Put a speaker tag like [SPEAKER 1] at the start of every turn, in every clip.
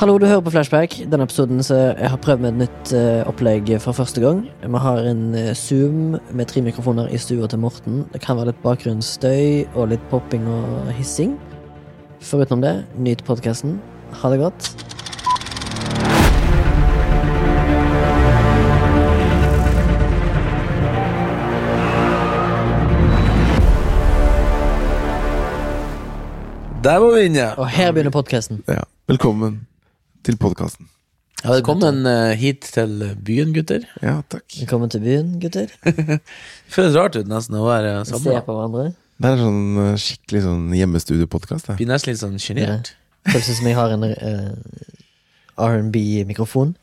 [SPEAKER 1] Hallo, du hører på Flashback. Denne episoden så jeg har prøvd med et nytt eh, opplegg for første gang. Vi har en eh, Zoom med tre mikrofoner i stua til Morten. Det kan være litt bakgrunnsstøy og litt popping og hissing. Foruten det, nyt podkasten. Ha det godt.
[SPEAKER 2] Der var vi inne!
[SPEAKER 1] Og her begynner podkasten.
[SPEAKER 3] Ja. Velkommen til podkasten.
[SPEAKER 2] Ja, Velkommen eh, hit til byen, gutter.
[SPEAKER 3] Ja, takk.
[SPEAKER 1] Velkommen til byen, gutter.
[SPEAKER 2] Føles rart ut nesten å være
[SPEAKER 1] Vi ser
[SPEAKER 2] sammen.
[SPEAKER 1] på hverandre.
[SPEAKER 3] Det er sånn eh, skikkelig sånn hjemmestudiopodkast.
[SPEAKER 2] Blir nesten litt sånn sjenert.
[SPEAKER 1] Føles som jeg har en eh, R&B-mikrofon.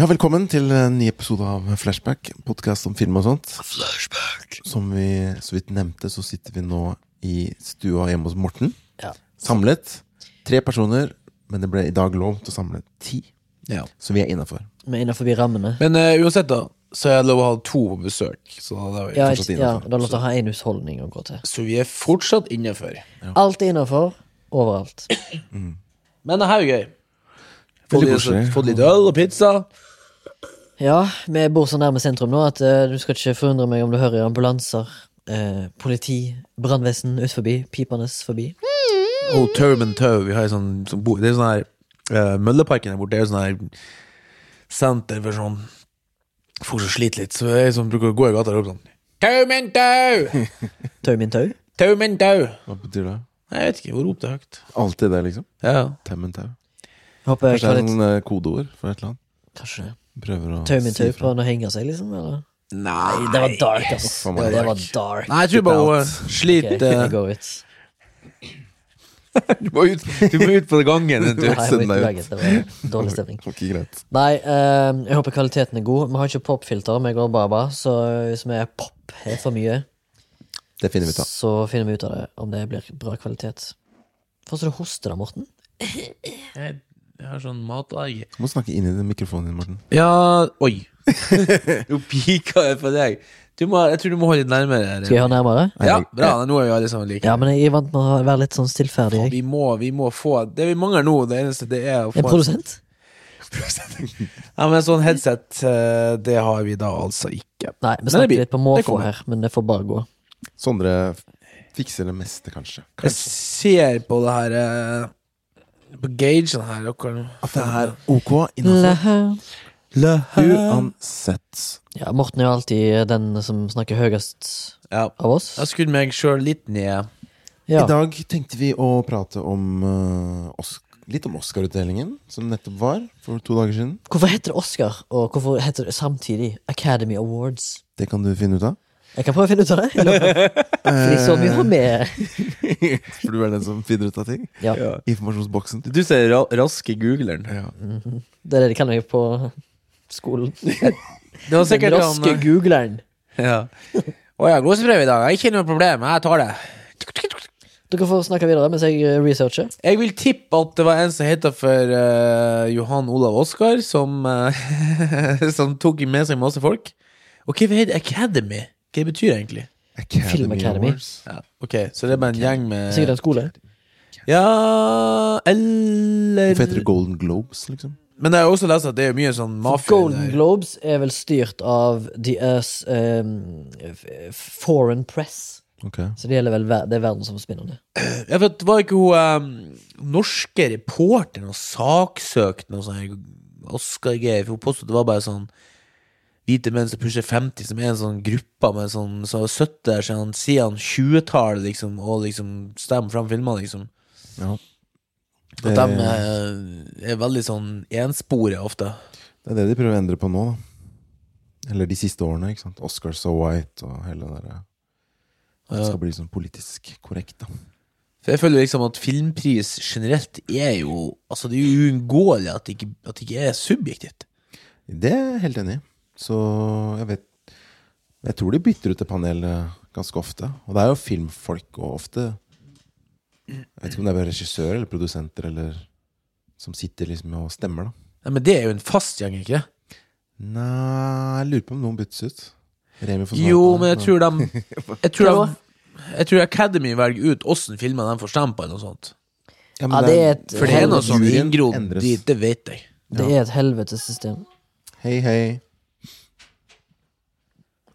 [SPEAKER 3] Ja, velkommen til en ny episode av Flashback. Podkast om film og sånt. Flashback Som vi så vidt nevnte, så sitter vi nå i stua hjemme hos Morten.
[SPEAKER 1] Ja.
[SPEAKER 3] Samlet. Tre personer, men det ble i dag lov til å samle ti.
[SPEAKER 2] Ja.
[SPEAKER 3] Så vi er innafor.
[SPEAKER 1] Vi er innenfor rammene.
[SPEAKER 2] Men eh, uansett, da, så er det lov å ha to på besøk. Så, da er vi.
[SPEAKER 1] Ja,
[SPEAKER 3] fortsatt
[SPEAKER 1] ja,
[SPEAKER 3] innenfor.
[SPEAKER 1] da er det lov til å ha én husholdning å gå til.
[SPEAKER 2] så vi er fortsatt innenfor.
[SPEAKER 1] Alt er innafor. Overalt.
[SPEAKER 2] Men det her er gøy. Fått
[SPEAKER 3] Veldig
[SPEAKER 2] litt,
[SPEAKER 3] koselig.
[SPEAKER 2] fått litt øl og pizza.
[SPEAKER 1] Ja, vi bor så nærme sentrum nå at eh, du skal ikke forundre meg om du hører ambulanser, eh, politi, brannvesen ut forbi, pipende forbi.
[SPEAKER 2] Og Turban Tow. Vi har en sånn, sånn bo- Det er sånn her eh, Mølleparken der borte det er jo sånn her senter for sånn folk som sliter litt. Så det er sånn, bruker å gå i gata og rope sånn Turban Tow!
[SPEAKER 1] Tau min tau.
[SPEAKER 2] Turban Tow!
[SPEAKER 3] Hva betyr det?
[SPEAKER 2] Nei, Jeg vet ikke. Rop det høyt.
[SPEAKER 3] Alltid det, liksom?
[SPEAKER 2] Ja, ja.
[SPEAKER 3] Temmen tau.
[SPEAKER 1] Håper jeg
[SPEAKER 3] Kanskje
[SPEAKER 1] kan
[SPEAKER 3] det er
[SPEAKER 1] litt
[SPEAKER 3] noen eh, kodeord for et eller annet?
[SPEAKER 1] Kanskje det.
[SPEAKER 3] Prøver å
[SPEAKER 1] Tau min tau
[SPEAKER 3] si fra.
[SPEAKER 1] prøver han å henge seg, liksom? Eller?
[SPEAKER 2] Nei,
[SPEAKER 1] Nei, det var dark, ass.
[SPEAKER 3] for meg
[SPEAKER 1] Ja, det var
[SPEAKER 3] dark.
[SPEAKER 1] dark.
[SPEAKER 2] Nei, jeg tror bare hun eh,
[SPEAKER 1] Ok,
[SPEAKER 2] sliter
[SPEAKER 1] jeg går ut.
[SPEAKER 2] du, må ut, du må ut på gangen
[SPEAKER 1] Nei,
[SPEAKER 2] en tur.
[SPEAKER 1] jeg
[SPEAKER 3] send
[SPEAKER 1] må ut
[SPEAKER 3] deg
[SPEAKER 1] i
[SPEAKER 3] ut.
[SPEAKER 1] veggen. Det var dårlig stemning.
[SPEAKER 3] Ok, greit.
[SPEAKER 1] Nei, eh, jeg håper kvaliteten er god. Vi har ikke popfilter, vi går bare bra. Så hvis vi er pop er for mye,
[SPEAKER 3] Det finner vi ut av.
[SPEAKER 1] så finner vi ut av det om det blir bra kvalitet. Får så du hoster da, Morten.
[SPEAKER 2] Jeg, har sånn matallergi.
[SPEAKER 3] Du må snakke inn i den mikrofonen din, Morten.
[SPEAKER 2] Ja Oi. Nå pika jeg på deg. Du må, jeg tror du må holde litt nærmere. her.
[SPEAKER 1] Skal jeg ha nærmere?
[SPEAKER 2] Ja, bra. Nå er vi alle sammen like.
[SPEAKER 1] Ja, men jeg er vant med å være litt sånn stillferdig. Jeg.
[SPEAKER 2] Vi må, vi må få Det vi mangler nå, det eneste det er å få
[SPEAKER 1] En produsent?
[SPEAKER 2] Ja, men Sånn headset, eh, det har vi da altså ikke.
[SPEAKER 1] Nei, vi
[SPEAKER 2] Men det blir-
[SPEAKER 1] snakker litt på
[SPEAKER 2] det
[SPEAKER 1] måfå
[SPEAKER 2] kommer.
[SPEAKER 1] her, men det får bare gå.
[SPEAKER 3] Sondre fikser det meste, kanskje.
[SPEAKER 2] Jeg ser på det her eh, På gagen her dere,
[SPEAKER 3] At det er ok innenfor.
[SPEAKER 1] Ja,
[SPEAKER 3] Uansett.
[SPEAKER 1] Morten er jo alltid den som snakker høyest
[SPEAKER 2] Ja.
[SPEAKER 1] av oss.
[SPEAKER 2] Jeg har skutt meg sjøl litt ned.
[SPEAKER 1] Ja,
[SPEAKER 3] I dag tenkte vi å prate om eh, Os- litt om Oscar-utdelingen, som nettopp var for to dager siden.
[SPEAKER 1] hvorfor heter det Oscar, og hvorfor heter det samtidig Academy Awards?
[SPEAKER 3] Det kan du finne ut av.
[SPEAKER 1] Jeg kan prøve å finne ut av det. i løpet av- Fordi så mye har
[SPEAKER 2] Eh,
[SPEAKER 1] vi
[SPEAKER 3] For du er den som finner ut av ting.
[SPEAKER 1] Ja,
[SPEAKER 3] Informasjonsboksen.
[SPEAKER 2] Du ser ra raske googleren.
[SPEAKER 3] Ja.
[SPEAKER 1] det er det de kaller meg på skolen.
[SPEAKER 2] Det var
[SPEAKER 1] Den
[SPEAKER 2] sikkert eh,
[SPEAKER 1] raske
[SPEAKER 2] han
[SPEAKER 1] googleren.
[SPEAKER 2] ja. Å ja, gloseprøve i dag. Jeg har Ikke noe problem, jeg tar det.
[SPEAKER 1] Dere får snakke videre mens jeg eh, researcher.
[SPEAKER 2] Jeg vil tippe at det var en som heter for eh, Johan Olav Oskar, som, eh, som tok med seg masse folk. Og hva heter Academy? Hva det betyr egentlig?
[SPEAKER 3] Academy
[SPEAKER 1] Film Academy.
[SPEAKER 3] Awards.
[SPEAKER 2] Ja, ok, Så det er bare en gjeng med
[SPEAKER 1] Sikkert en skole.
[SPEAKER 2] Ja, eller
[SPEAKER 3] Hvorfor heter det Golden Globes, liksom?
[SPEAKER 2] Men jeg har også lest at det er mye sånn mafia
[SPEAKER 1] Golden
[SPEAKER 2] der.
[SPEAKER 1] Globes er vel styrt av The Earth's ehm, f- f- Foreign Press.
[SPEAKER 3] Ok.
[SPEAKER 1] Så det gjelder vel ver det er verdensomspennende.
[SPEAKER 2] Ja, for det var ikke hun eh, norske reporteren og saksøkte noe sånn her Oscar-greier, for hun påstod det var bare sånn hvite menn som pusher 50, som er en sånn gruppe med sånn som så har sittet der siden, siden 20-tallet, liksom, og liksom stemmer fram filmer, liksom.
[SPEAKER 3] Ja.
[SPEAKER 2] At
[SPEAKER 3] Det-
[SPEAKER 2] de eh, er veldig sånn ensporet ofte.
[SPEAKER 3] Det er det de prøver å endre på nå, da. Eller de siste årene. ikke sant? Oscar so white og hele det der. eh, At det
[SPEAKER 2] Ja.
[SPEAKER 3] skal bli sånn politisk korrekt, da.
[SPEAKER 2] For jeg føler liksom at filmpris generelt er jo Altså, det er jo uunngåelig at, det ikke- at det ikke er subjektivt.
[SPEAKER 3] Det er jeg helt enig i. Så jeg vet Jeg tror de bytter ut det panelet ganske ofte. Og det er jo filmfolk og ofte Jeg vet ikke om det er bare regissører eller produsenter eller som sitter liksom og stemmer, da.
[SPEAKER 2] Nei, men det er jo en fast gjeng, ikke det?
[SPEAKER 3] Nei, jeg lurer på sånn om noen byttes ut. Remi får svare
[SPEAKER 2] Jo,
[SPEAKER 3] på det,
[SPEAKER 2] men jeg tror de Jeg tror
[SPEAKER 1] Hva
[SPEAKER 2] de Jeg tror Academy velger ut åssen filmer de får stempel eller noe sånt.
[SPEAKER 3] Ja, men
[SPEAKER 1] Ja, det er et,
[SPEAKER 2] For det er noe sånn
[SPEAKER 3] Juryen
[SPEAKER 2] inngrodd
[SPEAKER 3] endres.
[SPEAKER 2] dit, det vet jeg.
[SPEAKER 1] det er et helvetes system.
[SPEAKER 3] Hei, hei.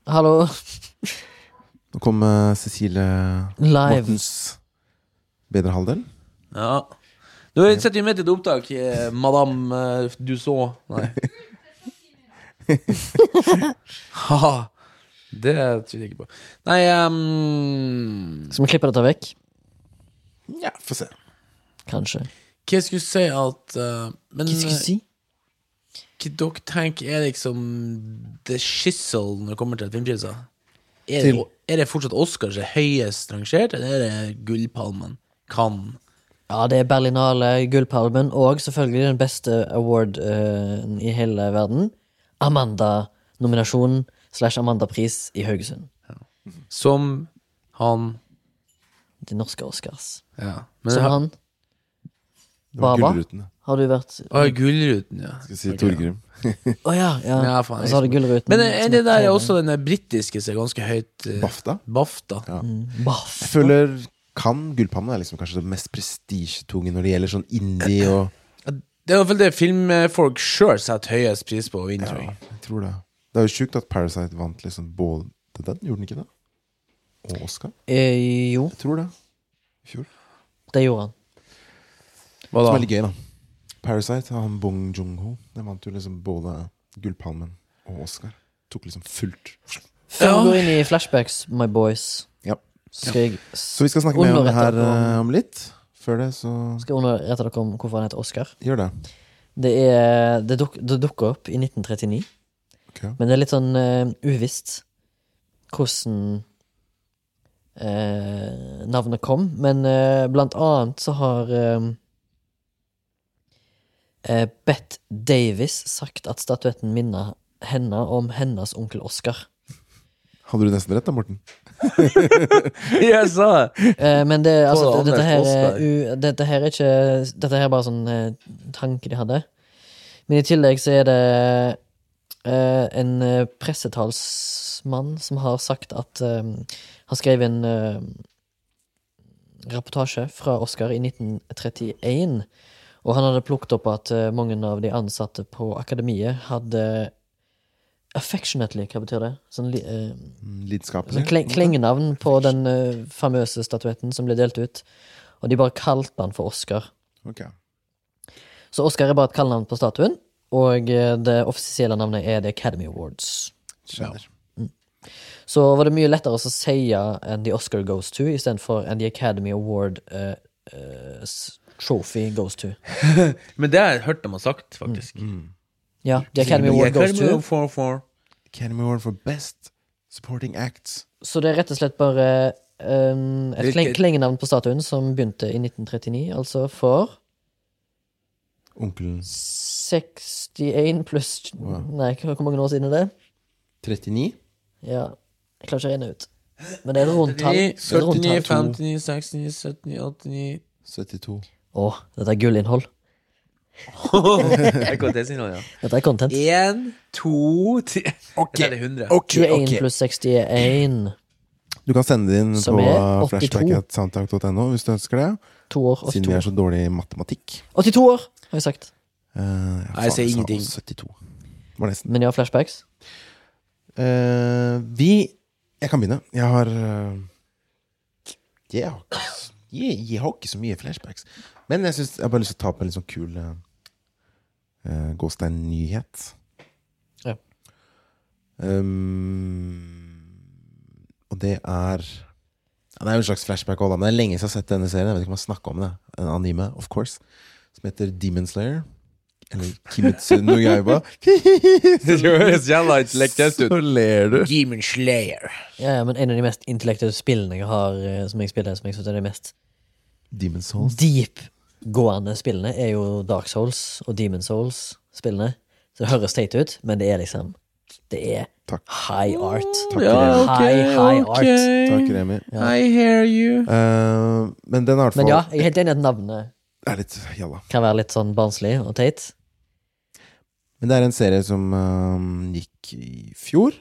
[SPEAKER 1] Hallo,
[SPEAKER 3] Nå kom eh, Cecilie
[SPEAKER 1] live.
[SPEAKER 3] Mortens bedre halvdel.
[SPEAKER 2] Ja. Du sitter jo midt i et opptak, eh, madame eh, du så. Nei. ha, det tviler jeg ikke på. Nei ehm,
[SPEAKER 1] Skal vi klippe dette vekk?
[SPEAKER 3] Ja, få se.
[SPEAKER 1] Kanskje.
[SPEAKER 2] Hva skulle jeg si at eh, Men
[SPEAKER 1] Hva skal jeg si?
[SPEAKER 2] hva dere tenker er liksom the shizzle når det kommer til filmpriser? Er,
[SPEAKER 3] Til-
[SPEAKER 2] det- er det fortsatt Oscar som er høyest rangert, eller er det Gullpalmen? Kan
[SPEAKER 1] Ja, det er Berlinale, Gullpalmen og selvfølgelig den beste award eh, i hele verden. Amanda-nominasjonen slash Amanda-pris i Haugesund.
[SPEAKER 2] Som han
[SPEAKER 1] De norske Oscars.
[SPEAKER 2] Ja.
[SPEAKER 1] Som
[SPEAKER 2] han
[SPEAKER 1] han.
[SPEAKER 3] Det var
[SPEAKER 1] Baba?
[SPEAKER 3] Gullruten.
[SPEAKER 1] Har du vært Å
[SPEAKER 2] Å, Gullruten, ja.
[SPEAKER 3] Skal si Torgrim.
[SPEAKER 1] ja, ja.
[SPEAKER 2] Ja, faen,
[SPEAKER 1] og så har du Gullruten.
[SPEAKER 2] Men er det der er også den der britiske som er ganske høyt eh,
[SPEAKER 3] BAFTA.
[SPEAKER 2] BAFTA.
[SPEAKER 3] Ja.
[SPEAKER 1] Baff.
[SPEAKER 3] Jeg føler kan Gullpalmen er liksom kanskje det mest prestisjetunge når det gjelder sånn indie og
[SPEAKER 2] Det er i hvert fall det filmfolk sjøl setter høyest pris på å vinne, tror jeg.
[SPEAKER 3] Jeg tror det. Det er jo sjukt at Parasite vant liksom både den, gjorde den ikke det? Og Oscar?
[SPEAKER 1] Eh, jo,
[SPEAKER 3] Jeg tror det. I fjor.
[SPEAKER 1] det gjorde han.
[SPEAKER 2] Hva
[SPEAKER 3] Som
[SPEAKER 2] da?
[SPEAKER 3] er litt gøy, da. Parasite, han Bong Joon-ho, den vant jo liksom både Gullpalmen og Oscar. Tok liksom fullt.
[SPEAKER 1] Før
[SPEAKER 2] Ja.
[SPEAKER 1] vi går inn i flashbacks, my boys,
[SPEAKER 3] Ja.
[SPEAKER 1] skal jeg s-
[SPEAKER 3] Så vi skal snakke mer om det her
[SPEAKER 1] Underrette om-
[SPEAKER 3] eh, om litt. Før det, så
[SPEAKER 1] skal underrette dere om hvorfor han heter Oscar.
[SPEAKER 3] gjør det.
[SPEAKER 1] Det, er, det, duk, det dukker opp i 1939,
[SPEAKER 3] Ok.
[SPEAKER 1] men det er litt sånn eh, uvisst hvordan eh, navnet kom. Men eh, blant annet så har eh, eh, Bette Davis sagt at statuetten minner henne om hennes onkel Oscar.
[SPEAKER 3] Hadde du nesten rett da, Morten?
[SPEAKER 2] Jeg sa det!
[SPEAKER 1] Eh, men det, altså,
[SPEAKER 2] På
[SPEAKER 1] det, dette, her
[SPEAKER 2] Anders
[SPEAKER 1] er, u, dette her er ikke Dette her er bare sånn eh, tanke de hadde. Men i tillegg så er det eh, en eh, pressetalsmann som har sagt at eh, Han skrev en eh, rapportasje fra Oscar i 1931. Og han hadde plukket opp at eh, mange av de ansatte på akademiet hadde Affectionately, hva betyr det? Sånn, li- eh,
[SPEAKER 3] Mm, Lidenskapelig?
[SPEAKER 2] Altså,
[SPEAKER 1] så kle- Klengenavn på den eh, famøse statuetten som ble delt ut. Og de bare kalte han for Oscar.
[SPEAKER 3] Ok.
[SPEAKER 1] Så Oscar er bare et kallenavn på statuen, og eh, det offisielle navnet er The Academy Awards.
[SPEAKER 3] Skjønner.
[SPEAKER 1] Så var det mye lettere å si enn The Oscar Goes To istedenfor enn The Academy Award eh, eh, s- Trophy Goes To.
[SPEAKER 2] Men det har jeg hørt dem ha sagt, faktisk.
[SPEAKER 3] Mm.
[SPEAKER 1] Ja, The Academy
[SPEAKER 2] Jeg
[SPEAKER 1] Award
[SPEAKER 2] kan
[SPEAKER 1] Goes To.
[SPEAKER 2] jo få- få-
[SPEAKER 3] Academy Award for Best Supporting Acts.
[SPEAKER 1] Så det er rett og slett bare eh, et kleng-
[SPEAKER 2] Hvilket-
[SPEAKER 1] klengenavn på statuen som begynte i 1939, altså for
[SPEAKER 3] Onkelen
[SPEAKER 1] 61 pluss
[SPEAKER 3] Wow.
[SPEAKER 1] Nei, hvor hvor mange år siden er det?
[SPEAKER 3] 39.
[SPEAKER 1] Ja, jeg klarer ikke å regne ut. Men det er et rundt tall.
[SPEAKER 2] 39,
[SPEAKER 1] Det er et rundt
[SPEAKER 2] 49,
[SPEAKER 1] tall.
[SPEAKER 2] 59, 69, 70, 89
[SPEAKER 3] 72.
[SPEAKER 1] Å, dette er gullinnhold.
[SPEAKER 2] Jeg kan det si nå, ja.
[SPEAKER 1] Dette er content.
[SPEAKER 2] Én, to, tre Eller er det 100?
[SPEAKER 1] 21 pluss 61.
[SPEAKER 3] Du kan sende det inn
[SPEAKER 1] Som
[SPEAKER 3] på
[SPEAKER 1] er
[SPEAKER 3] uh,
[SPEAKER 1] 82.
[SPEAKER 3] flashback.soundtrack.no hvis du ønsker det.
[SPEAKER 1] To år.
[SPEAKER 3] Siden
[SPEAKER 1] 82
[SPEAKER 3] vi er
[SPEAKER 1] år.
[SPEAKER 3] så dårlige i matematikk.
[SPEAKER 1] 82 år, har jeg sagt.
[SPEAKER 3] Eh, ja,
[SPEAKER 2] Nei, jeg
[SPEAKER 3] faen,
[SPEAKER 2] sier
[SPEAKER 3] sa
[SPEAKER 2] ingenting.
[SPEAKER 3] 72. Det var nesten.
[SPEAKER 1] Men jeg har flashbacks.
[SPEAKER 3] Eh, vi Jeg kan begynne. Jeg har eh, jeg, har ikke, s- jeg, jeg har ikke så mye flashbacks. Men jeg, synes, jeg har bare lyst til å ta opp en litt sånn kul uh, Gåstein-nyhet.
[SPEAKER 1] Ja.
[SPEAKER 3] Um, og det er ja, Det er jo en slags flashback også, da, men det er lenge siden jeg har sett denne serien. Jeg vet ikke om jeg snakker om det. En anime, of course. Som heter Demon Slayer. Eller Kimetsu no Yaiba.
[SPEAKER 2] Det høres jævla
[SPEAKER 3] Så ler du.
[SPEAKER 2] Demon Slayer.
[SPEAKER 1] Ja, ja, men en av de mest intellektuelle spillene jeg har, eh, som jeg spiller, som jeg synes er de mest
[SPEAKER 3] Demon Souls.
[SPEAKER 1] deep-gående spillene, er jo Dark Souls og Demon Souls-spillene. Så det høres teit ut, men det er liksom Det er
[SPEAKER 3] Takk.
[SPEAKER 1] high art.
[SPEAKER 3] Takk, Remi.
[SPEAKER 1] High, high art.
[SPEAKER 3] Takk, Remi.
[SPEAKER 2] I hear you.
[SPEAKER 3] Eh, men den er i hvert
[SPEAKER 1] Men
[SPEAKER 3] fall
[SPEAKER 1] ja, jeg er helt enig i at navnet
[SPEAKER 3] er litt jalla.
[SPEAKER 1] kan være litt sånn barnslig og teit.
[SPEAKER 3] Men det er en serie som eh, gikk i fjor.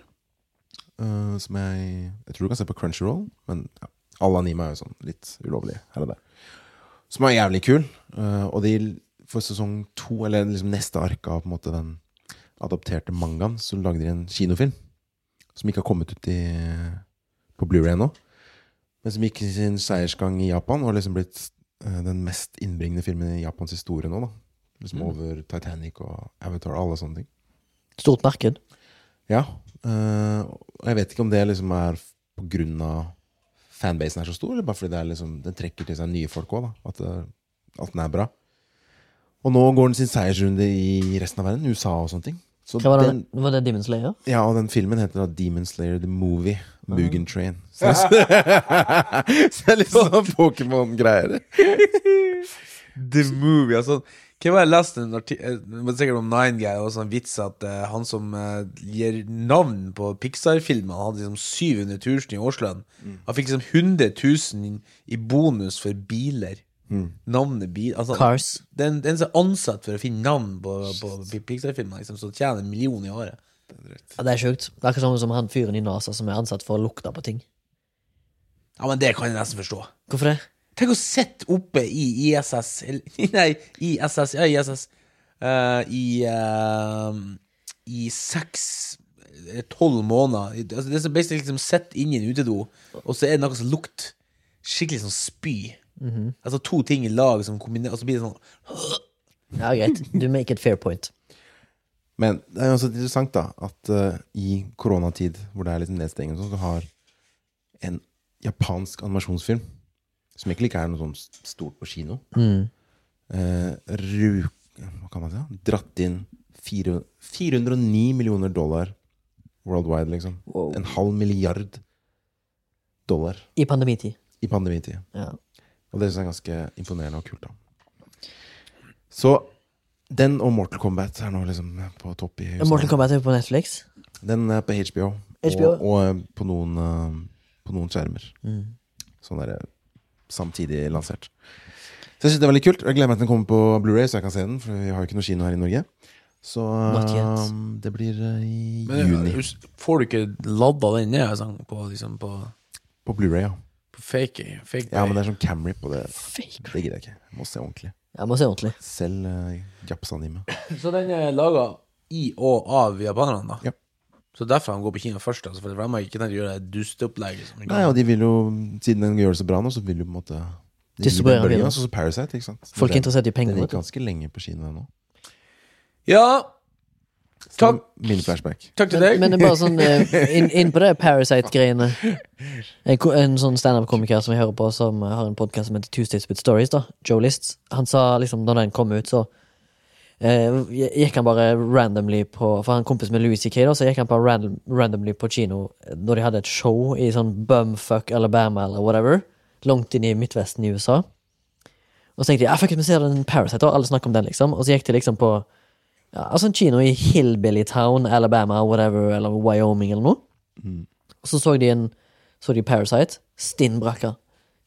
[SPEAKER 3] eh, som jeg Jeg tror du kan se på Crunchyroll, men ja, All anime er jo sånn litt ulovlig her og der. Som er jævlig kul. eh, og de for sesong to, eller liksom neste ark av på en måte den adopterte mangaen, så lagde de en kinofilm. Som ikke har kommet ut i, på Blu-ray ennå. Men som gikk sin seiersgang i Japan, og har liksom blitt eh, den mest innbringende filmen i Japans historie nå. da Liksom
[SPEAKER 1] Mm.
[SPEAKER 3] Over Titanic og Avatar og alle sånne ting.
[SPEAKER 1] Stort marked.
[SPEAKER 3] Ja, eh, og jeg vet ikke om det liksom er på grunn av fanbasen er så stor, eller bare fordi det er liksom, den trekker til seg nye folk òg, at, det- at den er bra. Og nå går den sin seiersrunde i resten av verden, USA og sånne ting. Så
[SPEAKER 1] Hva var det?
[SPEAKER 3] den,
[SPEAKER 1] Var det Demon Slayer?
[SPEAKER 3] ja, og den filmen heter da Demon Slayer The Movie,
[SPEAKER 1] Ah.
[SPEAKER 3] Mugen Train. Så, så det er litt sånn Pokémon-greier.
[SPEAKER 2] The Movie. Altså, hvem var det jeg leste en arti- eh, det var sikkert om Nine Guy og sånn vits at eh, han som eh, gir navn på Pixar-filmene, han hadde liksom 700 000 i årslønn. Han fikk liksom 100 000 inn i bonus for biler. Navnet bil altså,
[SPEAKER 1] Cars.
[SPEAKER 2] Den, den som er ansatt for å finne navn på, på Pixar-filmer, liksom, som tjener en million i året.
[SPEAKER 1] Ja, det er sjukt. Det er akkurat sånn som han fyren i NASA som er ansatt for å lukte på ting.
[SPEAKER 2] Ja, men det kan jeg nesten forstå.
[SPEAKER 1] Hvorfor det?
[SPEAKER 2] Tenk å sitte oppe i ISS eller- Nei, ISS, ja, ISS eh, I eh, I seks eh, Tolv måneder I- altså, Det er så basically liksom Sett inn i en utedo Og så er det noe som lukt Skikkelig sånn spy Altså to ting i lag som kombinerer Og så blir det sånn
[SPEAKER 1] Ja, greit. Du make it fair point.
[SPEAKER 3] Men det er jo også interessant da at eh, i koronatid, hvor det er litt nedstenging, og sånn, så har en japansk animasjonsfilm, som egentlig ikke er noe sånn s- stort på kino, eh, ru, hva kan man si, da? dratt inn fire- 409 millioner dollar worldwide, liksom.
[SPEAKER 1] Wow.
[SPEAKER 3] En halv milliard dollar
[SPEAKER 1] I pandemitid.
[SPEAKER 3] i pandemitid.
[SPEAKER 1] Ja.
[SPEAKER 3] Og det synes jeg er ganske imponerende og kult, da. Så den og Mortal Kombat er nå liksom på topp i USA.
[SPEAKER 1] Morten kommer til på Netflix.
[SPEAKER 3] Den er på HBO.
[SPEAKER 1] HBO?
[SPEAKER 3] Og, og eh, på, noen, eh, på noen skjermer.
[SPEAKER 1] Mm.
[SPEAKER 3] Sånn der eh, samtidig lansert. Så jeg synes det er veldig kult. og Jeg gleder meg til den kommer på Blu-ray så jeg kan se den. For vi har jo ikke noe kino her i Norge. Så
[SPEAKER 1] Not yet.
[SPEAKER 3] eh, det blir eh, i
[SPEAKER 2] Men,
[SPEAKER 3] juni.
[SPEAKER 2] Får du ikke ladda den ned sånn, på, liksom, på,
[SPEAKER 3] På Blu-ray, ja.
[SPEAKER 2] på fake, fake
[SPEAKER 3] Ja, men det er sånn camrip, og det, det gidder jeg ikke. Jeg må se ordentlig.
[SPEAKER 1] Jeg må se ordentlig.
[SPEAKER 3] Selv uh, japsanime.
[SPEAKER 2] Så den er laga i og av japanerne, da?
[SPEAKER 3] Ja.
[SPEAKER 2] Så derfor han går på kino først? Altså, for de har ikke tenkt å gjøre det dusteopplegget? som de
[SPEAKER 3] Nei,
[SPEAKER 2] gjør.
[SPEAKER 3] og de vil jo, siden den gjør det så bra nå, så vil jo på en måte de gir
[SPEAKER 1] Distribuere
[SPEAKER 3] den bølgen,
[SPEAKER 1] videre.
[SPEAKER 3] altså, så Parasite, ikke sant?
[SPEAKER 1] Folk er
[SPEAKER 3] Den-
[SPEAKER 1] interessert i penger,
[SPEAKER 3] Den
[SPEAKER 1] vet
[SPEAKER 3] gikk
[SPEAKER 1] du.
[SPEAKER 3] ganske lenge på kino ennå.
[SPEAKER 2] Ja,
[SPEAKER 3] Så
[SPEAKER 2] Takk.
[SPEAKER 3] det er Min flashback.
[SPEAKER 2] takk til deg.
[SPEAKER 1] Men, men det er bare sånn eh, inn, inn på det Parasite-greiene. En, ko- en sånn standup-komiker som jeg hører på, som eh, har en podkast som heter Tuesdays with Stories, da Joe List, han sa liksom da den kom ut, så eh, gikk han bare randomly på For han er kompis med Louis C.K., da, så gikk han bare random, randomly på kino når de hadde et show i sånn bumfuck Alabama eller whatever, langt inn i Midtvesten i USA. Og så tenkte jeg ja, fuck it, vi ser den Parasite, da. Alle snakker om den, liksom. Og så gikk de liksom på ja, altså en kino i Hillbilly Town, Alabama, whatever, eller Wyoming eller noe. Og så så de en så de Parasite. Stinn brakka.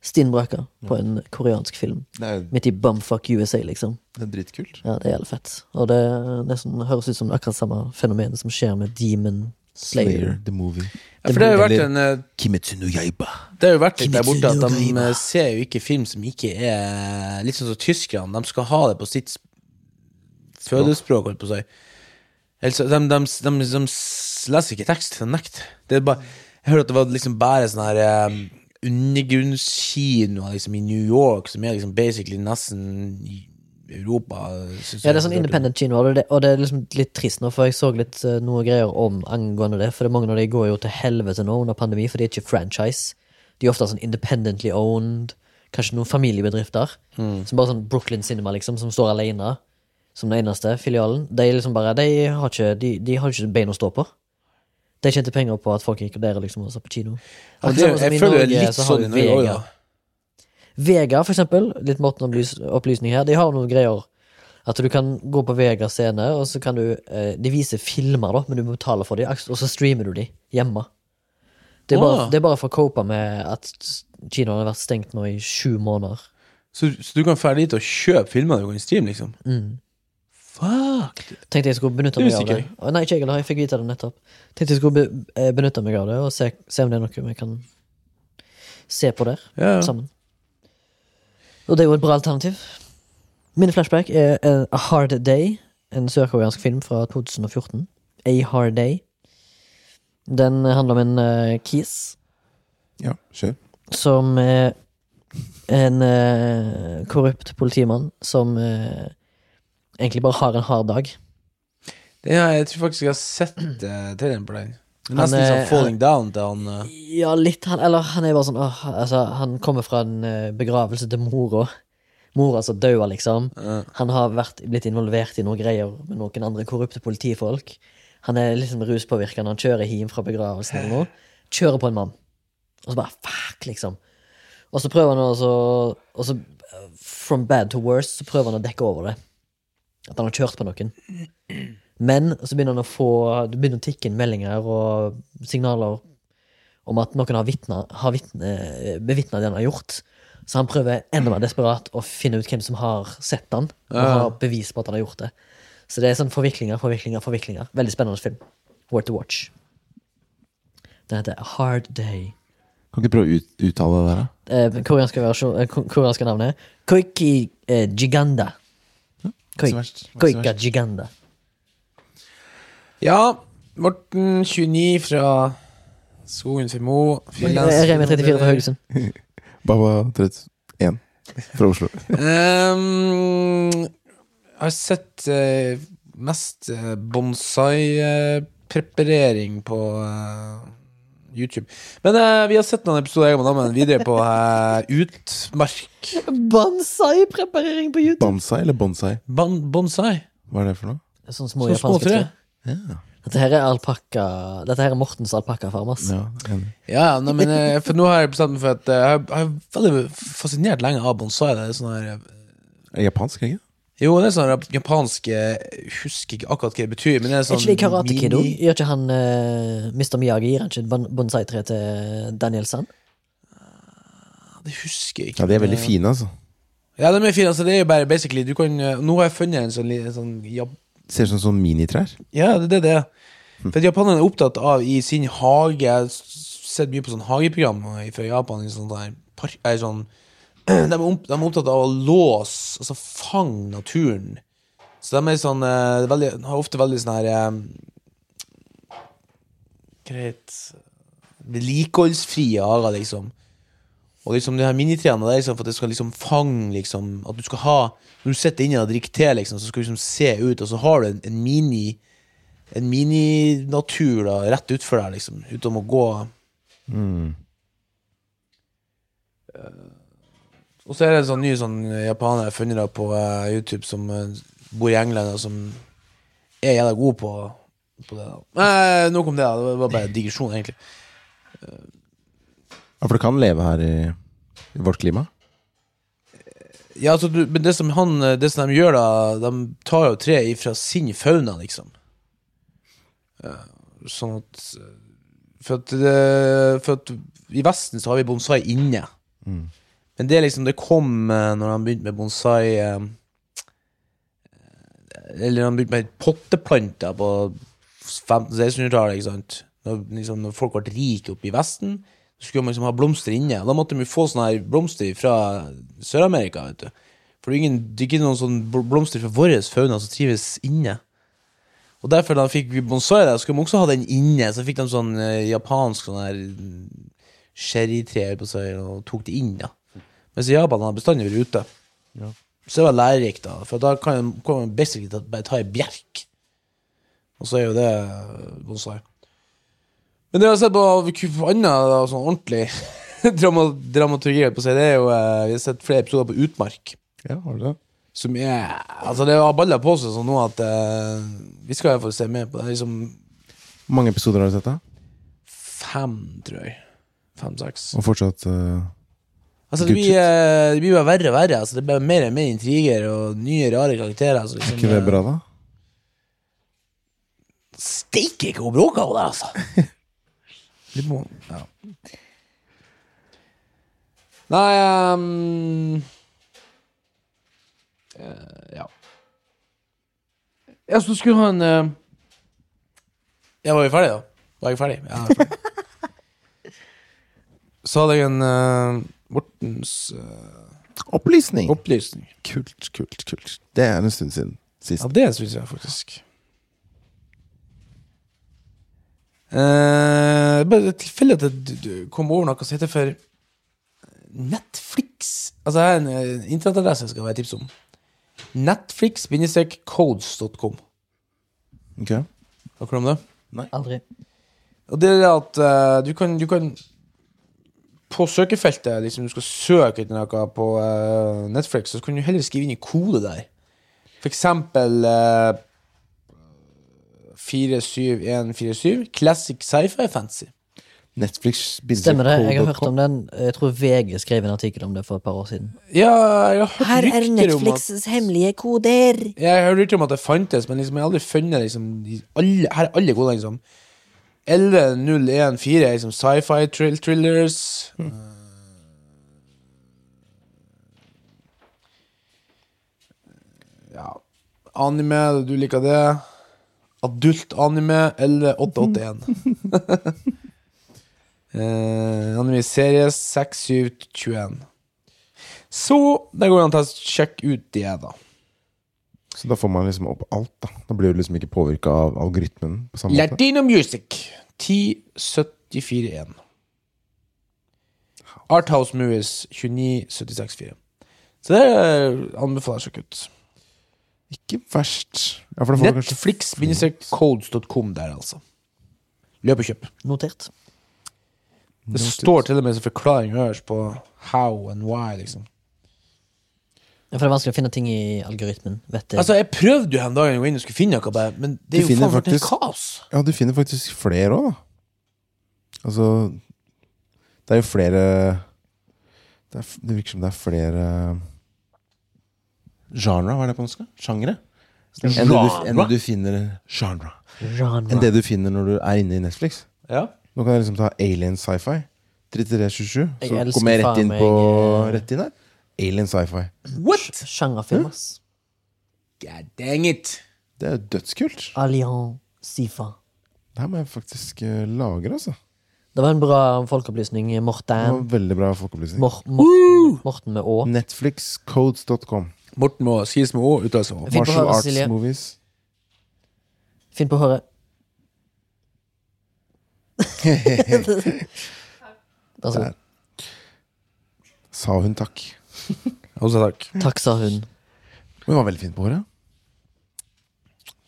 [SPEAKER 1] Stinn brakka på en koreansk film.
[SPEAKER 3] Det er,
[SPEAKER 1] Midt i bumfuck USA, liksom.
[SPEAKER 3] det er dritkult.
[SPEAKER 1] Ja, Det er jævlig fett. Og det nesten høres ut som akkurat samme fenomenet som skjer med Demon Slayer.
[SPEAKER 3] the movie.
[SPEAKER 2] Ja, for det har jo vært en eh,
[SPEAKER 3] Kimetsu no Yaiba.
[SPEAKER 2] Det har jo vært litt der borte at de
[SPEAKER 1] Kimetsu no Yaiba.
[SPEAKER 2] eh, ser jo ikke film som ikke er Litt sånn som tyskerne. De skal ha det på sitt sp- fødespråk, holdt på å si. Ellers, de, de, de, de, s- leser ikke tekst. De nekter. Det er bare, jeg hører at det var liksom bare sånn her eh, undergrunnskinoer liksom, i New York, som er liksom basically nesten i Europa. synes
[SPEAKER 1] Ja, det
[SPEAKER 2] jeg.
[SPEAKER 1] er sånn independent kino, og det, og det er liksom litt trist nå, for jeg så litt eh, noe greier om angående det. For det er mange av de går jo til helvete nå under pandemi, for de er ikke franchise. De er ofte sånn independently owned, kanskje noen familiebedrifter.
[SPEAKER 2] Mm.
[SPEAKER 1] Som bare sånn Brooklyn Cinema, liksom, som står alene som den eneste filialen. De liksom bare, de har ikke, de, de har ikke bein å stå på. De tjente penger på at folk gikk der liksom og så på kino.
[SPEAKER 2] Ja,
[SPEAKER 1] Akkurat samme
[SPEAKER 2] det,
[SPEAKER 1] som i
[SPEAKER 2] jeg føler det
[SPEAKER 1] Norge,
[SPEAKER 2] er litt
[SPEAKER 1] så har
[SPEAKER 2] sånn i
[SPEAKER 1] vi
[SPEAKER 2] Norge òg,
[SPEAKER 1] Vega.
[SPEAKER 2] da.
[SPEAKER 1] Vega, for eksempel, litt Morten-opplysning her, de har noen greier at du kan gå på Vega scene, og så kan du eh, De viser filmer, da, men du må betale for dem, og så streamer du dem hjemme. Det er, bare,
[SPEAKER 2] Ah.
[SPEAKER 1] det er bare for å cope med at kinoene har vært stengt nå i sju måneder.
[SPEAKER 2] Så, så du kan dra dit og kjøpe filmer du kan streame, liksom?
[SPEAKER 1] Mm.
[SPEAKER 2] Fuck!
[SPEAKER 1] Tenkte jeg skulle benytte
[SPEAKER 2] Det
[SPEAKER 1] meg
[SPEAKER 2] visste
[SPEAKER 1] av det.
[SPEAKER 2] ikke
[SPEAKER 1] Å, Nei, ikke jeg heller, jeg fikk vite det nettopp. Tenkte jeg skulle be, eh, benytte meg av det, og se, se om det er noe vi kan se på der
[SPEAKER 2] Ja, ja.
[SPEAKER 1] sammen. Og det er jo et bra alternativ. Min flashback er eh, A Hard Day, en sørkoreansk film fra 2014. A Hard Day. Den handler om en eh, kis
[SPEAKER 3] Ja, kjør.
[SPEAKER 1] som er en eh, korrupt politimann som eh, egentlig bare har en hard dag.
[SPEAKER 2] Den, har- jeg tror faktisk jeg har sett uh, traileren på den. Det er
[SPEAKER 1] Han
[SPEAKER 2] Nesten litt
[SPEAKER 1] er-
[SPEAKER 2] sånn Falling Down til han eh,
[SPEAKER 1] Ja, litt han, Eller han er bare sånn åh, altså, Han kommer fra en eh, begravelse til mora. Mora som daua, liksom.
[SPEAKER 2] eh,
[SPEAKER 1] Han har vært, blitt involvert i noen greier med noen andre korrupte politifolk. Han er liksom ruspåvirka når han kjører hjem fra begravelsen eller noe. Kjører på en mann. Og så bare fuck, liksom. Og så prøver han også Og så eh, from bad to worse, så prøver han å dekke over det. At han har kjørt på noen. Men så begynner han å få Det begynner å tikke inn meldinger og signaler om at noen har, vitna, har vitne, bevitna det han har gjort. Så han prøver enda mer desperat å finne ut hvem som har sett han og
[SPEAKER 2] Ja.
[SPEAKER 1] har bevis på at han har gjort det. Så det er sånn forviklinger, forviklinger, forviklinger. Veldig spennende film. Worth to watch. Den heter A Hard Day.
[SPEAKER 3] Kan ikke prøve å ut, uttale det der, da?
[SPEAKER 1] Eh, koreanske, versjon, eh, ko- koreanske navnet Koiki eh, Giganda. Koi-
[SPEAKER 3] så verst, ikke så
[SPEAKER 1] Koika
[SPEAKER 3] verst.
[SPEAKER 1] Giganda.
[SPEAKER 2] Ja, Morten 29 fra Skogen for Mo.
[SPEAKER 1] Eh, Remi 34 fra Haugesund.
[SPEAKER 3] Baba 31 fra Oslo.
[SPEAKER 2] Ehm, jeg har sett eh, mest eh, bonsai-preparering på eh, YouTube. Men eh, vi har sett noen episoder jeg og damen videre på eh, utmark.
[SPEAKER 1] Bonsai-preparering på YouTube!
[SPEAKER 3] Bonsai eller bonsai?
[SPEAKER 2] Ban bonsai?
[SPEAKER 3] Hva er det for noe?
[SPEAKER 1] Sånn små
[SPEAKER 2] Så små
[SPEAKER 1] japanske
[SPEAKER 2] tre.
[SPEAKER 1] tre.
[SPEAKER 3] Ja,
[SPEAKER 1] Dette her er alpakka Dette her er Mortens alpakkafarm, ass.
[SPEAKER 3] ja enig.
[SPEAKER 2] Ja, ja, nei, men eh, for nå har jeg bestemt meg for at eh, jeg har- jeg har veldig fascinert lenge av bonsai. Det er sånn her eh,
[SPEAKER 3] Er det Japansk, er det ikke?
[SPEAKER 2] Jo, det er sånn her japansk eh, Jeg husker ikke akkurat hva det betyr, men det er
[SPEAKER 1] Er
[SPEAKER 2] sånn
[SPEAKER 1] ikke det i Karate Kid òg?
[SPEAKER 2] mini-
[SPEAKER 1] Gjør ikke han eh, Mr. Miyagi gir han ikke et bon- bonsai-tre til Daniel Sand?
[SPEAKER 2] Det husker jeg ikke.
[SPEAKER 3] Ja, de er veldig fine, altså.
[SPEAKER 2] Ja, de er fine. Altså, det er jo bare basically du kan, eh, Nå har jeg funnet en sånn, li- en sånn jap
[SPEAKER 3] Ser ut som sånn minitrær.
[SPEAKER 2] Ja, det er det det er. For at japanerne er opptatt av i sin hage Jeg har s- sett mye på sånn hageprogram fra Japan. i Sånn der, park, er sånn, de, er opp, de er opptatt av å låse, altså fange naturen. Så de er sånn eh, veldig, har ofte veldig sånn her eh, Greit Vedlikeholdsfrie hager, liksom. Og liksom de her minitrærne det er liksom for at det skal liksom fange liksom, At du skal ha Når du sitter inne og drikker te, liksom, så skal du liksom se ut, og så har du en, en mini en mininatur da, rett utfor deg, liksom, utenom å gå. Eh, Og så er det en sånn ny sånn japaner jeg har funnet da på eh, YouTube, som eh, bor i England, og som er jævla god på, på det. da. Nei, nok om det, da. det var bare en digresjon, egentlig.
[SPEAKER 3] Ja, For det kan leve her i, i vårt klima?
[SPEAKER 2] Ja, altså, du, men det som, han, eh, det som de gjør, da, de tar jo tre ifra sin fauna, liksom. Eh, Sånn at eh, For at, det- for at i Vesten så har vi bonsai inne. Men det er liksom, det kom eh, når han begynte med bonsai eh, Eller han begynte med potteplanter på 1500-1600-tallet, ikke sant. Når, liksom, når folk ble rike oppe i Vesten, så skulle man liksom ha blomster inne. Da måtte de jo få sånne her blomster fra Sør-Amerika, vet du. For det er, ingen, det er ikke noen sånne bl- blomster fra vår fauna som trives inne. Og derfor da fikk vi bonsai der, skulle de også ha den inne. Så fikk de sånn eh, japansk sånn her mm, sherrytre på seg og tok det inn, da. Mens i Japan har bestandig vært ute. Så det var lærerikt, da. For da kan kan man basically ta- bare ta ei bjerk. Og så er jo det eh, bonsai. Men det jeg har sett på, på annet da, sånn ordentlig drama, dramaturgi, holdt på å si, det er jo eh, Vi har sett flere episoder på Utmark.
[SPEAKER 3] Ja, har du det?
[SPEAKER 2] Som er Altså, det har baller på seg sånn nå at eh, Vi skal iallfall se mer på det. Liksom
[SPEAKER 3] Hvor mange episoder har du sett, da?
[SPEAKER 2] fem, tror jeg. Fem-seks.
[SPEAKER 3] Og fortsatt eh,
[SPEAKER 2] Altså, det blir, eh, det blir bare verre og verre. Altså, det blir mer og mer intriger og nye, rare karakterer. Altså, liksom,
[SPEAKER 3] Ikke det
[SPEAKER 2] eh,
[SPEAKER 3] bra, da?
[SPEAKER 2] Steike ikke hvor bråka hun der, altså! Litt må, ja. Nei ehm, eh, Ja. Ja, så du skulle ha en eh, Ja, var vi ferdige, da? Var jeg ferdig? Ja, jeg er ferdig. Så hadde jeg en eh, Mortens eh,
[SPEAKER 3] Opplysning!
[SPEAKER 2] opplysning.
[SPEAKER 3] Kult, kult, kult. Det er en stund siden sist.
[SPEAKER 2] Ja, det syns jeg faktisk. Eh, bare et tilfelle at jeg d- d- kom over noe som heter for Netflix. Altså, jeg har en eh, internettadresse jeg skal være tips om. Netflix-codes.com.
[SPEAKER 3] Ok.
[SPEAKER 2] Hva tror du om det?
[SPEAKER 1] Aldri.
[SPEAKER 2] Og det er det at eh, du, kan, du kan På søkefeltet, liksom du skal søke etter noe på eh, Netflix, så kan du heller skrive inn i kode der. For eksempel eh, 47147 Classic Sci-Fi Fancy.
[SPEAKER 3] Netflix
[SPEAKER 1] Stemmer det. Jeg har hørt om den. Jeg tror VG skrev en artikkel om det for et par år siden.
[SPEAKER 2] Ja, jeg har hørt rykter om at
[SPEAKER 1] hemmelige koder.
[SPEAKER 2] Jeg har hørt rykter om at det fantes, men liksom, jeg har aldri funnet liksom, de, alle, her er alle kodene, liksom. E 11014 er liksom sci-fi thrill thrillers.
[SPEAKER 1] Hm.
[SPEAKER 2] Eh, ja. Anime, du liker det. Adult anime E 11881. eh, anime serie 6721. Så der går det an å ta- sjekke ut det, da.
[SPEAKER 3] Så da får man liksom opp alt, da. Da blir du liksom ikke påvirka av algoritmen på samme måte.
[SPEAKER 2] Latino Music 10741 Arthouse Movies 29764 Så det anbefaler jeg å sjekke ut
[SPEAKER 3] Ikke verst. Ja, for da får du kanskje
[SPEAKER 2] Netflix-codes.com der altså Løp og kjøp
[SPEAKER 1] Notert.
[SPEAKER 2] Det står til og med som forklaring øverst på How and why liksom
[SPEAKER 1] Ja, For det er vanskelig å finne ting i algoritmen. Vet jeg.
[SPEAKER 2] Altså jeg prøvde jo her en dag Jeg gå inn og skulle finne noe bare, Men det
[SPEAKER 3] Du
[SPEAKER 2] er jo
[SPEAKER 3] finner
[SPEAKER 2] faen for et
[SPEAKER 3] faktisk-
[SPEAKER 2] kaos
[SPEAKER 3] Ja, du finner faktisk flere òg, da. Altså Det er jo flere Det, er, f- det virker som det er flere eh, Genre, hva er det på norsk? da? Sjangre? Enn det, du, enn det du finner genre. Enn
[SPEAKER 1] Genre.
[SPEAKER 3] det du finner når du er inne i Netflix.
[SPEAKER 2] Ja
[SPEAKER 3] Nå kan jeg liksom ta alien sci-fi. 3327.
[SPEAKER 1] Jeg
[SPEAKER 3] Så
[SPEAKER 1] elsker
[SPEAKER 3] kommer jeg rett
[SPEAKER 1] faen
[SPEAKER 3] inn
[SPEAKER 1] meg,
[SPEAKER 3] på
[SPEAKER 1] eh,
[SPEAKER 3] Rett inn her. Alien sci-fi.
[SPEAKER 2] What?
[SPEAKER 1] Sjangerfilm, ass.
[SPEAKER 2] God dang it
[SPEAKER 3] Det er jo dødskult.
[SPEAKER 1] Allian Sifa.
[SPEAKER 3] Det her må jeg faktisk eh, lagre, altså.
[SPEAKER 1] Det var en bra folkeopplysning,
[SPEAKER 3] Det var
[SPEAKER 1] Morten.
[SPEAKER 3] Veldig bra folkeopplysning.
[SPEAKER 1] Mor Morten, Morten med Å.
[SPEAKER 3] Netflixcodes.com.
[SPEAKER 2] Morten må skrives med å uttale seg om
[SPEAKER 1] Fint på
[SPEAKER 3] Martial
[SPEAKER 1] håret,
[SPEAKER 3] arts
[SPEAKER 1] Silje.
[SPEAKER 3] movies.
[SPEAKER 1] Finn på håret. Vær så god.
[SPEAKER 3] Sa hun takk.
[SPEAKER 2] Også takk
[SPEAKER 1] Takk, sa hun.
[SPEAKER 3] Hun var veldig fin på håret.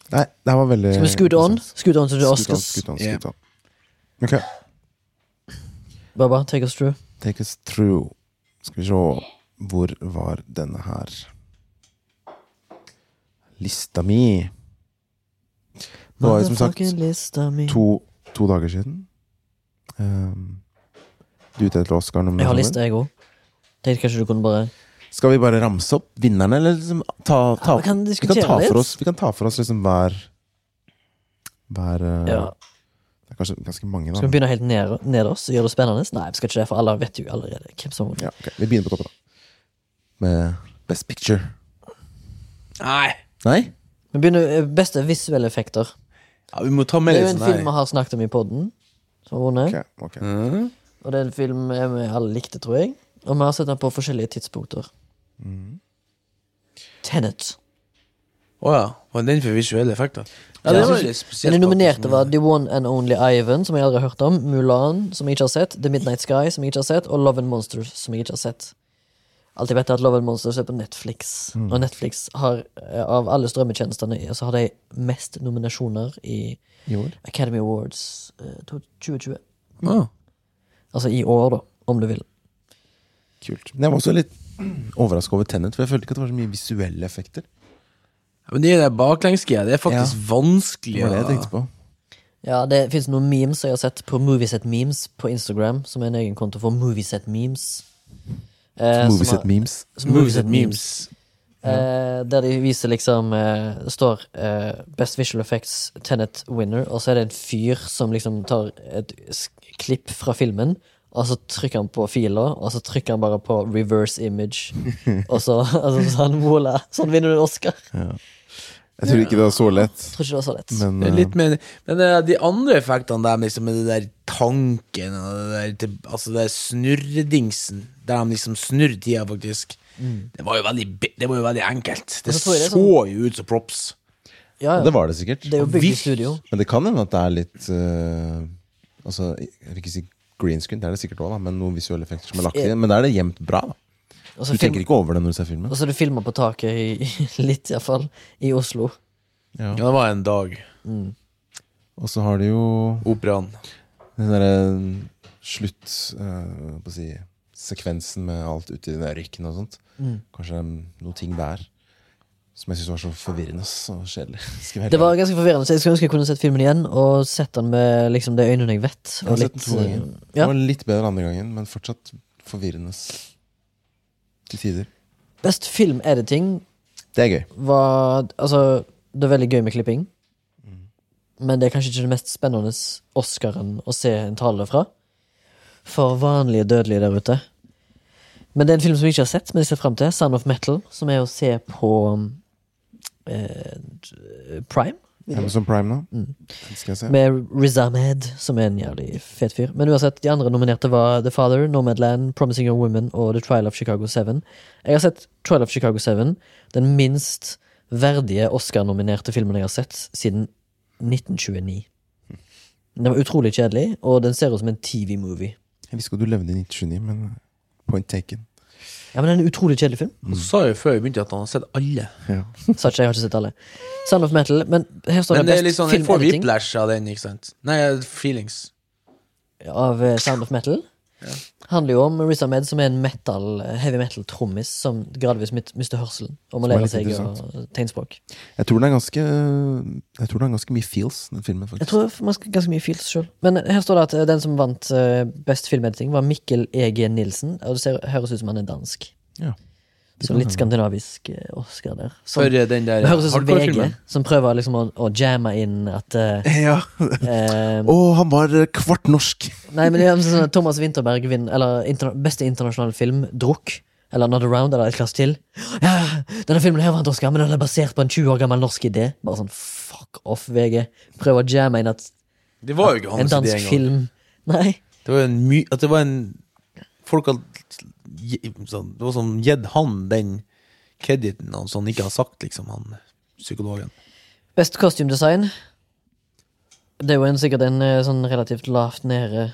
[SPEAKER 3] Nei, det her var veldig
[SPEAKER 1] Skal vi scoot on? Scoot on to the
[SPEAKER 3] Scoot on,
[SPEAKER 1] Oscars.
[SPEAKER 3] scoot on,
[SPEAKER 2] Yeah.
[SPEAKER 3] scoot on. Ok,
[SPEAKER 1] Baba, take us through.
[SPEAKER 3] take us through. Skal vi se Hvor var denne her? Lista mi. Det var jo som sagt
[SPEAKER 1] Motherfucking lista mi.
[SPEAKER 3] to, to dager siden. Um, du ute etter Oscar
[SPEAKER 1] Jeg har
[SPEAKER 3] nominasjoner.
[SPEAKER 1] liste, jeg òg. Tenkte kanskje du kunne bare
[SPEAKER 3] Skal vi bare ramse opp vinnerne, eller liksom ta, ta,
[SPEAKER 1] Ja, vi kan
[SPEAKER 3] vi, kan
[SPEAKER 1] diskutere
[SPEAKER 3] ta
[SPEAKER 1] litt.
[SPEAKER 3] for oss, vi kan ta for oss liksom hver Hver eh,
[SPEAKER 1] Ja.
[SPEAKER 3] Det er kanskje ganske mange,
[SPEAKER 1] Skal vi
[SPEAKER 3] da.
[SPEAKER 1] begynne helt ned, nederst og gjøre det spennende? Nei, vi skal ikke det, for alle vet jo allerede hvem som
[SPEAKER 3] Ja, ok, Vi begynner på toppen, da. Med Best Picture.
[SPEAKER 2] Nei
[SPEAKER 3] Nei?
[SPEAKER 1] Vi begynner eh, Beste visuelle effekter.
[SPEAKER 2] ja, Vi må ta med
[SPEAKER 1] Det er jo
[SPEAKER 2] litt
[SPEAKER 1] en
[SPEAKER 2] sånn
[SPEAKER 1] film
[SPEAKER 2] her
[SPEAKER 1] vi har snakket om i poden, som har vunnet.
[SPEAKER 3] Ok, ok.
[SPEAKER 1] Og det er en film eh, vi alle likte, tror jeg. Og vi har sett den på forskjellige tidspunkter. Mm. Tenet.
[SPEAKER 2] Å ja. Var den for visuelle effekter?
[SPEAKER 1] Ja, det var
[SPEAKER 2] litt
[SPEAKER 1] Men de nominerte var The One and Only Ivan, som jeg aldri har hørt om, Mulan, som jeg ikke har sett, The Midnight Sky, som jeg ikke har sett, og Love and Monsters, som jeg ikke har sett. Alt jeg vet, er at Love and Monsters er på Netflix, og Netflix har, eh, av alle strømmetjenestene, eh, så har de mest nominasjoner i
[SPEAKER 3] I år.
[SPEAKER 1] Academy Awards eh, to- 2020.
[SPEAKER 2] Ah.
[SPEAKER 1] Altså i år, da, om du vil.
[SPEAKER 3] Kult. Men jeg var også litt overraska over Tenet, for jeg følte ikke at det var så mye visuelle effekter.
[SPEAKER 2] Ja, Men de der baklengsgreiene, det er faktisk
[SPEAKER 3] Det
[SPEAKER 2] vanskelig
[SPEAKER 3] var det jeg
[SPEAKER 2] å
[SPEAKER 3] tenkte på.
[SPEAKER 1] Ja, det fins noen memes jeg har sett på Movieset Memes på Instagram, som er en egen konto for Movieset Memes. Eh, som har-
[SPEAKER 3] Movieset memes.
[SPEAKER 1] som Movieset Memes. Eh, der de viser liksom eh, Det står eh, Best Visual Effects Tenet Winner, og så er det en fyr som liksom tar et sk- klipp fra filmen, og så trykker han på fila, og så trykker han bare på reverse image, og så altså, sånn, voilà, sånn vinner du en Oscar.
[SPEAKER 3] Jeg tror ikke det var så lett.
[SPEAKER 1] Tror ikke det var så lett.
[SPEAKER 3] Men
[SPEAKER 2] Det er
[SPEAKER 3] eh,
[SPEAKER 2] Litt mer, men eh, de andre effektene der, liksom, med det der tanken og det der, til- altså det der snurredingsen, der de liksom snurrer tida, faktisk, det, var jo veldig, bi- det var jo veldig enkelt. Det
[SPEAKER 1] Mm. så tror jeg det er sånn-
[SPEAKER 2] så jo ut som props.
[SPEAKER 1] Ja, ja.
[SPEAKER 3] det var det sikkert.
[SPEAKER 1] Det er jo bygd i
[SPEAKER 2] Hvis-
[SPEAKER 1] studio.
[SPEAKER 3] Men det kan hende at det er litt eh, Altså, jeg vil ikke si green screen, det er det sikkert òg, men noen visuelle effekter som er lagt igjen. Men da er det gjemt bra. da
[SPEAKER 1] Og så
[SPEAKER 3] Du tenker
[SPEAKER 1] film,
[SPEAKER 3] ikke over det når du ser filmen.
[SPEAKER 1] og så er det filmer på taket, i, litt iallfall, i Oslo.
[SPEAKER 3] Ja.
[SPEAKER 2] Ja, det var en dag.
[SPEAKER 3] Og så har de jo
[SPEAKER 2] Operaen.
[SPEAKER 3] den derre slutt eh, hva skal jeg si, Sekvensen med alt uti den der røyken og sånt.
[SPEAKER 1] Mm.
[SPEAKER 3] Kanskje det er noen ting der som jeg syns var så forvirrende ass, og kjedelig. Skal jeg være
[SPEAKER 1] Det var ganske forvirrende, så jeg skulle ønske jeg kunne sett filmen igjen, og sett den med liksom de øynene jeg vet.
[SPEAKER 3] Jeg
[SPEAKER 1] Og
[SPEAKER 3] har sett
[SPEAKER 1] litt,
[SPEAKER 3] den to ganger.
[SPEAKER 1] eh,
[SPEAKER 3] Det
[SPEAKER 1] ja.
[SPEAKER 3] var litt bedre andre gangen, men fortsatt forvirrende ass. til tider.
[SPEAKER 1] Best filmediting
[SPEAKER 3] Det er gøy.
[SPEAKER 1] var Altså, det er veldig gøy med klipping.
[SPEAKER 3] Mm.
[SPEAKER 1] Men det er kanskje ikke det mest spennende Oscaren å se en tale fra. For vanlige dødelige der ute. Men det er en film som jeg ikke har sett, men jeg ser frem til. Sound of Metal, som er å se på eh, Prime.
[SPEAKER 3] Amazon Prime, da.
[SPEAKER 1] Mm.
[SPEAKER 3] Den skal jeg se.
[SPEAKER 1] Med Riz Ahmed, som er en jævlig fet fyr. Men uansett, de andre nominerte var The Father, Nomadland, Promising Young Women og The Trial of Chicago 7. Jeg har sett Trial of Chicago 7, den minst verdige Oscar-nominerte filmen jeg har sett siden 1929. Den var utrolig kjedelig, og den ser ut som en TV-movie.
[SPEAKER 3] Jeg visste ikke at du levde i 1929, men uh, point taken.
[SPEAKER 1] Ja, men det er en utrolig kjedelig film.
[SPEAKER 2] Og så sa jeg jo før vi begynte at han har sett alle.
[SPEAKER 1] Sa ikke jeg, jeg har ikke sett alle. Sound of Metal, men her står
[SPEAKER 2] Men
[SPEAKER 1] det
[SPEAKER 2] det er litt
[SPEAKER 1] best
[SPEAKER 2] sånn, jeg får
[SPEAKER 1] filmediting
[SPEAKER 2] whiplash av den, ikke sant? Nei, feelings.
[SPEAKER 1] av eh, Sound of Metal. Handler jo om Riz Ahmed, som er en metal, eh, heavy metal-trommis som gradvis mit- mister hørselen. Og må
[SPEAKER 3] Som er
[SPEAKER 1] lære
[SPEAKER 3] litt
[SPEAKER 1] seg å
[SPEAKER 3] interessant.
[SPEAKER 1] tegnspråk.
[SPEAKER 3] Jeg tror den er ganske uh, Jeg tror den er ganske mye feels, den filmen.
[SPEAKER 1] Jeg
[SPEAKER 3] faktisk
[SPEAKER 1] tror man skal ganske mye feels sjøl. Men her står det at eh, den som vant eh, best filmediting, var Mikkel E.G. Nilsen. Og det ser, høres ut som han er dansk.
[SPEAKER 3] Ja.
[SPEAKER 1] Så litt skandinavisk eh, Oscar der.
[SPEAKER 2] For eh, den der
[SPEAKER 1] Det høres ut som VG,
[SPEAKER 2] hardcore-filmen.
[SPEAKER 1] som prøver liksom å, å jamme inn at eh,
[SPEAKER 3] Ja.
[SPEAKER 1] eh,
[SPEAKER 3] Å, han var eh, kvart norsk!
[SPEAKER 1] Nei, men det er sånn at Thomas Winterberg vinner Eller interna beste internasjonale film, Drukk. Eller Another Round, eller et klasse til. Ja, denne filmen her vant Oscar, men den er basert på en 20 år gammel norsk idé. Bare sånn fuck off, VG. Prøv å jamme inn at
[SPEAKER 2] Det var jo ikke
[SPEAKER 1] en
[SPEAKER 2] hans idé
[SPEAKER 1] dansk
[SPEAKER 2] engang.
[SPEAKER 1] film Nei.
[SPEAKER 2] Det var en my... At det var en Folk har gi- sånn, Det var sånn gitt han den krediten han sånn ikke har sagt, liksom, han psykologen.
[SPEAKER 1] Best costume design. Det er jo en, sikkert en eh, sånn relativt lavt nede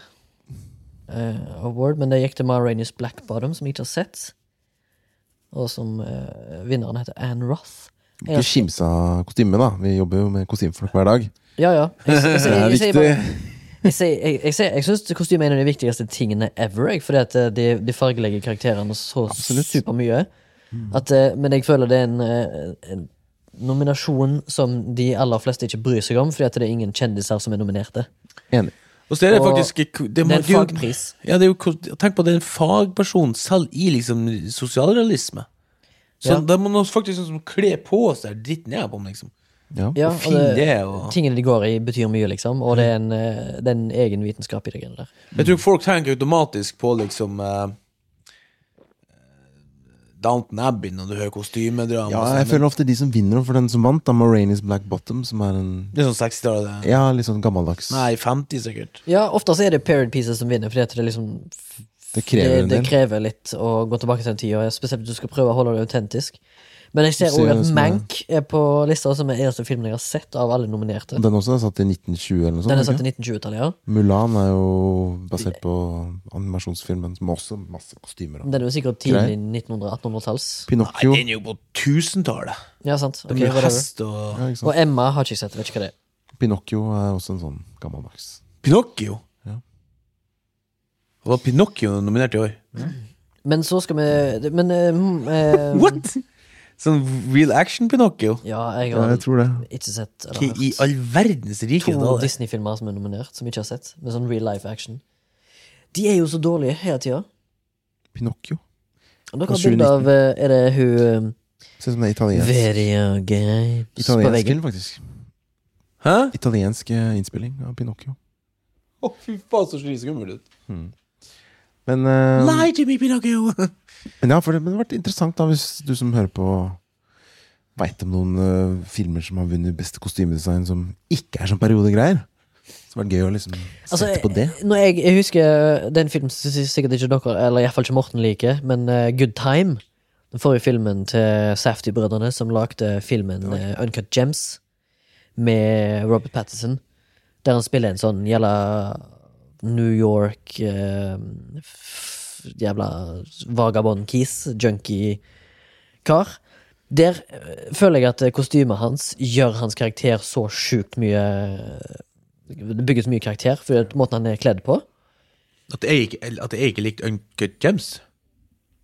[SPEAKER 1] eh, award, men det gikk til Ma Rainey's Black Bottom, som jeg ikke har sett. Og som eh, vinneren heter Anne Roth.
[SPEAKER 3] Ikke kimse av kostyme, da. Vi jobber jo med kostymefolk hver dag.
[SPEAKER 1] Ja, ja. Jeg, jeg, jeg,
[SPEAKER 3] Det er
[SPEAKER 1] jeg, sier
[SPEAKER 3] viktig.
[SPEAKER 1] bare- Jeg, sier- jeg, jeg, sier- jeg syns kostyme er en av de viktigste tingene ever. Jeg, fordi at eh, de, de fargelegger karakterene så supermye.
[SPEAKER 2] Mm.
[SPEAKER 1] At, eh, Men jeg føler det er en, eh, en nominasjon som de aller fleste ikke bryr seg om, fordi at det er ingen kjendiser som er nominerte.
[SPEAKER 3] Enig.
[SPEAKER 2] Og så er det
[SPEAKER 1] Og
[SPEAKER 2] faktisk ikke- det,
[SPEAKER 1] Det
[SPEAKER 2] må-
[SPEAKER 1] er en
[SPEAKER 2] det er jo-
[SPEAKER 1] fagpris.
[SPEAKER 2] Ja, det er jo, ko- tenk på at det er en fagperson selv i liksom sosialrealisme. Så
[SPEAKER 1] Ja.
[SPEAKER 2] da må man faktisk liksom kle på seg dritten jeg er på, liksom.
[SPEAKER 3] Ja.
[SPEAKER 1] Ja, og
[SPEAKER 2] Og fin
[SPEAKER 1] det,
[SPEAKER 2] det, og Mm.
[SPEAKER 1] tingene de går i, betyr mye, liksom. Og det er en, eh, det er en egen vitenskap i det greiene der.
[SPEAKER 2] Jeg tror folk tenker automatisk på liksom eh, Downton Abbey når du hører kostymedrama.
[SPEAKER 3] ja,
[SPEAKER 2] og sånn,
[SPEAKER 3] jeg
[SPEAKER 2] men
[SPEAKER 3] føler ofte de som vinner for den som vant, da Morainis Black Bottom, som er en
[SPEAKER 2] Det er sånn 60-tallet. det.
[SPEAKER 3] Ja, litt sånn gammeldags.
[SPEAKER 2] Nei, 50 sikkert.
[SPEAKER 1] Ja, ofte så er det period pieces som vinner, fordi at det liksom
[SPEAKER 3] Det krever
[SPEAKER 1] det,
[SPEAKER 3] en
[SPEAKER 1] det
[SPEAKER 3] del.
[SPEAKER 1] krever litt å gå tilbake til den tida, spesielt hvis du skal prøve å holde det autentisk. Men jeg ser
[SPEAKER 3] Du ser
[SPEAKER 1] òg
[SPEAKER 3] det
[SPEAKER 1] at
[SPEAKER 3] som er-
[SPEAKER 1] Mank er på lista som er eneste filmen jeg har sett av alle nominerte.
[SPEAKER 3] Og Den også er satt i 1920 eller noe sånt.
[SPEAKER 1] Den er satt
[SPEAKER 3] ikke?
[SPEAKER 1] i 1920-tallet, ja.
[SPEAKER 3] Mulan er jo basert på animasjonsfilmen, som også har masse kostymer. Da.
[SPEAKER 1] Den er jo sikkert tidlig 1900-1800-talls.
[SPEAKER 3] Pinocchio.
[SPEAKER 2] Den er jo på 1000-tallet.
[SPEAKER 1] Ja, sant. Ok,
[SPEAKER 2] Med
[SPEAKER 1] whatever.
[SPEAKER 2] hest og
[SPEAKER 3] Ja, ikke sant?
[SPEAKER 1] Og Emma har ikke jeg sett, vet ikke hva det er.
[SPEAKER 3] Pinocchio er også en sånn gammeldags.
[SPEAKER 2] Pinocchio.
[SPEAKER 3] Ja.
[SPEAKER 2] Og var Pinocchio nominert i år?
[SPEAKER 1] Men så skal vi Men eh, mm, eh,
[SPEAKER 2] What?! Sånn real action Pinocchio?
[SPEAKER 1] Ja, jeg
[SPEAKER 3] Ja,
[SPEAKER 1] har
[SPEAKER 3] jeg tror det.
[SPEAKER 1] ikke sett eller
[SPEAKER 2] Hva i
[SPEAKER 1] hørt.
[SPEAKER 2] all verdens rike
[SPEAKER 1] to
[SPEAKER 3] E.
[SPEAKER 2] daler?
[SPEAKER 1] Disney-filmer som er nominert, som jeg ikke har sett. Med sånn real life action. De er jo så dårlige hele tida.
[SPEAKER 3] Pinocchio.
[SPEAKER 1] Og dere
[SPEAKER 3] Og
[SPEAKER 1] har bilde av eh, Er det hun eh,
[SPEAKER 3] Ser ut som det er italiensk.
[SPEAKER 1] Video games på
[SPEAKER 3] Italiensk
[SPEAKER 1] veggen.
[SPEAKER 3] film, faktisk.
[SPEAKER 2] Hæ?
[SPEAKER 3] Italiensk eh, innspilling av Pinocchio.
[SPEAKER 2] Å, fy faen, så skummel ut.
[SPEAKER 3] Men, eh,
[SPEAKER 2] Lie to me, Pinocchio!
[SPEAKER 3] men ja, for det, men det har vært interessant, da, hvis du som hører på Veit om noen eh, filmer som har vunnet beste kostymedesign, som ikke er sånn periodegreier. Så var det gøy å liksom sette
[SPEAKER 1] Altså,
[SPEAKER 3] på det.
[SPEAKER 1] Når jeg, jeg husker det er en film som s- sikkert ikke dere, eller iallfall ikke Morten liker, men eh, Good Time. Den forrige filmen til Safety-brødrene, som lagde filmen eh, Uncut Gems med Robert Patterson. Der han spiller en sånn jævla New York eh, f- Jævla vagabond-kis, junkie-kar. Der eh, føler jeg at eh, kostymet hans gjør hans karakter så sjukt mye det bygges mye karakter for at måten han er kledd på.
[SPEAKER 2] At jeg ikke, at jeg ikke likte Uncut Gems?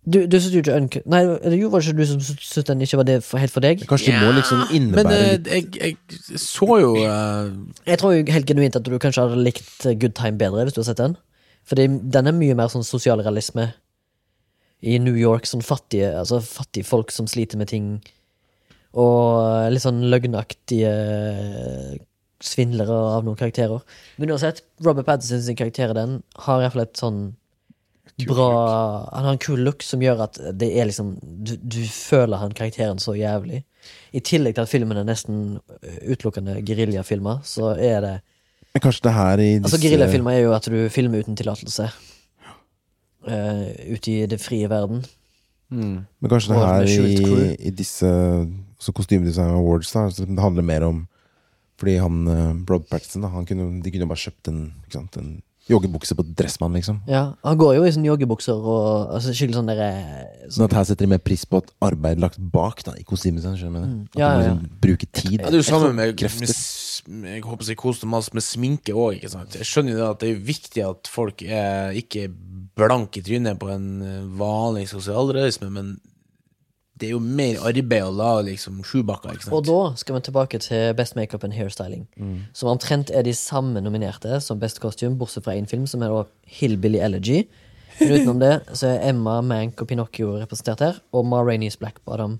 [SPEAKER 1] Du, du synes jo ikke unc- Nei, eller jo, var det ikke du som syntes den ikke var det for, helt for deg?
[SPEAKER 3] Kanskje det må liksom innebære
[SPEAKER 2] Men eh,
[SPEAKER 3] litt
[SPEAKER 2] jeg, jeg så jo eh,
[SPEAKER 1] Jeg tror jo helt genuint at du kanskje hadde likt eh, Good Time bedre hvis du hadde sett den. Fordi den er mye mer sånn sosialrealisme i New York. Sånn fattige Altså fattige folk som sliter med ting. Og litt sånn løgnaktige svindlere av noen karakterer. Men uansett, Robert Pattinson sin karakter i den har iallfall et sånn bra Han har en kul look som gjør at det er liksom du, du føler han karakteren så jævlig. I tillegg til at filmen er nesten eh, utelukkende geriljafilmer, så er det
[SPEAKER 3] Men Kanskje det her i
[SPEAKER 1] Altså,
[SPEAKER 3] disse-
[SPEAKER 1] geriljafilmer er jo at du filmer uten tillatelse. Eh, ute i det frie verden.
[SPEAKER 3] Men kanskje det
[SPEAKER 1] Og
[SPEAKER 3] her
[SPEAKER 1] med skjult
[SPEAKER 3] i,
[SPEAKER 1] crew.
[SPEAKER 3] i disse så kostymedesign awards da, så det handler mer om Fordi han eh, Rob Patterson, da, han kunne, de kunne bare kjøpt en, ikke sant, en joggebukse på Dressmann, liksom.
[SPEAKER 1] Ja, Han går jo i sånne joggebukser og altså, skikkelig sånn derre
[SPEAKER 3] Sånn at her setter de mer pris på at arbeid lagt bak da, i kostymedesign. Skjønner du? Mm. At
[SPEAKER 1] Ja, ja,
[SPEAKER 3] de må
[SPEAKER 1] ja.
[SPEAKER 3] liksom bruke tid.
[SPEAKER 2] Ja, det
[SPEAKER 1] sånn
[SPEAKER 2] er jo samme med,
[SPEAKER 3] krefter.
[SPEAKER 2] med s- Jeg håper å si koste mas med sminke òg, ikke sant. Jeg skjønner jo det at det er viktig at folk er ikke blanke i trynet på en eh, vanlig sosialrealisme, men det er jo mer arbeid å lage liksom sjubakker, ikke sant.
[SPEAKER 1] Og da skal vi tilbake til Best Makeup and Hairstyling. Som omtrent er de samme nominerte som Best Costume, bortsett fra én film, som er da Hillbilly Elegy. Men utenom det så er Emma, Mank og Pinocchio representert her. Og Ma Rainey's Black Bottom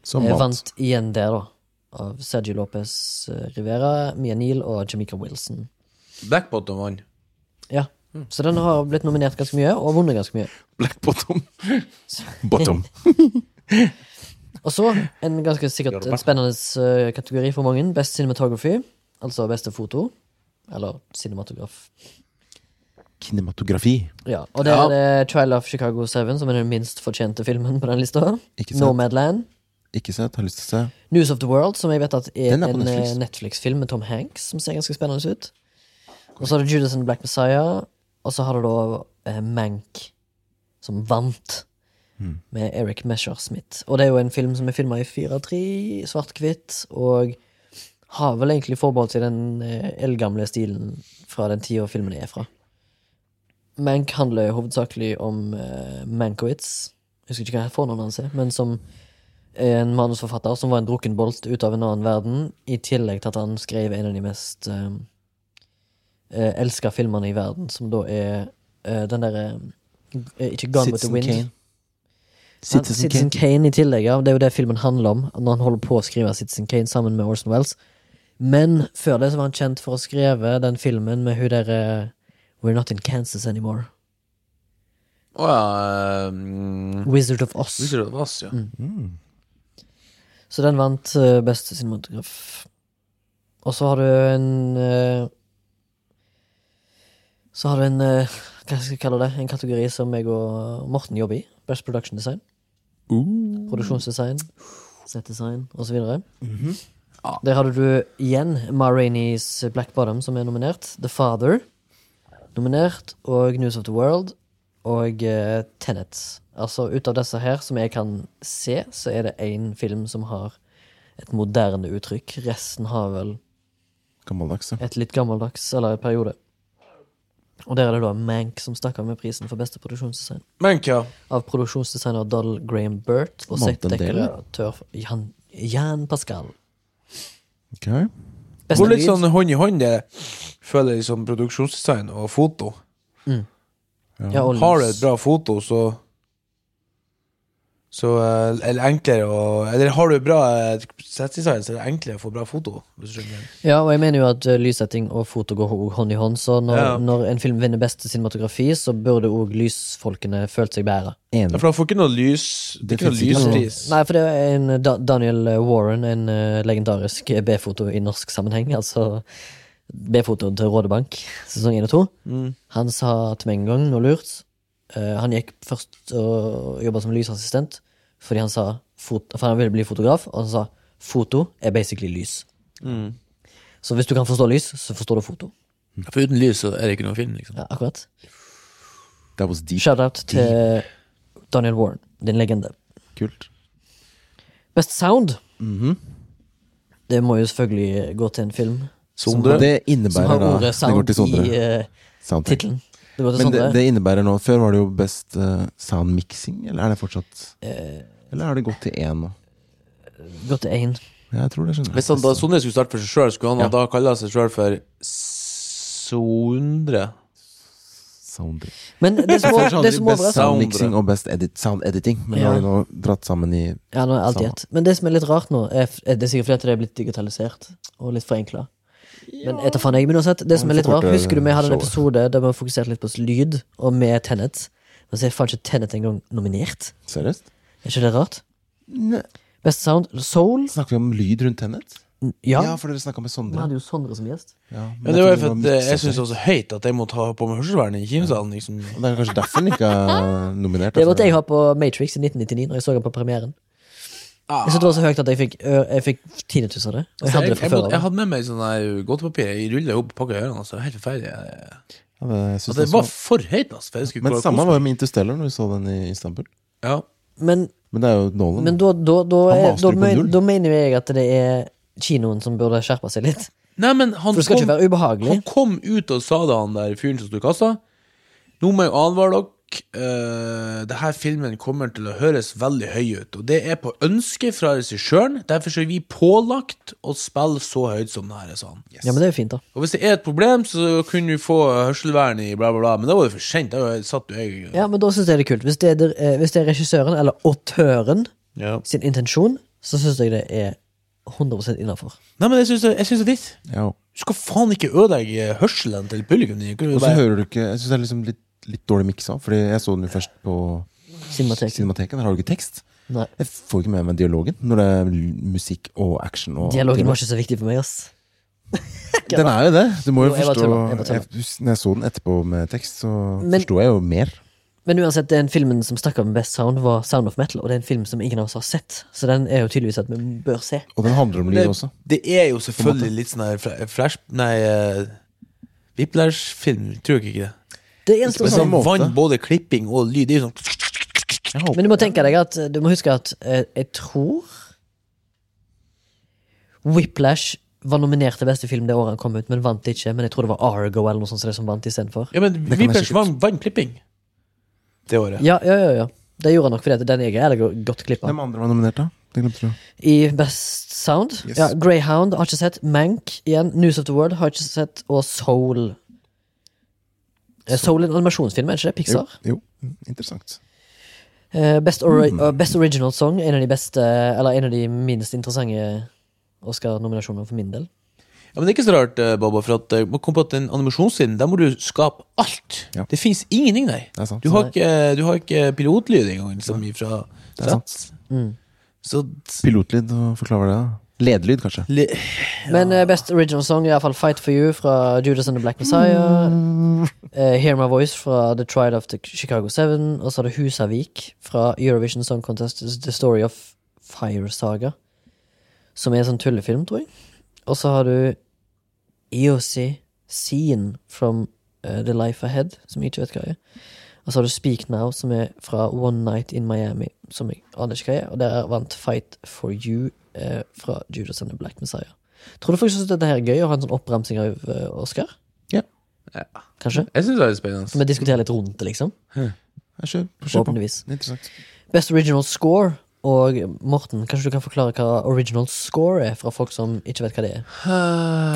[SPEAKER 3] Som
[SPEAKER 1] eh,
[SPEAKER 3] mat.
[SPEAKER 1] vant igjen der, da. Av Sergio Lopez eh, Rivera, Mia Neal og Jamaica Wilson.
[SPEAKER 2] Black Bottom vant.
[SPEAKER 1] Ja. Så den har blitt nominert ganske mye, og vunnet ganske mye.
[SPEAKER 3] Black bottom. bottom.
[SPEAKER 1] Og så en ganske sikkert en spennende eh, kategori for mange. Best cinematography, altså beste foto. Eller cinematograf.
[SPEAKER 3] Kinematografi.
[SPEAKER 1] Ja, og der er det Trial of Chicago 7, som er den minst fortjente filmen på den lista.
[SPEAKER 3] Ikke sant.
[SPEAKER 1] Nomadland.
[SPEAKER 3] Ikke sett, har lyst til å se.
[SPEAKER 1] News of the World, som jeg vet at er,
[SPEAKER 3] Den er på
[SPEAKER 1] en
[SPEAKER 3] Netflix.
[SPEAKER 1] eh, Netflix-film med Tom Hanks, som ser ganske spennende ut. Og så har du Judas and the Black Messiah, og så har du da eh, Mank, som vant.
[SPEAKER 3] Hmm.
[SPEAKER 1] Med Eric Mesher-Smith. Og det er jo en film som er filma i 4-3, svart-hvitt, og har vel egentlig forbeholdt seg den eh, eldgamle stilen fra den tida filmen er fra. Mank handler jo hovedsakelig om eh, Mankowitz. Jeg husker ikke hva fornavnet hans er, men som en manusforfatter som var en drukkenbolt ut av en annen verden, i tillegg til at han skrev en av de mest uh, elska filmene i verden, som da er eh, den derre eh, Ikke Gone with the Wind.
[SPEAKER 3] Kane.
[SPEAKER 1] Han-
[SPEAKER 3] Citizen,
[SPEAKER 1] Citizen
[SPEAKER 3] Kane.
[SPEAKER 1] Kane i tillegg, ja. Det er jo det filmen handler om, når han holder på å skrive Citizen Kane sammen med Orson Welles. Men før det så var han kjent for å skrive den filmen med hun derre We're Not In Kansas Anymore.
[SPEAKER 2] Å ja. Um,
[SPEAKER 1] Wizard of Oz.
[SPEAKER 2] Husker du det var oss, ja?
[SPEAKER 1] Så den vant eh, beste cinematograf. Og så har du en eh, Så har du en eh, Hva skal jeg kalle det? En kategori som jeg og Morten jobber i. Best production design. Produksjonsdesign. Settdesign osv. Der hadde du igjen Ma Rainey's Black Bottom, som er nominert. The Father, nominert. Og News of the World. Og eh, Tenet. Altså, ut av disse her, som jeg kan se, så er det én film som har et moderne uttrykk. Resten har vel
[SPEAKER 3] Gammeldags, ja.
[SPEAKER 1] et litt gammeldags, eller en periode. Og der er det da Mank som stakk av med prisen for beste produksjonsdesign.
[SPEAKER 4] Men hva?
[SPEAKER 1] Av produksjonsdesigner Donald Graham Burt og
[SPEAKER 3] Vant den delen?
[SPEAKER 1] settdekoratør Jan, Jan Pascal.
[SPEAKER 3] Ok.
[SPEAKER 1] Beste
[SPEAKER 4] Går litt
[SPEAKER 1] lyd.
[SPEAKER 4] sånn hånd i hånd, det føler jeg, som produksjonsdesign og foto.
[SPEAKER 1] ja, og
[SPEAKER 4] Har du
[SPEAKER 1] lys.
[SPEAKER 4] et bra foto, så Så, eh, eller enklere å Eller har du bra eh, settdesign, så er det enklere å få bra foto. Hvis du skjønner.
[SPEAKER 1] Ja, og jeg mener jo at eh, lyssetting og foto går ho- hånd i hånd, så når,
[SPEAKER 4] Ja.
[SPEAKER 1] når en film vinner beste cinematografi, så burde òg lysfolkene følt seg bedre.
[SPEAKER 4] Ja,
[SPEAKER 3] Enig.
[SPEAKER 4] for han får ikke noe lys Det er ikke noe
[SPEAKER 3] Det finnes ikke noe-
[SPEAKER 4] lyspris.
[SPEAKER 1] Nei, for det er en eh, da Daniel Warren, en eh, legendarisk B-foto i norsk sammenheng, altså B-fotoen til Rådebank, sesong 1 og 2, han sa til meg en gang noe lurt. Eh, han gikk først og jobba som lysassistent, fordi han sa fot for han ville bli fotograf, og han sa foto er basically lys. Så hvis du kan forstå lys, så forstår du foto.
[SPEAKER 2] For uten lys så er det ikke noen film, liksom.
[SPEAKER 1] Ja, akkurat.
[SPEAKER 3] That was deep.
[SPEAKER 1] Shout-out til Daniel Warren, din legende.
[SPEAKER 3] Kult.
[SPEAKER 1] Best sound.
[SPEAKER 3] Mhm.
[SPEAKER 1] Det må jo selvfølgelig gå til en film
[SPEAKER 3] Som det
[SPEAKER 1] som
[SPEAKER 3] innebærer
[SPEAKER 1] har
[SPEAKER 3] da
[SPEAKER 1] ordet
[SPEAKER 3] Det går
[SPEAKER 1] sound
[SPEAKER 3] til
[SPEAKER 1] i
[SPEAKER 3] Sondre.
[SPEAKER 1] eh,
[SPEAKER 3] Soundtrack.
[SPEAKER 1] tittelen. Det går til
[SPEAKER 3] Men det,
[SPEAKER 1] Sondre.
[SPEAKER 3] det innebærer nå Før var det jo best eh, sound mixing, eller er det fortsatt
[SPEAKER 1] Eh.
[SPEAKER 3] Eller har det gått til én nå?
[SPEAKER 1] Går til én.
[SPEAKER 3] Ja, jeg tror det, skjønner jeg.
[SPEAKER 2] Hvis han da Sondre skulle starte for seg sjøl, skulle han da kalle seg sjøl for Sondre?
[SPEAKER 3] Sound,
[SPEAKER 1] Men det som,
[SPEAKER 3] Før så hadde
[SPEAKER 1] det
[SPEAKER 3] de
[SPEAKER 1] som
[SPEAKER 3] sånn best
[SPEAKER 1] overrasker
[SPEAKER 3] sound
[SPEAKER 2] Sondre.
[SPEAKER 3] mixing og best edit, sound editing, men
[SPEAKER 1] Ja.
[SPEAKER 3] nå har de nå dratt sammen i
[SPEAKER 1] ja, nå er alt i
[SPEAKER 3] Samme.
[SPEAKER 1] ett. Men det som er litt rart nå, er, f- er det er sikkert fordi at det er blitt digitalisert og litt forenkla. Men etter faen jeg, men uansett, det som er litt rart
[SPEAKER 3] forkorter
[SPEAKER 1] Husker du vi hadde en
[SPEAKER 3] showet.
[SPEAKER 1] episode der vi fokuserte litt på lyd, og med Tenet? Men så er faen ikke Tenet engang nominert.
[SPEAKER 3] Seriøst?
[SPEAKER 1] Er ikke det rart? Best sound Soul?
[SPEAKER 3] Snakker vi om lyd rundt Tenet?
[SPEAKER 1] Ja.
[SPEAKER 3] for dere snakka med
[SPEAKER 1] Vi
[SPEAKER 3] Sondre.
[SPEAKER 1] hadde jo Sondre som gjest.
[SPEAKER 3] Ja, men
[SPEAKER 4] Men det var
[SPEAKER 3] tror
[SPEAKER 4] jo for at
[SPEAKER 3] var
[SPEAKER 4] eh, jeg
[SPEAKER 3] mixet
[SPEAKER 4] syns det var så høyt at jeg må ta på meg hørselvern i kimsalen. Liksom.
[SPEAKER 3] seg. Og Det er kanskje derfor den ikke er nominert.
[SPEAKER 1] Det
[SPEAKER 3] altså.
[SPEAKER 1] måtte jeg ha på Matrix i 1999 Når jeg så den på premieren. Jeg syntes det var så høyt at jeg fikk, ø- jeg fikk tinnitus av det. Og jeg hadde
[SPEAKER 2] Ah. Altså, Jeg,
[SPEAKER 1] det
[SPEAKER 2] jeg,
[SPEAKER 1] fra før
[SPEAKER 2] måtte- jeg
[SPEAKER 1] av.
[SPEAKER 2] hadde med meg sånn der godtepapir. Jeg rulla opp og pakka i ørene. Altså. Helt forferdelig. Jeg-
[SPEAKER 3] Ja, det, jeg synes
[SPEAKER 2] Altså, det
[SPEAKER 3] også-
[SPEAKER 2] var for høyt, altså. For jeg skulle
[SPEAKER 3] men
[SPEAKER 2] klare å
[SPEAKER 3] samme
[SPEAKER 2] kose
[SPEAKER 3] var jo med Interstellar når vi så den i Istanbul.
[SPEAKER 2] meg. Ja.
[SPEAKER 1] Men,
[SPEAKER 3] Men det er jo Nolan.
[SPEAKER 1] men da, da, da,
[SPEAKER 3] Han
[SPEAKER 1] er,
[SPEAKER 3] master
[SPEAKER 1] da,
[SPEAKER 3] på
[SPEAKER 1] men,
[SPEAKER 3] null.
[SPEAKER 1] da mener jeg at det er kinoen som burde skjerpe seg litt.
[SPEAKER 2] Nei, men han
[SPEAKER 1] For det skal
[SPEAKER 2] kom-
[SPEAKER 1] ikke være ubehagelig.
[SPEAKER 2] Han kom ut og sa det, han der fyren som sto i kassa. Nå må jeg advare dere. eh, det her filmen kommer til å høres veldig høy ut. Og det er på ønske fra regissøren. Derfor så er vi pålagt å spille så høyt som det her, sa han.
[SPEAKER 1] Ja, men det er jo fint, da.
[SPEAKER 2] Og hvis det er et problem, så kunne vi få hørselvern i bla, bla, bla. Men da var det for sent. Da satt jo jeg
[SPEAKER 1] Ja, men da syns jeg det er kult. Hvis det er, der- eh, hvis det er regissøren eller autøren
[SPEAKER 2] Ja.
[SPEAKER 1] sin intensjon, så syns jeg det er 100 innafor.
[SPEAKER 2] Nei, men jeg syns det jeg syns det er ditt.
[SPEAKER 3] ja. Og
[SPEAKER 2] Du skal faen ikke ødelegge hørselen til publikum. din. Kan du
[SPEAKER 3] så
[SPEAKER 2] bare-
[SPEAKER 3] hører du ikke Jeg syns det er liksom litt, litt dårlig miksa, Fordi jeg så den jo først på
[SPEAKER 1] Cinemateket.
[SPEAKER 3] Cinemateket. Der har du ikke tekst.
[SPEAKER 1] Nei.
[SPEAKER 3] Jeg får ikke med meg dialogen når det er l- musikk og action. Og
[SPEAKER 1] Dialogen var ikke så viktig for meg, ass.
[SPEAKER 3] Den er jo det. Du må jo
[SPEAKER 1] Jo, jeg bare
[SPEAKER 3] forstå
[SPEAKER 1] tuller, jeg bare tuller.
[SPEAKER 3] jeg, hus- Når jeg så den etterpå med tekst, så
[SPEAKER 1] Men-
[SPEAKER 3] forsto jeg jo mer.
[SPEAKER 1] Men uansett, den filmen som stakk av med best sound, var Sound of Metal, og det er en film som ingen av oss har sett, så den er jo tydeligvis at vi bør se.
[SPEAKER 3] Og den handler om
[SPEAKER 2] det,
[SPEAKER 3] lyd også.
[SPEAKER 2] det er jo selvfølgelig litt sånn her fla- flash... Nei, uh, Whiplash-film. Tror dere ikke det?
[SPEAKER 1] Det er en stor
[SPEAKER 3] Men
[SPEAKER 1] sånn
[SPEAKER 3] samme
[SPEAKER 2] Han
[SPEAKER 3] måte.
[SPEAKER 2] vant både klipping og lyd. Det er jo sånn
[SPEAKER 3] Jeg håper
[SPEAKER 1] Men du må tenke deg at Du må huske at eh, jeg tror Whiplash var nominert til beste film det året han kom ut, men vant ikke. Men jeg tror det var Argo eller noe sånt som det som vant istedenfor.
[SPEAKER 2] Ja, men
[SPEAKER 3] jeg
[SPEAKER 2] Whiplash
[SPEAKER 3] sikkert.
[SPEAKER 2] vant, vant klipping det året.
[SPEAKER 1] Ja, ja, ja, ja. Det gjorde han nok, for den jeg er, er det godt klippa.
[SPEAKER 3] Hvem andre var nominert, da? Det glemte du.
[SPEAKER 1] I Best Sound.
[SPEAKER 3] Yes.
[SPEAKER 1] Ja, Greyhound har ikke sett. Mank igjen. News of the World har ikke sett. Og Soul. Eh, Soul er en animasjonsfilm, er det ikke det?
[SPEAKER 3] Jo,
[SPEAKER 1] Pixar.
[SPEAKER 3] jo. Mm, interessant.
[SPEAKER 1] Eh, best, ori eh, best Original Song, en av de beste Eller en av de minst interessante Oscar-nominasjonene for min del.
[SPEAKER 2] Ja, men Det er ikke så rart, eh, Baba, for at eh, man kom på at den animasjonssiden, der må du skape alt.
[SPEAKER 3] Ja.
[SPEAKER 2] Det fins ingenting der.
[SPEAKER 3] Det er sant.
[SPEAKER 2] Du har ikke, eh, du har ikke pilotlyd engang, liksom, ifra
[SPEAKER 3] Det er sant.
[SPEAKER 1] Mm.
[SPEAKER 2] Så
[SPEAKER 3] Pilotlyd, og forklarer det. da. Ledelyd, kanskje.
[SPEAKER 2] le,
[SPEAKER 1] Men eh, best original song er iallfall Fight for You fra Judas and the Black Messiah. eh, Hear My Voice fra The Trial of the Chicago Seven. Og så er det Husavik fra Eurovision Song Contest The Story of Fire Saga. Som er en sånn tullefilm, tror jeg. Og så har du EOC Scene from eh, The Life Ahead, som jeg ikke vet hva er. Og så har du Speak Now, som er fra One Night in Miami, som jeg aner ikke hva er. Og der vant Fight for You eh, fra Judas and the Black Messiah. Tror du folk syns dette her er gøy å ha en sånn oppramsing av eh, Oscar?
[SPEAKER 3] Ja.
[SPEAKER 1] Kanskje?
[SPEAKER 2] Jeg syns det er litt spennende.
[SPEAKER 1] Vi diskuterer litt rundt det, liksom.
[SPEAKER 3] Ja, Kjør, kjør på.
[SPEAKER 1] Forhåpentligvis.
[SPEAKER 3] Interessant.
[SPEAKER 1] Best original score. Og Morten, kanskje du kan forklare hva original score er, for folk som ikke vet hva det er? Hva,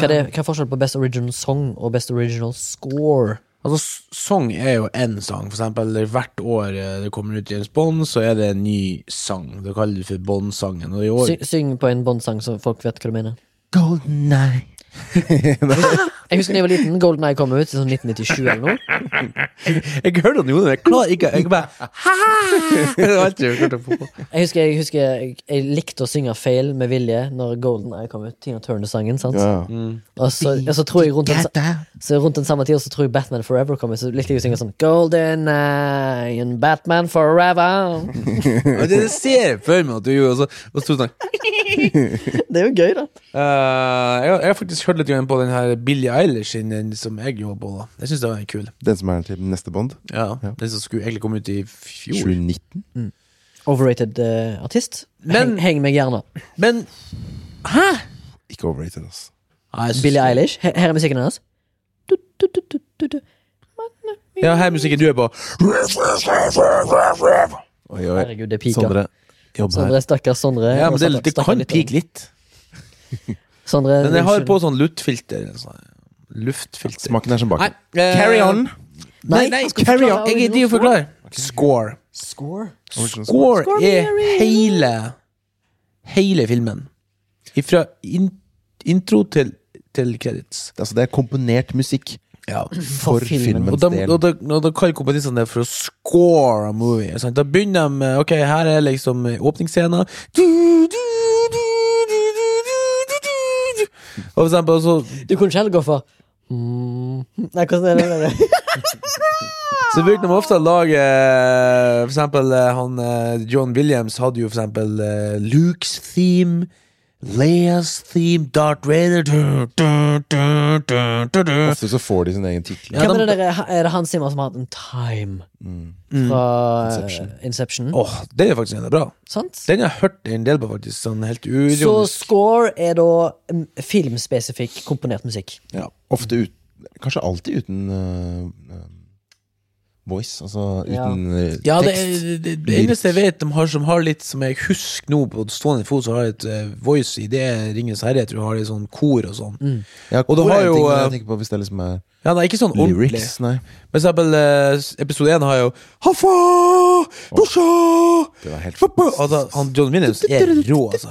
[SPEAKER 1] det, hva er forskjellen på best original song og best original score?
[SPEAKER 2] Altså, s- sang er jo én sang, for eksempel. eller Hvert år eh, det kommer ut James Bond, så er det en ny sang. Det kaller du for Bond-sangen. Og i år
[SPEAKER 1] Syng, syng på en Bond-sang, så folk vet hva du mener.
[SPEAKER 2] Golden Eye.
[SPEAKER 1] Jeg husker da jeg var liten, Golden Eye kom ut i sånn 1997 eller noe.
[SPEAKER 2] Jeg hørte han gjorde det, men jeg klarer ikke Jeg bare «Hæ?» Det var alltid jeg klarte å få på.
[SPEAKER 1] Jeg husker jeg, husker jeg, jeg likte å synge feil med vilje når Golden Eye kom ut. Tina Turner-sangen, sant. Og så, og så tror jeg rundt den, sa- så rundt den samme tida så tror jeg Batman Forever kom ut, så likte jeg å synge sånn Golden Eye and Batman Forever.
[SPEAKER 2] Og Det det ser Altså, jeg for meg at du gjorde. Og så, og så sto det sånn
[SPEAKER 1] Det er jo gøy, da.
[SPEAKER 4] Eh, jeg, har- jeg har faktisk hørt litt grann på den her Billie Eilish sin, den som jeg jobber på. da Jeg syns den var kul.
[SPEAKER 3] Den som er til neste Bond?
[SPEAKER 2] Ja, Den som skulle egentlig komme ut i fjor.
[SPEAKER 3] 2019?
[SPEAKER 1] Overrated eh, artist. heng,
[SPEAKER 2] Men-
[SPEAKER 1] heng meg gjerne.
[SPEAKER 2] Men Hæ?
[SPEAKER 3] Ikke overrated, altså.
[SPEAKER 2] Nei, jeg synes
[SPEAKER 1] Billie
[SPEAKER 2] det-
[SPEAKER 1] Eilish. Her, her er musikken hennes. Du, du, du, du, du, du.
[SPEAKER 2] Ja, her er musikken du er på.
[SPEAKER 3] Oi, oi.
[SPEAKER 1] Herregud, det piker. Sondre,
[SPEAKER 3] Sondre, jobb her.
[SPEAKER 1] Sondre stakkars Sondre.
[SPEAKER 2] Ja, men det, det
[SPEAKER 1] Stakkars
[SPEAKER 2] kan
[SPEAKER 1] liten.
[SPEAKER 2] pike litt.
[SPEAKER 1] Sondre,
[SPEAKER 2] Men jeg har
[SPEAKER 1] unnskyld.
[SPEAKER 2] på sånn luftfilter. Sånn. Luftfilter.
[SPEAKER 3] Smaken er som baken.
[SPEAKER 2] eh,
[SPEAKER 3] Carry on.
[SPEAKER 2] Nei, nei,
[SPEAKER 1] han skal
[SPEAKER 2] carry
[SPEAKER 1] forklare
[SPEAKER 2] on.
[SPEAKER 1] hva
[SPEAKER 2] Jeg
[SPEAKER 1] vi
[SPEAKER 2] gidder jo
[SPEAKER 1] gjorde.
[SPEAKER 2] forklare. Score.
[SPEAKER 1] Score.
[SPEAKER 2] Score er hele Hele filmen. Fra in, intro til, til credits.
[SPEAKER 3] Altså, det er komponert musikk
[SPEAKER 2] Ja.
[SPEAKER 1] For
[SPEAKER 3] for,
[SPEAKER 1] filmen.
[SPEAKER 3] filmens
[SPEAKER 2] Og da,
[SPEAKER 3] del.
[SPEAKER 2] og da, og da kaller komponistene det for å score a movie. Sant? Da begynner de med Ok, her er liksom åpningsscenen. Du, du, du, du, du, du, du, du, du. Og for eksempel så,
[SPEAKER 1] Du kunne ikke heller gå for mm. Nei, hvordan er det? der?
[SPEAKER 2] så bruker de ofte å lage eh, For eksempel eh, han eh, John Williams hadde jo for eksempel eh, Lukes theme, Leas theme, Darth Vader du, du, du, du, du, du.
[SPEAKER 3] Ofte så får de sin egen tittel.
[SPEAKER 2] Ja, Mm.
[SPEAKER 1] Hvem er
[SPEAKER 2] de-
[SPEAKER 1] det der? Er det Hans Zimmer som har hatt en time fra eh, Inception?
[SPEAKER 2] Åh, den er faktisk en av bra.
[SPEAKER 1] Sant?
[SPEAKER 2] Den har jeg hørt en del på, faktisk. Sånn helt
[SPEAKER 1] Så
[SPEAKER 2] uironisk.
[SPEAKER 1] score er da mm, filmspesifikk komponert musikk.
[SPEAKER 3] Ja, ofte ut, kanskje alltid uten øh, øh, voice, altså
[SPEAKER 1] Ja.
[SPEAKER 3] uten øh,
[SPEAKER 2] Ja, det,
[SPEAKER 3] tekst.
[SPEAKER 2] er- det, det eneste jeg vet de har som har litt som jeg husker nå på stående fot, som har et eh, voice i det er Ringenes herre, jeg tror jeg har litt sånn kor og sånn.
[SPEAKER 3] Ja,
[SPEAKER 2] Og du
[SPEAKER 3] hvor
[SPEAKER 2] har
[SPEAKER 3] er en
[SPEAKER 2] jo,
[SPEAKER 3] ting, men
[SPEAKER 2] øh,
[SPEAKER 3] jeg tenker på Hvis det liksom er
[SPEAKER 2] Ja, nei, ikke sånn ordentlig.
[SPEAKER 3] lyrics, nei.
[SPEAKER 2] For eksempel eh, episode én har jo Hafa, Dosha
[SPEAKER 3] Det var helt
[SPEAKER 2] Hoppa! Altså, han John Williams er rå, altså.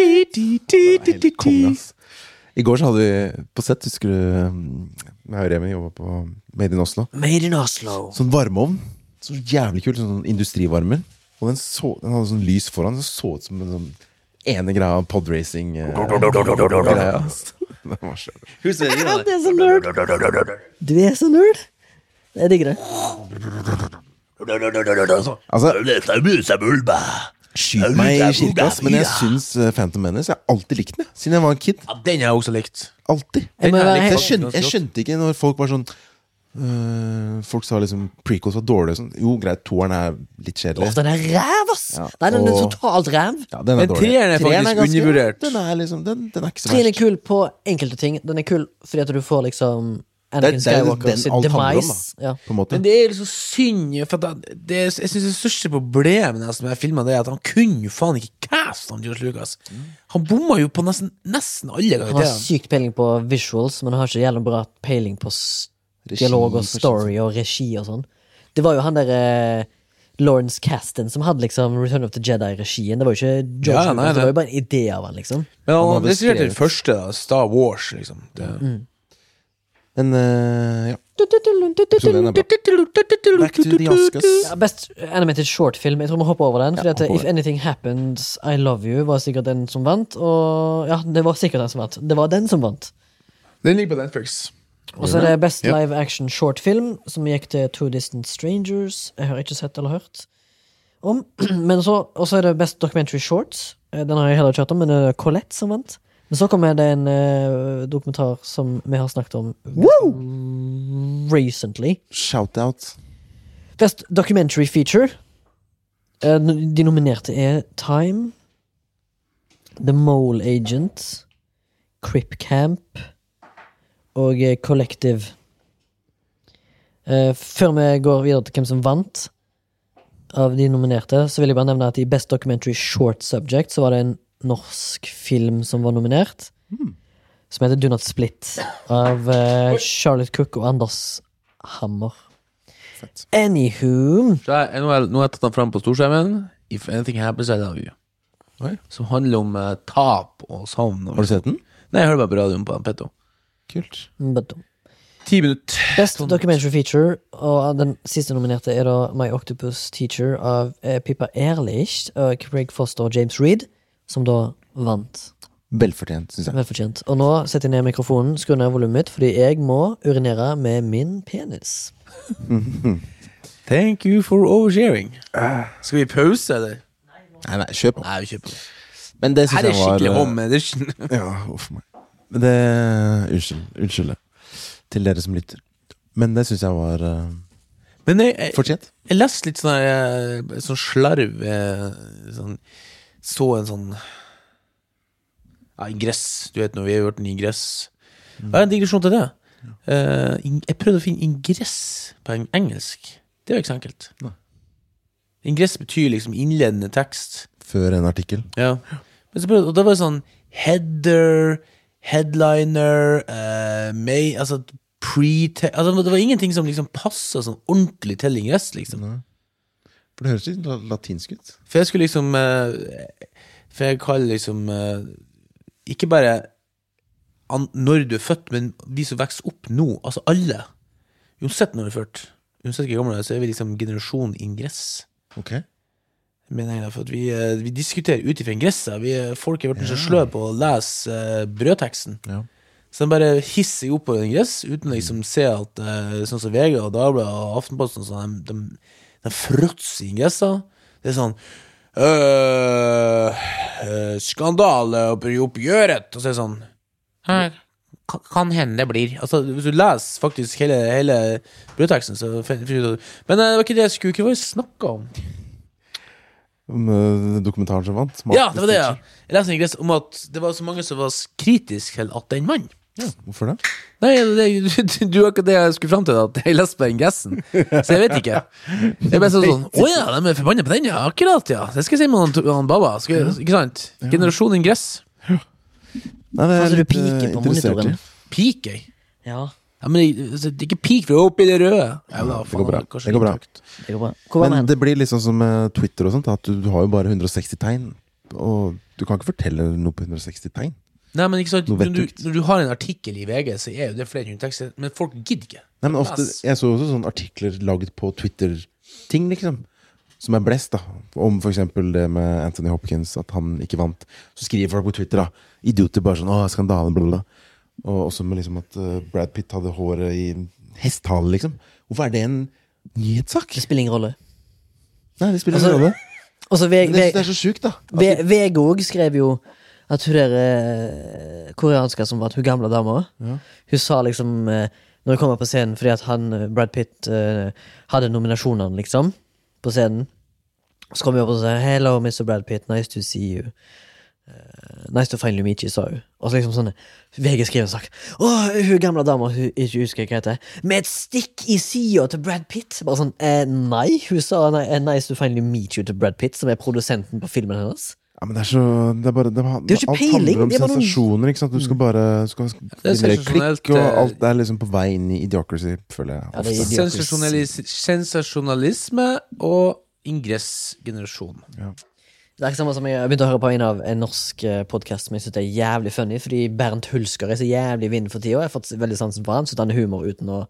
[SPEAKER 3] helt konge, ass. I går så hadde vi på sett, husker du um, Jeg og Remi jobba på Made in Oslo.
[SPEAKER 1] Made in Oslo.
[SPEAKER 3] Sånn varmeovn. Så jævlig kult. Sånn industrivarmer. Og den, så, den hadde sånn lys foran. Den så ut som en sånn ene greia av podracing. Eh, greia, ass. Det var så jævlig.
[SPEAKER 1] Ja, det er så nerd. Du er så nerd. Jeg digger det.
[SPEAKER 3] altså, skyt meg i kirka, ass, men jeg syns eh, Phantom Menace Jeg har alltid likt den, jeg, siden jeg var en kid.
[SPEAKER 2] Ja, den har jeg også likt.
[SPEAKER 3] Alltid.
[SPEAKER 1] Jeg må
[SPEAKER 2] Den er
[SPEAKER 1] være
[SPEAKER 2] litt
[SPEAKER 3] Jeg,
[SPEAKER 1] helt,
[SPEAKER 2] sånn-
[SPEAKER 3] skjøn, jeg skjønte ikke når folk var sånn øh, Folk sa liksom prequels var dårlige. og Sånn. Jo, greit, toeren er litt
[SPEAKER 1] Åh,
[SPEAKER 3] kjedelig.
[SPEAKER 1] den er ræv, ass!
[SPEAKER 3] Ja,
[SPEAKER 1] Nei, den er
[SPEAKER 3] og-
[SPEAKER 1] totalt ræv.
[SPEAKER 3] Ja, den er
[SPEAKER 2] Men
[SPEAKER 3] dårlig.
[SPEAKER 2] treeren er
[SPEAKER 3] Treeren
[SPEAKER 2] faktisk
[SPEAKER 3] ganske-
[SPEAKER 2] undervurdert.
[SPEAKER 3] Den er liksom Den, den er ikke så
[SPEAKER 1] Trien er
[SPEAKER 3] verst.
[SPEAKER 1] kul på enkelte ting. Den er kul fordi at du får liksom
[SPEAKER 3] Det er-
[SPEAKER 1] Anakin
[SPEAKER 3] det er jo
[SPEAKER 1] Skywalker
[SPEAKER 3] den
[SPEAKER 1] sitt
[SPEAKER 3] alt handler om,
[SPEAKER 1] demise. Ja.
[SPEAKER 3] På en måte.
[SPEAKER 2] Men det er liksom synd, for at han- det, er- jeg syns det største problemet nesten med filmen det er at han kunne jo faen ikke caste han George Lucas. Han bomma jo på nesten, nesten alle
[SPEAKER 1] Han har
[SPEAKER 2] karakterene.
[SPEAKER 1] sykt peiling på visuals, men han har ikke jævlig bra peiling på s-
[SPEAKER 3] Regi,
[SPEAKER 1] dialog og
[SPEAKER 3] kanskje,
[SPEAKER 1] story og regi og sånn. Det var jo han derre Lawrence Caston som hadde liksom Return of the Jedi-regien. Det var jo ikke George
[SPEAKER 2] Ja, nei,
[SPEAKER 1] Lucas, det
[SPEAKER 2] nei.
[SPEAKER 1] var jo bare en idé av han, liksom.
[SPEAKER 2] Men han,
[SPEAKER 3] Han
[SPEAKER 2] han
[SPEAKER 3] hadde
[SPEAKER 2] regisserte den
[SPEAKER 3] skrevet-
[SPEAKER 2] første, da, Star Wars, liksom. Det.
[SPEAKER 3] Men øh, ja. Episoden er bra. Back to the Oscars.
[SPEAKER 1] Ja, best animated shortfilm. Jeg tror vi hopper over den. Fordi
[SPEAKER 3] Ja,
[SPEAKER 1] at
[SPEAKER 3] hopp over
[SPEAKER 1] If Anything Happens, I Love You var sikkert den som vant. Og ja, det var sikkert den som vant. Det var den som vant.
[SPEAKER 2] Den ligger på Netflix.
[SPEAKER 1] Og så er det Best Live Action Shortfilm, som gikk til Two Distant Strangers. Jeg har ikke sett eller hørt om. Men så, og så er det Best Documentary Shorts. Eh, Den har jeg heller ikke hørt om, men det er Colette som vant. Men så kommer det en eh, dokumentar som vi har snakket om recently.
[SPEAKER 3] Shout-out.
[SPEAKER 1] Best documentary feature. Eh, n- De nominerte er Time, The Mole Agent, Crip Camp og eh, Collective. Eh, Før vi går videre til hvem som vant av de nominerte, så vil jeg bare nevne at i Best Documentary Short Subject så var det en norsk film som var nominert. som heter Do Not Split, av eh, Charlotte Cook og Anders Hammer.
[SPEAKER 3] Fett.
[SPEAKER 1] Anywho
[SPEAKER 2] Så jeg, nå, har jeg, nå har jeg tatt den fram på storskjermen. If anything happens, I love you.
[SPEAKER 3] Oi.
[SPEAKER 2] Som handler om eh, tap og savn. Og
[SPEAKER 3] Har du sett den?
[SPEAKER 2] Nei, jeg hører bare på radioen på Petto.
[SPEAKER 3] Kult.
[SPEAKER 1] but-
[SPEAKER 2] Ti minutter.
[SPEAKER 1] Best
[SPEAKER 2] Sånn.
[SPEAKER 1] documentary feature, og den siste nominerte er da My Octopus Teacher av eh, Pippa Ehrlich og Craig Foster og James Reed, som da vant.
[SPEAKER 3] Velfortjent, syns jeg.
[SPEAKER 1] Velfortjent. Og nå setter jeg ned mikrofonen, skrur ned volumet mitt, fordi jeg må urinere med min penis.
[SPEAKER 2] Thank you for oversharing. Skal vi pause, eller?
[SPEAKER 3] Nei, nei, kjør på.
[SPEAKER 2] Nei, vi kjører på.
[SPEAKER 3] Men det
[SPEAKER 2] Her
[SPEAKER 3] syns
[SPEAKER 2] er
[SPEAKER 3] jeg var
[SPEAKER 2] skikkelig
[SPEAKER 3] eh,
[SPEAKER 2] home edition.
[SPEAKER 3] Ja, uff meg. Men det Unnskyld. Unnskyld det. til dere som lytter. Men det syns jeg var eh,
[SPEAKER 2] Men eh, jeg, jeg,
[SPEAKER 3] fortjent.
[SPEAKER 2] jeg leste litt sånn, her, eh, sånn slarv eh, sånn, Så en sånn ja, Ingress. Du vet nå, vi har gjort en ingress. Det er en digresjon til det. Eh, ing- jeg prøvde å finne ingress på eng- engelsk. Det er jo ikke så enkelt.
[SPEAKER 3] Nei.
[SPEAKER 2] Ingress betyr liksom innledende tekst.
[SPEAKER 3] Før en artikkel.
[SPEAKER 2] Ja. Men så prøvde, og da var det sånn header, headliner, eh, may, altså pre altså, Det var ingenting som liksom passa sånn ordentlig til ingress, liksom.
[SPEAKER 3] Nei. For det høres litt la- latinsk ut.
[SPEAKER 2] For jeg skulle liksom eh, For jeg kaller liksom eh, Ikke bare an, når du er født, men de som vokser opp nå, altså alle. Uansett når du er født, uansett hvor gammel du er, så er vi liksom generasjon ingress.
[SPEAKER 3] Ok
[SPEAKER 2] mener jeg, da, for at vi, eh, vi diskuterer ut ifra ingresser. Vi, eh, folk har vært så sløve på å lese eh, brødteksten.
[SPEAKER 3] Ja.
[SPEAKER 2] Så de bare hisser opp på en ingress uten å liksom se at eh, sånn som VG og Dagbladet og Aftenposten, sånn, de, de, de fråtser i ingresser. Det er sånn øh, øh, Skandale oppi oppgjøret. Og så er det sånn Her. Kan, kan hende det blir. Altså, hvis du leser faktisk hele, hele brødteksten, så finner du ut av- Men eh, det var ikke det jeg skulle Hva var det jeg snakka om?
[SPEAKER 3] Om eh, dokumentaren som vant.
[SPEAKER 2] Ja, det var det, ja. Jeg leste en ingress om at det var så mange som var s- kritiske til at den vant.
[SPEAKER 3] Hvorfor det?
[SPEAKER 2] Nei, det, du, du var ikke det jeg skulle fram til, at jeg leste på ingressen. Så jeg vet ikke. Det er bare sånn sånn Å ja, de er forbanna på den, ja. Akkurat, ja. Det skal jeg si med han, han Baba. Skal, jeg- ikke sant? Generasjon ingress.
[SPEAKER 3] Nei, det
[SPEAKER 1] Sånn som du
[SPEAKER 3] eh,
[SPEAKER 1] piker på
[SPEAKER 3] interessert i.
[SPEAKER 1] monitoren.
[SPEAKER 2] Peak, jeg.
[SPEAKER 1] Ja,
[SPEAKER 2] Ja, men jeg- altså, det er ikke peak, for det er oppe i det røde. Jævla,
[SPEAKER 3] det går bra.
[SPEAKER 2] faen, kanskje
[SPEAKER 3] Det går bra.
[SPEAKER 2] litt høyt.
[SPEAKER 1] det går bra. Hvor var
[SPEAKER 3] Men
[SPEAKER 1] vi?
[SPEAKER 3] det blir liksom som eh, Twitter og sånt, at du, du har jo bare 160 tegn. Og du kan ikke fortelle noe på 160 tegn.
[SPEAKER 2] Nei, men ikke sant,
[SPEAKER 3] Noe
[SPEAKER 2] når du,
[SPEAKER 3] vettugt.
[SPEAKER 2] når du har en artikkel i VG, så er jo det flere hundre tekster, men folk gidder ikke.
[SPEAKER 3] Nei, men ofte,
[SPEAKER 2] Yes.
[SPEAKER 3] Jeg så også sånne artikler laget på Twitter-ting, liksom. Som er blest, da. Om for eksempel det med Anthony Hopkins, at han ikke vant. Så skriver folk på Twitter, da. Idioter bare sånn 'Å, skandale', bla, bla. bla. Og også med liksom at eh, Brad Pitt hadde håret i hestehale, liksom. Hvorfor er det en nyhetssak?
[SPEAKER 1] Det spiller ingen rolle.
[SPEAKER 3] Nei, det spiller
[SPEAKER 1] Altså,
[SPEAKER 3] ingen rolle.
[SPEAKER 1] Og så
[SPEAKER 3] Men
[SPEAKER 1] VG
[SPEAKER 3] jeg synes det er så sjukt, da. At
[SPEAKER 1] Ve- VG òg skrev jo at hun der eh, koreanska som vant, hun gamle dama, hun sa liksom eh, Når hun kommer på scenen fordi at han, eh, Brad Pitt eh, hadde nominasjonene, liksom, på scenen, så kom hun opp og sa 'Hello, Mr. Brad Pitt, nice to see you'. Eh, Nice to finally meet you, sa hun. Og så liksom sånn VG skriver en sak. Å, hun gamle dama hun ikke husker hva heter. Med et stikk i sida til Brad Pitt! Bare sånn, eh, nei. Hun sa nei, eh, nice to finally meet you til Brad Pitt, som er produsenten på filmen hennes.
[SPEAKER 3] Ja, men det er så Det er bare det,
[SPEAKER 1] Det er jo ikke
[SPEAKER 3] Alt
[SPEAKER 1] peiling,
[SPEAKER 3] handler om
[SPEAKER 1] det er bare noen-
[SPEAKER 3] sensasjoner. ikke sant? Du skal bare du skal
[SPEAKER 2] er
[SPEAKER 3] generere
[SPEAKER 2] sensasjonelt,
[SPEAKER 3] klikk, og
[SPEAKER 2] eh,
[SPEAKER 3] alt er liksom på vei inn i idiocracy, føler jeg.
[SPEAKER 1] Ja, det er
[SPEAKER 3] ofte.
[SPEAKER 1] idiot.
[SPEAKER 2] Sensasjonalis- Sensasjonalisme og ingressgenerasjon.
[SPEAKER 1] Det er ikke samme som jeg begynte å høre på en av en norsk podkast som jeg syns er jævlig funny, fordi Bernt Hulsker er så jævlig i vinden for tida. Jeg har fått veldig sansen for han, syns han er humor uten å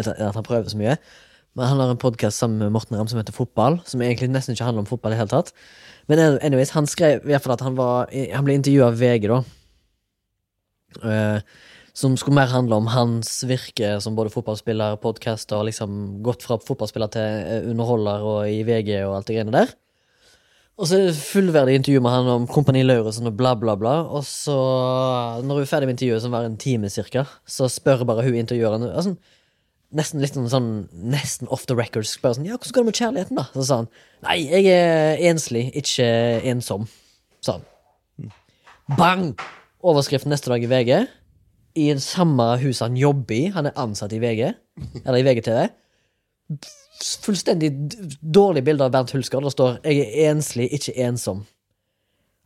[SPEAKER 1] at at han prøver så mye. Men han har en podkast sammen med Morten Ramm som heter Fotball, som egentlig nesten ikke handler om fotball i det hele tatt. Men anyways, han skrev i hvert fall at han var Han ble intervjua av VG, da. Eh, som skulle mer handle om hans virke som både fotballspiller, podcaster, og liksom gått fra fotballspiller til eh, underholder og i VG og alt det greiene der. Og så er det fullverdig intervju med han om Kompani Lauritzen og bla, bla, bla. Og så, når hun er ferdig med intervjuet, som var en time cirka, så spør bare hun intervjueren altså, Nesten litt sånn, sånn Nesten off the record. Spør sånn Ja, hvordan går det med kjærligheten, da? Så sa han Nei, jeg er enslig, ikke ensom. Sa han. Bang! Overskrift neste dag i VG. I en samme hus han jobber i. Han er ansatt i VG. Eller i VGTV fullstendig d- dårlig bilde av Bernt Hulsker. Det står 'Jeg er enslig, ikke ensom'.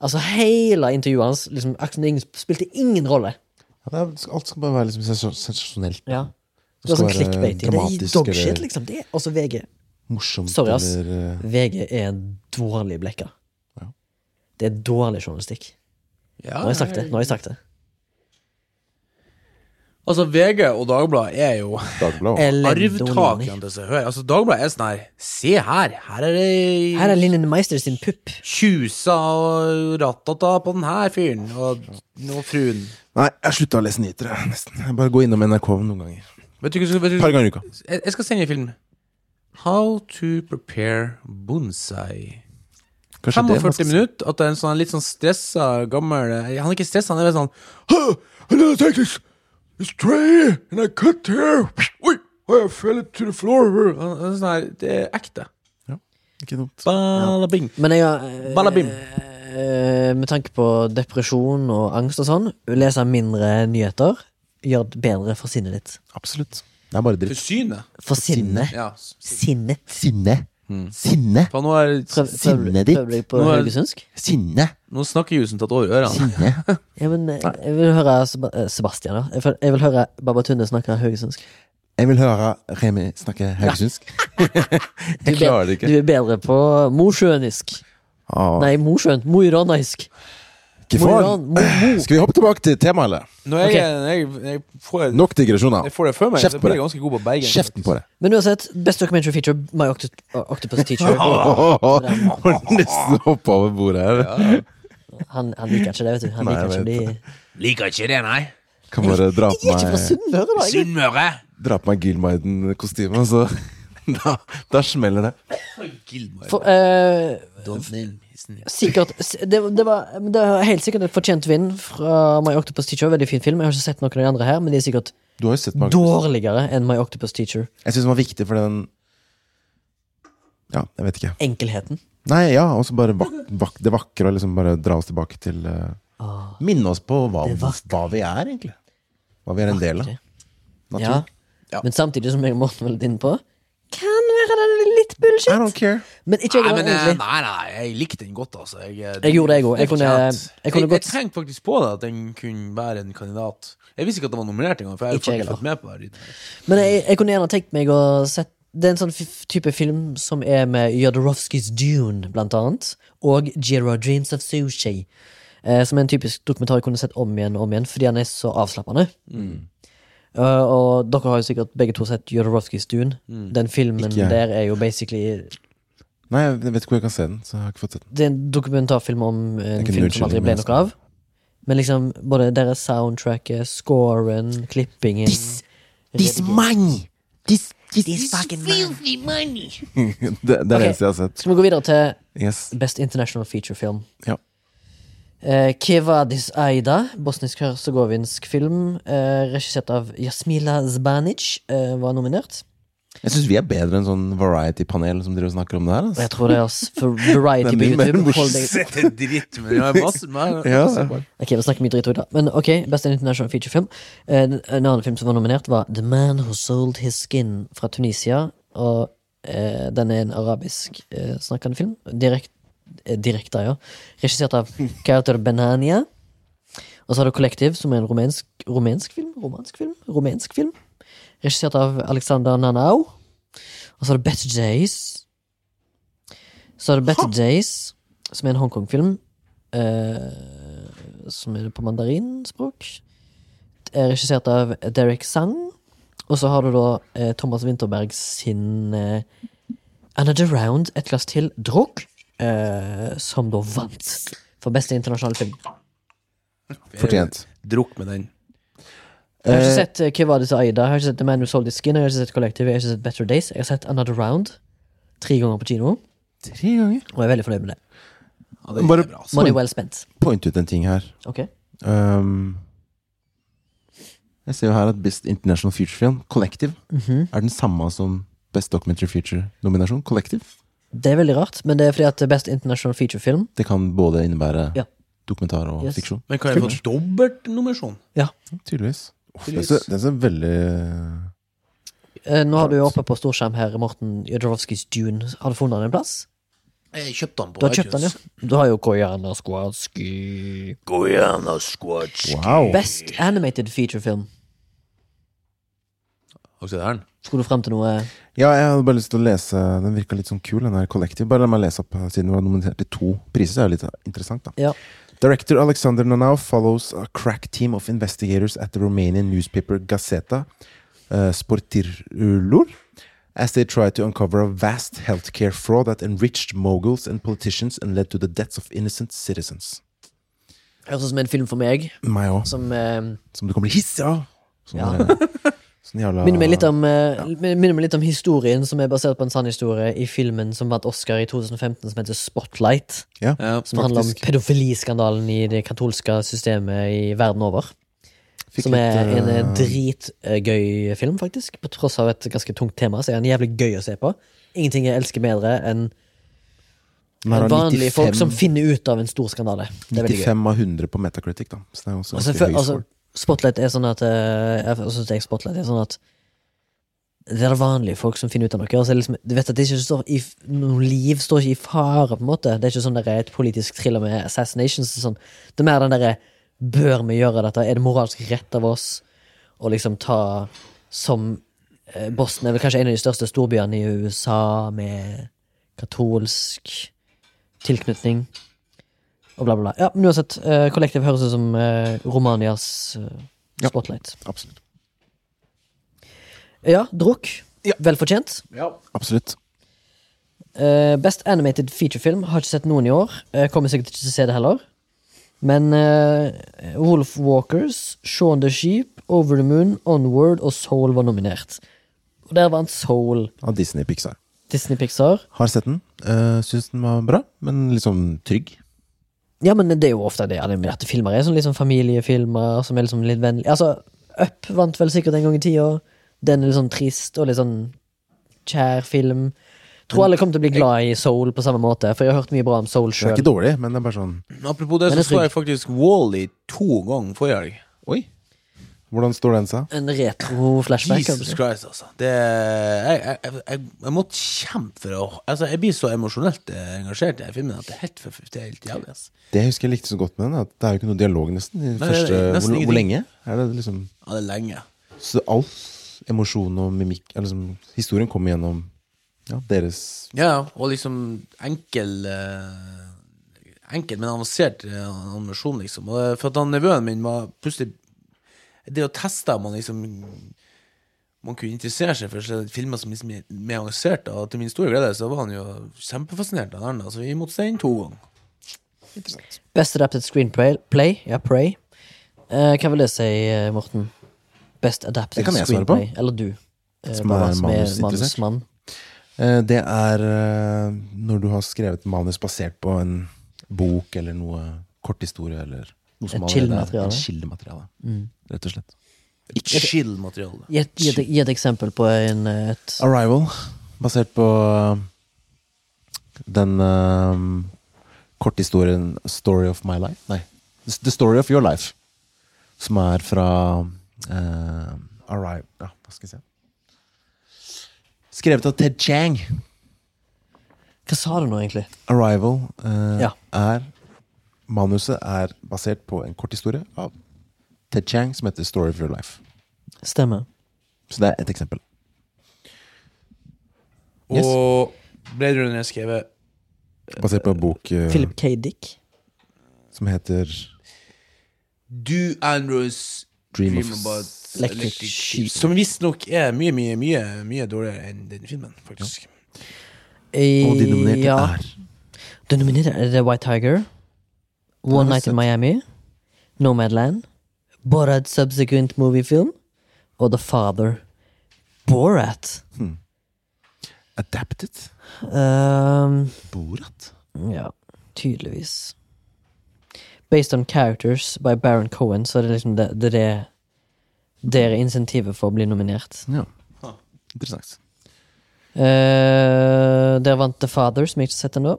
[SPEAKER 1] Altså Hele intervjuet hans liksom, Aksel Ingen spilte ingen rolle.
[SPEAKER 3] Ja, det er, alt skal bare være liksom sensas- sensasjonelt.
[SPEAKER 1] Ja.
[SPEAKER 3] Det
[SPEAKER 1] Det er
[SPEAKER 3] skal
[SPEAKER 1] sånn
[SPEAKER 3] være
[SPEAKER 1] clickbaiting. Det er
[SPEAKER 3] dramatisk,
[SPEAKER 1] dogshit,
[SPEAKER 3] eller-
[SPEAKER 1] liksom. Det er også VG.
[SPEAKER 3] Morsomt
[SPEAKER 1] Sorry, ass.
[SPEAKER 3] eller eh,
[SPEAKER 1] VG er en dårlig blekker.
[SPEAKER 3] Ja.
[SPEAKER 1] Det er dårlig journalistikk.
[SPEAKER 2] Ja,
[SPEAKER 1] Nå har jeg sagt det. Nå har jeg sagt det.
[SPEAKER 2] Altså, VG og Dagbladet er jo
[SPEAKER 3] Dagbladet.
[SPEAKER 1] Elendig onani.
[SPEAKER 2] arvtakerne til seg høy. Altså, Dagbladet er sånn her Se her! Her er
[SPEAKER 1] Her er
[SPEAKER 2] det
[SPEAKER 1] Linn Meister sin pupp.
[SPEAKER 2] tjusa og ratata på den her fyren og, og fruen.
[SPEAKER 3] Nei, jeg slutta å lese nyheter, jeg, nesten. Jeg bare går innom NRK noen ganger.
[SPEAKER 2] Vet du, hva- vet du,
[SPEAKER 3] Et par ganger i uka.
[SPEAKER 2] jeg, jeg skal sende en film. How to prepare bonsai.
[SPEAKER 3] Kanskje det
[SPEAKER 2] 45
[SPEAKER 3] er nesten-
[SPEAKER 2] minutter, at det er en sånn litt sånn stressa gammel eh, Han er ikke stressa, han er bare sånn «Huh, and then I take this, this tray, and I cut here. Oi, og jeg fell it to the floor. Han- han er Sånn her, det er ekte.
[SPEAKER 3] Ikke dumt.
[SPEAKER 2] Balabing.
[SPEAKER 1] Men jeg har eh,
[SPEAKER 2] Balabim.
[SPEAKER 1] eh, Med tanke på depresjon og angst og sånn, lese mindre nyheter gjør det bedre for sinnet ditt.
[SPEAKER 3] Absolutt. Det er bare
[SPEAKER 2] For
[SPEAKER 3] dritt.
[SPEAKER 2] synet.
[SPEAKER 1] For sinnet.
[SPEAKER 2] Ja.
[SPEAKER 1] Sinnet.
[SPEAKER 5] Sinne.
[SPEAKER 3] Mm.
[SPEAKER 5] Sinne.
[SPEAKER 2] For nå, er,
[SPEAKER 1] Prøv, prøv,
[SPEAKER 5] Sinnet ditt.
[SPEAKER 1] prøver du på
[SPEAKER 2] Nå er-
[SPEAKER 1] haugesundsk?
[SPEAKER 5] Sinne.
[SPEAKER 2] nå snakker jusen tatt over ørene.
[SPEAKER 5] Sinne.
[SPEAKER 1] Ja, men eh, jeg vil høre Seba eh, Sebastian, da. Jeg vil- Jeg vil høre Babatunde snakke haugesundsk.
[SPEAKER 3] Jeg vil høre Remi snakke haugesundsk.
[SPEAKER 1] Du,
[SPEAKER 3] Jeg
[SPEAKER 1] er
[SPEAKER 3] klarer det
[SPEAKER 1] be- du
[SPEAKER 3] ikke.
[SPEAKER 1] er bedre på mosjønisk.
[SPEAKER 3] Ah,
[SPEAKER 1] Nei, mosjøen. Mo i Ranaisk.
[SPEAKER 3] ikke
[SPEAKER 1] Mo i
[SPEAKER 3] faen.
[SPEAKER 1] Ran... Mo, mo.
[SPEAKER 3] Skal vi hoppe tilbake til temaet, eller?
[SPEAKER 4] Når jeg, når jeg, når jeg, får,
[SPEAKER 3] Nok digresjoner.
[SPEAKER 4] jeg får det før meg,
[SPEAKER 3] Kjeft
[SPEAKER 4] så
[SPEAKER 3] på
[SPEAKER 4] blir
[SPEAKER 3] det.
[SPEAKER 4] jeg ganske god på Bergen.
[SPEAKER 3] Kjeften på det.
[SPEAKER 1] Men uansett, best documentary feature, My Octu Octopus Teacher.
[SPEAKER 3] Må nesten hoppe over bordet her.
[SPEAKER 1] Han, han liker ikke det, vet du. Han
[SPEAKER 3] Nei,
[SPEAKER 1] liker ikke
[SPEAKER 3] jeg
[SPEAKER 1] å bli
[SPEAKER 2] Liker ikke det, nei.
[SPEAKER 3] Kan bare dra
[SPEAKER 1] Jeg er ikke fra
[SPEAKER 3] på meg
[SPEAKER 1] Sunnmøre, da. Jeg
[SPEAKER 2] Sunnmøre.
[SPEAKER 3] Dra på meg Gilmaiden-kostyme, så da, da smeller det.
[SPEAKER 2] Gilmore.
[SPEAKER 1] For, eh,
[SPEAKER 2] Don't name his name.
[SPEAKER 1] sikkert s- det, det, var, men det var helt sikkert et fortjent vinn fra My Octopus Teacher. Veldig fin film. Jeg har ikke sett noen av de andre her, men de er sikkert
[SPEAKER 3] Du har jo sett mange
[SPEAKER 1] dårligere enn My Octopus Teacher.
[SPEAKER 3] Jeg syns den var viktig for den Ja, jeg vet ikke.
[SPEAKER 1] Enkelheten.
[SPEAKER 3] Nei, ja, og så bare vak vak det vakre, og liksom bare dra oss tilbake til eh, Minne oss på hva,
[SPEAKER 1] Det vakre.
[SPEAKER 3] hva vi er, egentlig. Hva vi er en del av.
[SPEAKER 1] Vakre.
[SPEAKER 3] Natur.
[SPEAKER 1] Ja. Men samtidig, som jeg og Morten var litt inne på, kan være det er litt bullshit.
[SPEAKER 3] I don't care.
[SPEAKER 1] Men ikke jeg
[SPEAKER 2] Nei,
[SPEAKER 1] heller,
[SPEAKER 2] men, eh,
[SPEAKER 1] egentlig.
[SPEAKER 2] nei, nei, jeg likte den godt, altså. Jeg, eh,
[SPEAKER 1] Jeg gjorde det, jeg òg. Jeg
[SPEAKER 2] er
[SPEAKER 1] kunne-
[SPEAKER 2] fortjent.
[SPEAKER 1] jeg kunne
[SPEAKER 2] jeg,
[SPEAKER 1] godt-
[SPEAKER 2] jeg tenkte faktisk på det, at den kunne være en kandidat. Jeg visste ikke at den var nominert engang, for jeg har
[SPEAKER 1] Ikke jeg
[SPEAKER 2] faktisk fått med på det.
[SPEAKER 1] Men jeg, jeg kunne gjerne tenkt meg å sett Det er en sånn f type film som er med Jodorowskys Dune, blant annet, og Jira Dreams of Sushi. Eh, som er en typisk dokumentar jeg kunne sett om igjen og om igjen, fordi han er så avslappende.
[SPEAKER 3] Mm.
[SPEAKER 1] Eh, og dere har jo sikkert begge to sett Jodorowskys Dune. Den filmen
[SPEAKER 3] Mm. Ikke jeg.
[SPEAKER 1] der er jo basically
[SPEAKER 3] Nei, jeg vet ikke hvor jeg kan se den, så jeg har ikke fått sett den.
[SPEAKER 1] Det er en dokumentarfilm om en
[SPEAKER 3] ikke en
[SPEAKER 1] film som aldri
[SPEAKER 3] unnskyldning,
[SPEAKER 1] ble
[SPEAKER 3] men-
[SPEAKER 1] noe av. Men liksom både deres soundtracket, scoren, klippingen
[SPEAKER 5] This money. This, this,
[SPEAKER 3] det, det er det
[SPEAKER 1] Ok.
[SPEAKER 3] eneste jeg har sett.
[SPEAKER 1] Skal vi gå videre til
[SPEAKER 3] Yes.
[SPEAKER 1] Best International Feature Film?
[SPEAKER 3] Ja.
[SPEAKER 1] Eh, Kevadis Aida, bosnisk-hercegovinsk film, eh, regissert av Jasmila Zbanic, eh, var nominert.
[SPEAKER 3] Jeg syns vi er bedre enn sånn variety-panel som driver og snakker om det her.
[SPEAKER 1] Og jeg
[SPEAKER 3] Altså.
[SPEAKER 1] tror det er oss for Variety
[SPEAKER 3] Den
[SPEAKER 1] på
[SPEAKER 3] er mer
[SPEAKER 1] YouTube. Hold deg
[SPEAKER 2] Sett en dritt, men jeg har masse med
[SPEAKER 3] Ja,
[SPEAKER 1] Ok, vi snakker mye dritt ut da Men ok, Best International Feature Film Eh, En annen film som var nominert var The Man Who Sold His Skin fra Tunisia Og eh, den er en arabisk eh, snakkende film Direkt, eh, direkte, ja Regissert av Kauter Benania Og så har du Collective som er en rumensk, rumensk film Romansk film? Rumensk film Regissert av Alexander Nanau Og så har du Better Days Så har du Better Days Som er en Hongkong-film eh, som er på mandarinspråk. Er regissert av Derek Sang. Og så har du da eh, Thomas Winterberg sin eh, Another Round, et glass til, drog, eh, som da vant for beste internasjonale film.
[SPEAKER 3] Fortjent.
[SPEAKER 2] Drukk med den.
[SPEAKER 1] Jeg har ikke sett eh, Kivadis og Aida, jeg har ikke sett The Man Who Sold His Skin, jeg har ikke sett Collective, jeg har ikke sett Better Days. Jeg har sett Another Round tre ganger på kino,
[SPEAKER 3] Tre ganger.
[SPEAKER 1] og jeg er veldig fornøyd med det.
[SPEAKER 2] Ja, det er
[SPEAKER 3] Bare-
[SPEAKER 2] bra, altså.
[SPEAKER 1] Money well spent.
[SPEAKER 3] Point ut en ting her.
[SPEAKER 1] Ok.
[SPEAKER 3] Um, jeg ser jo her at Best International Feature Film, Collective,
[SPEAKER 1] Mhm.
[SPEAKER 3] er den samme som Best Documentary Feature-nominasjon. Collective.
[SPEAKER 1] Det er veldig rart, men det er fordi at Best International Feature Film
[SPEAKER 3] Det kan både innebære
[SPEAKER 1] Ja.
[SPEAKER 3] dokumentar og
[SPEAKER 1] Yes.
[SPEAKER 3] fiksjon.
[SPEAKER 2] Men kan jeg få dobbeltnominasjon?
[SPEAKER 3] Tydeligvis. Uff, det, er
[SPEAKER 2] Tydeligvis.
[SPEAKER 3] så, det er så veldig
[SPEAKER 1] Eh, Nå har du jo oppe på storskjerm her, Morten Jodorowskys Dune. Har du funnet den en plass?
[SPEAKER 2] Jeg kjøpte den på
[SPEAKER 1] Du har kjøpt den, ja. Du har jo Koyana Squadski.
[SPEAKER 2] Guyana Squatch.
[SPEAKER 3] Wow.
[SPEAKER 1] Best animated feature film.
[SPEAKER 2] Og se der.
[SPEAKER 1] Skulle du frem til noe
[SPEAKER 3] Ja, jeg hadde bare lyst til å lese Den virka litt sånn kul, den her Collective. Bare la meg lese opp, eh, siden den var nominert til to priser. Det er jo litt interessant, da.
[SPEAKER 1] Ja.
[SPEAKER 3] Director Alexander Nanau follows a crack team of investigators at the Romanian newspaper Gazeta uh, Sportirulor as they try to uncover a vast healthcare fraud that enriched moguls and politicians and led to the deaths of innocent citizens.
[SPEAKER 1] Høres ut som en film for meg,
[SPEAKER 3] Meg òg.
[SPEAKER 1] som eh,
[SPEAKER 3] Som det kommer til hiss av. Sånn,
[SPEAKER 1] Ja.
[SPEAKER 3] eh, sånn jævla
[SPEAKER 1] minner meg litt om eh, Minner meg litt om historien som er basert på en sann historie i filmen som vant Oscar i 2015, som heter Spotlight.
[SPEAKER 3] Ja.
[SPEAKER 2] Ja.
[SPEAKER 1] Som handler om
[SPEAKER 3] Faktisk.
[SPEAKER 1] pedofiliskandalen i det katolske systemet i verden over.
[SPEAKER 3] Fikk
[SPEAKER 1] som er
[SPEAKER 3] litt,
[SPEAKER 1] en
[SPEAKER 3] eh,
[SPEAKER 1] eh, dritgøy film, faktisk. På tross av et ganske tungt tema, så er den jævlig gøy å se på. Ingenting jeg elsker bedre enn
[SPEAKER 3] den her har
[SPEAKER 1] vanlige
[SPEAKER 3] 95
[SPEAKER 1] folk som finner ut av en stor skandale. Det er veldig gøy.
[SPEAKER 3] 95 av 100 på Metacritic, da. Så det er også
[SPEAKER 1] Altså,
[SPEAKER 3] ganske
[SPEAKER 1] for,
[SPEAKER 3] høy
[SPEAKER 1] altså,
[SPEAKER 3] score.
[SPEAKER 1] spotlight er sånn at eh, Jeg synes jeg Spotlight er sånn at det er det vanlige folk som finner ut av noe. Altså, liksom, du vet at det ikke står i, f- Noen liv står ikke i fare, på en måte. Det er ikke sånn der et politisk thriller med assassinations. og Sånn. Det er mer den derre Bør vi gjøre dette? Er det moralsk rett av oss å liksom ta som eh, Boston er vel kanskje en av de største storbyene i USA med katolsk tilknytning? og bla, bla, bla. Ja, men uansett, eh, Collective høres ut som eh, Romanias eh,
[SPEAKER 3] Ja.
[SPEAKER 1] spotlight.
[SPEAKER 3] Absolutt.
[SPEAKER 1] Ja, drukk.
[SPEAKER 2] Ja.
[SPEAKER 1] Vel fortjent.
[SPEAKER 3] Absolutt.
[SPEAKER 1] Eh, best animated featurefilm. Har ikke sett noen i år. Eh, kommer sikkert ikke til å se det heller. Men eh, Wolf Walkers, Shaun the Sheep, Over the Moon, Onward og Soul var nominert. Og der vant Soul.
[SPEAKER 3] Av Disney Pixar.
[SPEAKER 1] Disney Pixar.
[SPEAKER 3] Har sett den. Uh, Syns den var bra, men liksom trygg.
[SPEAKER 1] Ja, men det er jo ofte det animerte filmer er. Sånn liksom familiefilmer som er liksom litt vennlige. Altså, Up vant vel sikkert en gang i tida. Den er litt sånn trist og litt sånn kjær film. Tror alle kommer til å bli glad i Soul på samme måte, for jeg har hørt mye bra om Soul
[SPEAKER 3] Den er
[SPEAKER 1] sjøl.
[SPEAKER 3] ikke dårlig, men det er bare sånn
[SPEAKER 2] Apropos det,
[SPEAKER 1] Men
[SPEAKER 2] så
[SPEAKER 1] jeg
[SPEAKER 2] så jeg faktisk Wall-E to ganger forrige helg.
[SPEAKER 3] Oi! Hvordan står den seg?
[SPEAKER 1] En retro-flashback.
[SPEAKER 2] Jesus
[SPEAKER 1] kanskje.
[SPEAKER 2] Christ, altså. Det, jeg, jeg, jeg, jeg, jeg måtte kjempe for å altså, Jeg blir så emosjonelt eh, engasjert i den filmen at det er helt, for- det er helt jævlig. altså. ass.
[SPEAKER 3] Det jeg husker jeg likte så godt med den, at det er jo ikke noe dialog, nesten. I
[SPEAKER 2] Nei,
[SPEAKER 3] første,
[SPEAKER 2] det er nesten
[SPEAKER 3] hvor, hvor lenge?
[SPEAKER 2] ingenting.
[SPEAKER 3] Er det liksom
[SPEAKER 2] Ja, det er lenge.
[SPEAKER 3] Så all emosjon og mimikk er liksom, Historien kommer gjennom ja, deres
[SPEAKER 2] Ja, og liksom enkel eh, Enkel, men avansert eh, animasjon, liksom. Og, eh, for at han nevøen min var plutselig Det å teste om han liksom man kunne interessere seg for sånne filmer som liksom er mer avanserte, og til min store glede så var han jo kjempefascinert av den. Altså, vi måtte se den to ganger.
[SPEAKER 1] Best adapted screenplay. Play, ja, Pray. Eh, hva vil det si, eh, Morten? Best adapted
[SPEAKER 3] Det kan jeg svare på.
[SPEAKER 1] screenplay. Eller du. eh,
[SPEAKER 3] Som er
[SPEAKER 1] bare som er
[SPEAKER 3] manusinteressert.
[SPEAKER 1] manusmann.
[SPEAKER 3] Eh, Det er eh, når du har skrevet manus basert på en bok eller noe korthistorie eller noe
[SPEAKER 1] Et
[SPEAKER 3] allerede er-
[SPEAKER 1] kildemateriale.
[SPEAKER 3] et kildemateriale.
[SPEAKER 2] Mm.
[SPEAKER 3] Rett og slett.
[SPEAKER 2] Chill-materiale.
[SPEAKER 1] Gi et- gi et gi et eksempel på en, eh, et
[SPEAKER 3] Arrival, basert på uh, den um, korthistorien Story of my life Nei, The Story of Your Life. Som er fra uh, Arrival ja, Hva skal jeg si? Skrevet av Ted Chang.
[SPEAKER 1] Hva sa du nå, egentlig?
[SPEAKER 3] Arrival eh,
[SPEAKER 1] Ja.
[SPEAKER 3] er Manuset er basert på en korthistorie av Ted Chang som heter Story of Your Life.
[SPEAKER 1] Stemmer.
[SPEAKER 3] Så det er et eksempel. Yes.
[SPEAKER 4] Og Blade Runner er skrevet
[SPEAKER 3] Basert på en bok eh,
[SPEAKER 1] Philip K. Dick.
[SPEAKER 3] som heter
[SPEAKER 2] Do Andrews
[SPEAKER 3] Dream,
[SPEAKER 2] Dream
[SPEAKER 3] of
[SPEAKER 2] About
[SPEAKER 1] Electric
[SPEAKER 2] Electric
[SPEAKER 1] Sheep.
[SPEAKER 2] Sheep. Som visstnok er mye, mye, mye mye dårligere enn den filmen, faktisk.
[SPEAKER 3] Og de nominerte
[SPEAKER 1] Eh, ja.
[SPEAKER 3] er
[SPEAKER 1] De nominerte er The White Tiger,
[SPEAKER 3] har
[SPEAKER 1] One
[SPEAKER 3] jeg
[SPEAKER 1] Night
[SPEAKER 3] sett.
[SPEAKER 1] in Miami, Nomadland, Borat Subsequent Movie Film og The Father. Borat?
[SPEAKER 3] Adapted.
[SPEAKER 1] Ehm,
[SPEAKER 3] Borat.
[SPEAKER 1] ja, tydeligvis. Based on characters by Baron Cohen, så er det liksom det det, er det, det er insentivet for å bli nominert.
[SPEAKER 3] Ja. Interessant.
[SPEAKER 1] Eh, der vant The Father, som jeg ikke har sett ennå.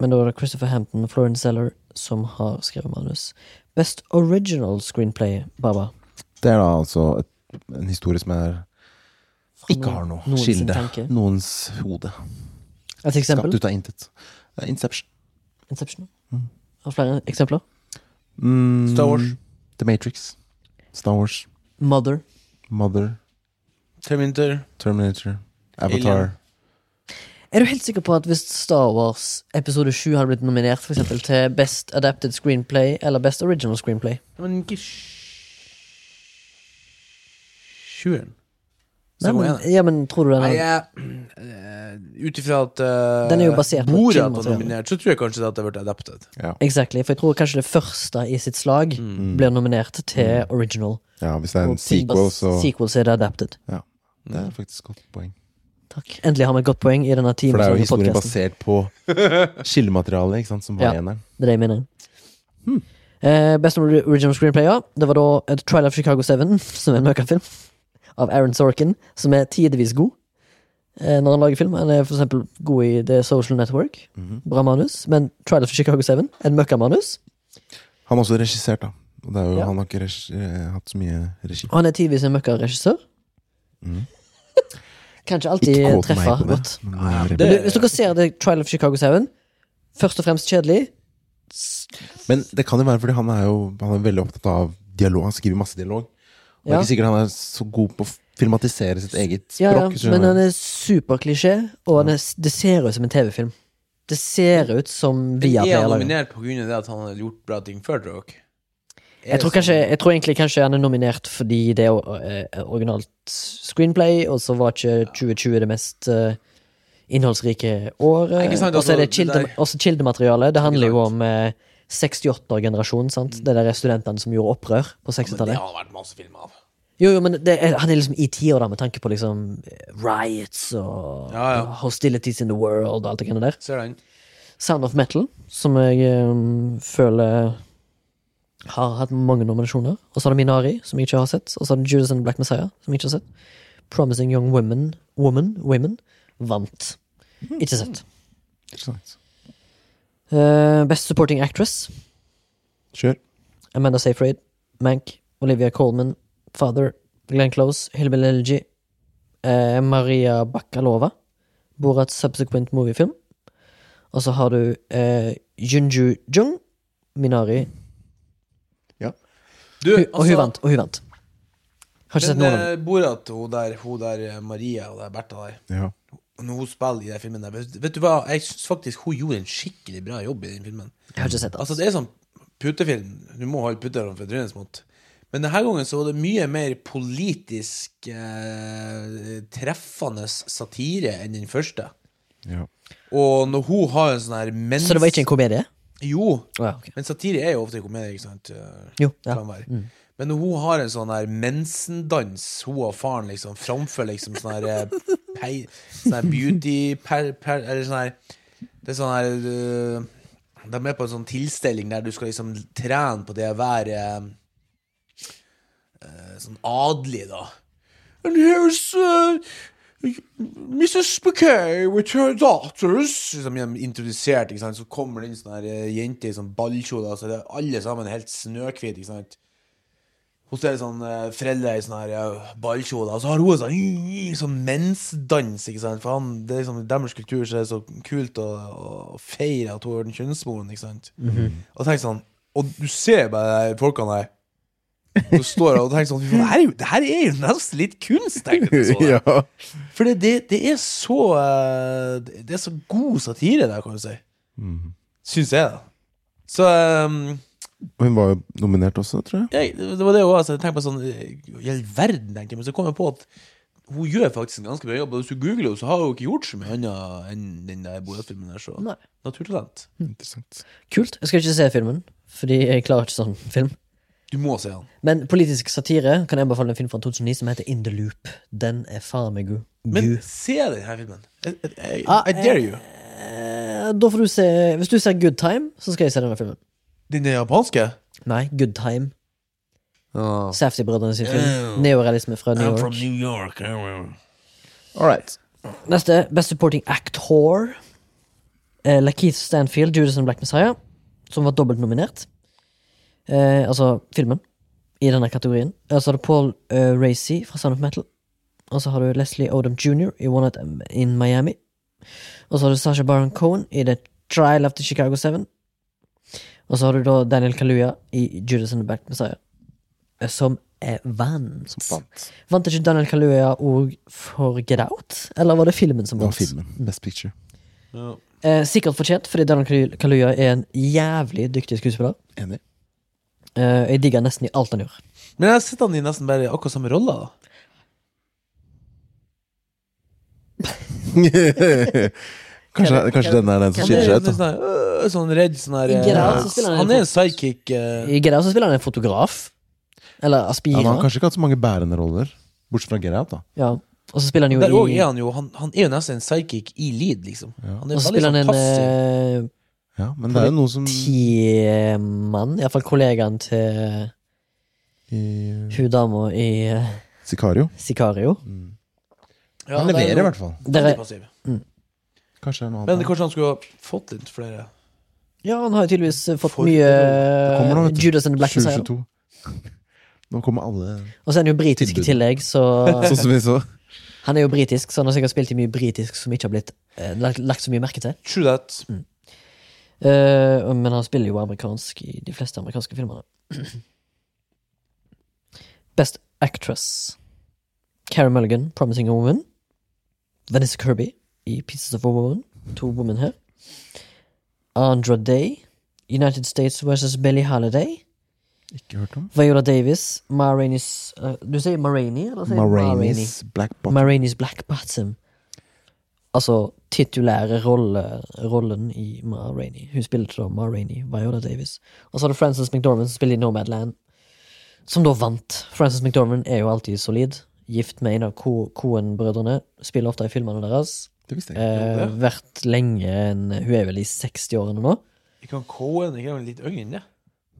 [SPEAKER 1] Men da var det Christopher Hampton og Florence Zeller som har skrevet manus. Best original screenplay, Baba.
[SPEAKER 3] Det er da altså et, en historie som er ikke har noe
[SPEAKER 1] noens
[SPEAKER 3] skilde.
[SPEAKER 1] tanke.
[SPEAKER 3] Noens hode.
[SPEAKER 1] Et
[SPEAKER 3] Skapt
[SPEAKER 1] eksempel?
[SPEAKER 3] ut av intet. Eh, Inception.
[SPEAKER 1] Inception? Har du flere eksempler?
[SPEAKER 3] Mm,
[SPEAKER 2] Star Wars.
[SPEAKER 3] The Matrix. Star Wars.
[SPEAKER 1] Mother.
[SPEAKER 3] Mother.
[SPEAKER 2] Terminator.
[SPEAKER 3] Terminator. Avatar.
[SPEAKER 2] Alien.
[SPEAKER 1] Er du helt sikker på at hvis Star Wars episode 7 hadde blitt nominert for eksempel, til Best Adapted Screenplay eller Best Original Screenplay?
[SPEAKER 2] Men ikke Sjueren.
[SPEAKER 1] Nei, men, ja, men tror du den
[SPEAKER 2] Nei,
[SPEAKER 1] er
[SPEAKER 2] jeg eh, Ut ifra at eh,
[SPEAKER 1] Den er jo basert på
[SPEAKER 2] Borat var
[SPEAKER 1] filmmateriale.
[SPEAKER 2] nominert, så tror jeg kanskje det at det ble adaptet.
[SPEAKER 1] Exactly, for jeg tror kanskje det første i sitt slag
[SPEAKER 3] Mm.
[SPEAKER 1] blir nominert til original.
[SPEAKER 3] Ja, hvis det er en
[SPEAKER 1] Og
[SPEAKER 3] sequel,
[SPEAKER 1] bas-
[SPEAKER 3] så
[SPEAKER 1] Sequels er det adapted.
[SPEAKER 3] ja. Det er faktisk et godt poeng.
[SPEAKER 1] Takk. Endelig har vi et godt poeng i denne
[SPEAKER 3] For det er jo
[SPEAKER 1] timelange
[SPEAKER 3] historien
[SPEAKER 1] podkasten.
[SPEAKER 3] basert på kildematerialet, ikke sant, som var
[SPEAKER 1] Ja.
[SPEAKER 3] i eneren.
[SPEAKER 1] Det er det jeg mener.
[SPEAKER 3] Hmm.
[SPEAKER 1] Eh, best original screenplay, ja. Det var da A Trial of Chicago 7, som er en møkkafilm, av Aaron Sorkin, som er tidvis god eh, når han lager film. Han er for eksempel god i The Social Network.
[SPEAKER 3] Mhm.
[SPEAKER 1] Bra manus. Men Trial of Chicago 7, en møkkamanus.
[SPEAKER 3] Han har også regissert, da. Og det er jo,
[SPEAKER 1] Ja.
[SPEAKER 3] Han har ikke regi, eh, hatt så mye regi.
[SPEAKER 1] Og han er tidvis en møkkaregissør. Kan ikke alltid
[SPEAKER 3] Mhm. Ikke kåt meg
[SPEAKER 1] treffe
[SPEAKER 3] på det.
[SPEAKER 1] godt.
[SPEAKER 3] Men, eh,
[SPEAKER 1] Men du, hvis dere ser det Trial of Chicago 7, først og fremst kjedelig.
[SPEAKER 3] men det kan jo være fordi han er jo Han er veldig opptatt av dialog. Han skriver masse dialog. Og Det
[SPEAKER 1] Ja.
[SPEAKER 3] er ikke sikkert han er så god på å filmatisere sitt eget
[SPEAKER 1] Ja, ja,
[SPEAKER 3] språk. skjønner
[SPEAKER 1] men
[SPEAKER 3] du?
[SPEAKER 1] han er superklisjé, og han er, det ser ut som en TV-film. Det ser ut som
[SPEAKER 2] Men
[SPEAKER 1] via
[SPEAKER 2] er han
[SPEAKER 1] lager.
[SPEAKER 2] nominert pga. det at han har gjort bra ting før, tror dere? Er
[SPEAKER 1] Jeg tror,
[SPEAKER 2] det sånn-
[SPEAKER 1] kanskje, jeg tror egentlig kanskje han er nominert fordi det er o- eh, originalt screenplay, og så var ikke 2020 det mest eh, innholdsrike året.
[SPEAKER 2] Nei, ikke sant,
[SPEAKER 1] Og så er det
[SPEAKER 2] altså,
[SPEAKER 1] kilde,
[SPEAKER 2] det der-
[SPEAKER 1] også kildemateriale. Det handler jo
[SPEAKER 2] Ikke
[SPEAKER 1] om
[SPEAKER 2] Mm.
[SPEAKER 1] eh, 68-generasjonen, sant. Det der er studentene som gjorde opprør på
[SPEAKER 2] Men Det
[SPEAKER 1] 60-tallet.
[SPEAKER 2] har det vært masse filmer av.
[SPEAKER 1] Jo, jo, men det er, han er liksom i tiår, da, med tanke på liksom eh, riots og
[SPEAKER 2] Ja, ja.
[SPEAKER 1] hostilities in the world og alt det greiene der.
[SPEAKER 2] Ser den.
[SPEAKER 1] Sound of Metal, som jeg eh, føler har hatt mange nominasjoner. Og så har det Minari, som jeg ikke har sett. Og så har det Judas and the Black Messiah, som jeg ikke har sett. Promising Young Women, Woman, Women vant. Ikke sett.
[SPEAKER 3] Interessant.
[SPEAKER 1] Eh, best Supporting Actress,
[SPEAKER 3] Kjør.
[SPEAKER 1] Amanda Seyfried, Mank, Olivia Colman, Father, Glenn Close, Hillbilly Elegy, eh, Maria Bakalova, Borats subsequent moviefilm. Og så har du eh, Junju Jung, Minari
[SPEAKER 2] Du, altså,
[SPEAKER 1] Hun- Og hun vant. Og hun vant. Har ikke sett
[SPEAKER 2] Men
[SPEAKER 1] noen av dem.
[SPEAKER 2] eh, Borat, hun der, hun der eh, Maria og der Bertha der
[SPEAKER 3] Ja.
[SPEAKER 2] Når hun spiller i den filmen der Vet, vet du hva, jeg syns faktisk hun gjorde en skikkelig bra jobb i den filmen.
[SPEAKER 1] Jeg har ikke sett
[SPEAKER 2] Altså,
[SPEAKER 1] det.
[SPEAKER 2] det er sånn putefilm. Du må holde putene for trynet smått. Men denne gangen så var det mye mer politisk eh, treffende satire enn den første.
[SPEAKER 3] ja.
[SPEAKER 2] Og når hun har en sånn her mens...
[SPEAKER 1] Så det var ikke en komedie?
[SPEAKER 2] Jo.
[SPEAKER 1] Å ja, ok.
[SPEAKER 2] Men satire er jo ofte komedie, ikke sant? Eh,
[SPEAKER 1] Jo, ja.
[SPEAKER 2] kan være. Men når hun har en sånn her mensendans, hun og faren liksom, framfor liksom sånn her eh, pei, sånn her beauty per, per, Eller sånn her Det er sånn her eh, De er på en sånn tilstelning der du skal liksom trene på det å være eh, sånn adelig, da. And here's uh, Mrs. Bouquet with her daughters Som de introduserte, ikke sant? Så kommer det inn sånne her, eh, jenter i sånn ballkjole altså, det er Alle sammen helt snøkvitt, ikke sant? Hos dere sånn eh, foreldre i sånne her ja, ballkjole Og så har hun en sånn, mm, sånn mensdans, ikke sant? For han, det er liksom, i deres kultur så er det så kult å, å feire at hun har den kjønnsmoren, ikke sant? Og tenk sånn Og du ser bare de folkene der Du står og tenker sånn "Fy faen, Det her er jo, det her er jo nesten litt kunst, tenkte jeg så det.
[SPEAKER 3] ja.
[SPEAKER 2] For det, det, det er så eh, det- Det er så god satire der, kan du si. Mhm. Syns jeg, da. Så eh,
[SPEAKER 3] Hun var jo nominert også, tror jeg.
[SPEAKER 2] jeg, Det var det òg. Altså, jeg tenkte på sånn eh, I all verden, tenkte jeg. Men så kom jeg på at hun gjør faktisk en ganske bra jobb. Og hvis du googler henne, så har hun ikke gjort så mye annet enn den der Borat-filmen der. Så
[SPEAKER 1] Nei.
[SPEAKER 2] naturtalent.
[SPEAKER 3] Interessant.
[SPEAKER 1] Kult. Jeg skal ikke se filmen, fordi jeg klarer ikke sånn film.
[SPEAKER 2] Du må se han.
[SPEAKER 1] Men politisk satire kan jeg anbefale en film fra 2009 som heter In the Loop. Den er faen meg god.
[SPEAKER 2] Men
[SPEAKER 1] God.
[SPEAKER 2] se den her filmen. I, I,
[SPEAKER 1] Ah,
[SPEAKER 2] I dare you.
[SPEAKER 1] Eh, da får du se Hvis du ser Good Time, så skal jeg se denne filmen.
[SPEAKER 2] Den er japanske?
[SPEAKER 1] Nei, Good Time.
[SPEAKER 2] Oh.
[SPEAKER 1] Safety-brødrene sin film.
[SPEAKER 2] Ew.
[SPEAKER 1] Neorealisme fra New
[SPEAKER 2] I'm from
[SPEAKER 1] York.
[SPEAKER 2] New York. I-
[SPEAKER 3] All right.
[SPEAKER 1] Neste. Best Supporting Actor. Eh, Lakeith Stanfield, Judas and Black Messiah, som var dobbelt nominert. Eh, altså filmen, i denne kategorien. Og så har du Paul eh, Racy fra Sound of Metal. Og så har du Leslie Odom jr. i One Night in Miami. Og så har du Sasha Baron Cohen i The Trial of the Chicago Seven. Og så har du da Daniel Kaluuya i Judas and the Black Messiah, eh, som er vant.
[SPEAKER 3] Vant.
[SPEAKER 1] Vant ikke Daniel Kaluuya òg for Get Out? Eller var det filmen som
[SPEAKER 3] Det var
[SPEAKER 1] vant?
[SPEAKER 3] filmen. Best picture.
[SPEAKER 1] Eh, sikkert fortjent, fordi Daniel Kalu- Kaluuya er en jævlig dyktig skuespiller.
[SPEAKER 3] Enig.
[SPEAKER 1] Eh, jeg digger nesten i alt han gjør.
[SPEAKER 2] Men jeg har sett han i nesten bare akkurat samme rolle, da.
[SPEAKER 3] kanskje
[SPEAKER 1] Kan-
[SPEAKER 3] kanskje
[SPEAKER 1] kan-
[SPEAKER 3] den er den som
[SPEAKER 1] kan-
[SPEAKER 2] Han er
[SPEAKER 3] skiller seg ut,
[SPEAKER 2] nesten
[SPEAKER 3] da.
[SPEAKER 2] sånn, øh, sånn redd sånn her
[SPEAKER 1] I Get Out så
[SPEAKER 2] eh,
[SPEAKER 1] spiller han
[SPEAKER 2] Han
[SPEAKER 1] en
[SPEAKER 2] er en psychic eh,
[SPEAKER 1] I Get Out så spiller han en fotograf. Eller
[SPEAKER 3] Ja,
[SPEAKER 1] aspirer.
[SPEAKER 3] men han
[SPEAKER 1] Ja,
[SPEAKER 3] har kanskje ikke hatt så mange bærende roller, bortsett fra Get Out, da.
[SPEAKER 1] Og så spiller han jo
[SPEAKER 2] Der òg
[SPEAKER 1] i
[SPEAKER 2] er han jo han, han er jo nesten en psychic i lead, liksom. Han er
[SPEAKER 1] Og så
[SPEAKER 2] veldig
[SPEAKER 1] spiller han en
[SPEAKER 2] sånn passiv.
[SPEAKER 1] eh,
[SPEAKER 3] Ja, men det er jo noe som
[SPEAKER 1] politimann, iallfall kollegaen til eh,
[SPEAKER 3] i
[SPEAKER 1] hun dama i eh,
[SPEAKER 3] Sicario.
[SPEAKER 1] Sicario.
[SPEAKER 2] Ja,
[SPEAKER 3] han
[SPEAKER 2] det er
[SPEAKER 3] leverer,
[SPEAKER 2] jo
[SPEAKER 3] i hvert fall.
[SPEAKER 2] veldig
[SPEAKER 1] Dere,
[SPEAKER 2] passiv.
[SPEAKER 3] Kanskje det er noe
[SPEAKER 2] Men
[SPEAKER 3] annet.
[SPEAKER 2] kanskje han skulle ha fått litt flere
[SPEAKER 1] ja, han har jo tydeligvis eh, fått
[SPEAKER 2] For-
[SPEAKER 1] mye
[SPEAKER 3] Det kommer nå, vet du.
[SPEAKER 1] Eh, Judas and the Black Messiah.
[SPEAKER 3] 2022. Nå kommer alle
[SPEAKER 1] Og så er han jo britisk
[SPEAKER 3] Tilbud.
[SPEAKER 1] i tillegg, så
[SPEAKER 3] Sånn som vi så.
[SPEAKER 1] han er jo britisk, så han har sikkert spilt i mye britisk som ikke har blitt eh, lagt, lagt så mye merke til.
[SPEAKER 2] True that.
[SPEAKER 1] Eh, og- men han spiller jo amerikansk i de fleste amerikanske filmene. Best Actress. Carrie Mulligan, Promising a Woman. Vanessa Kirby i Pieces of a Woman. To women her. Andra Day. United States versus Billie Holiday.
[SPEAKER 3] Ikke hørt om.
[SPEAKER 1] Viola Davis. Ma Rainey's eh, Du sier Ma Rainey, eller sier Ma Rainey?
[SPEAKER 3] Marainis Black Bottom.
[SPEAKER 1] Marini's Black Bottom. Altså titulære rolle, rollen i Ma Rainey. Hun spilte da Ma Rainey, Viola Davis. Og så har du Frances McDormand som spiller i Nomadland, som da vant. Frances McDormand er jo alltid solid. Gift med en av Co- Coen-brødrene. Spiller ofte i filmene deres.
[SPEAKER 3] Det visste jeg ikke.
[SPEAKER 1] Eh, vært lenge en Hun er vel i 60-årene nå?
[SPEAKER 2] Ikke han Cohen, ikke han litt yngre enn det?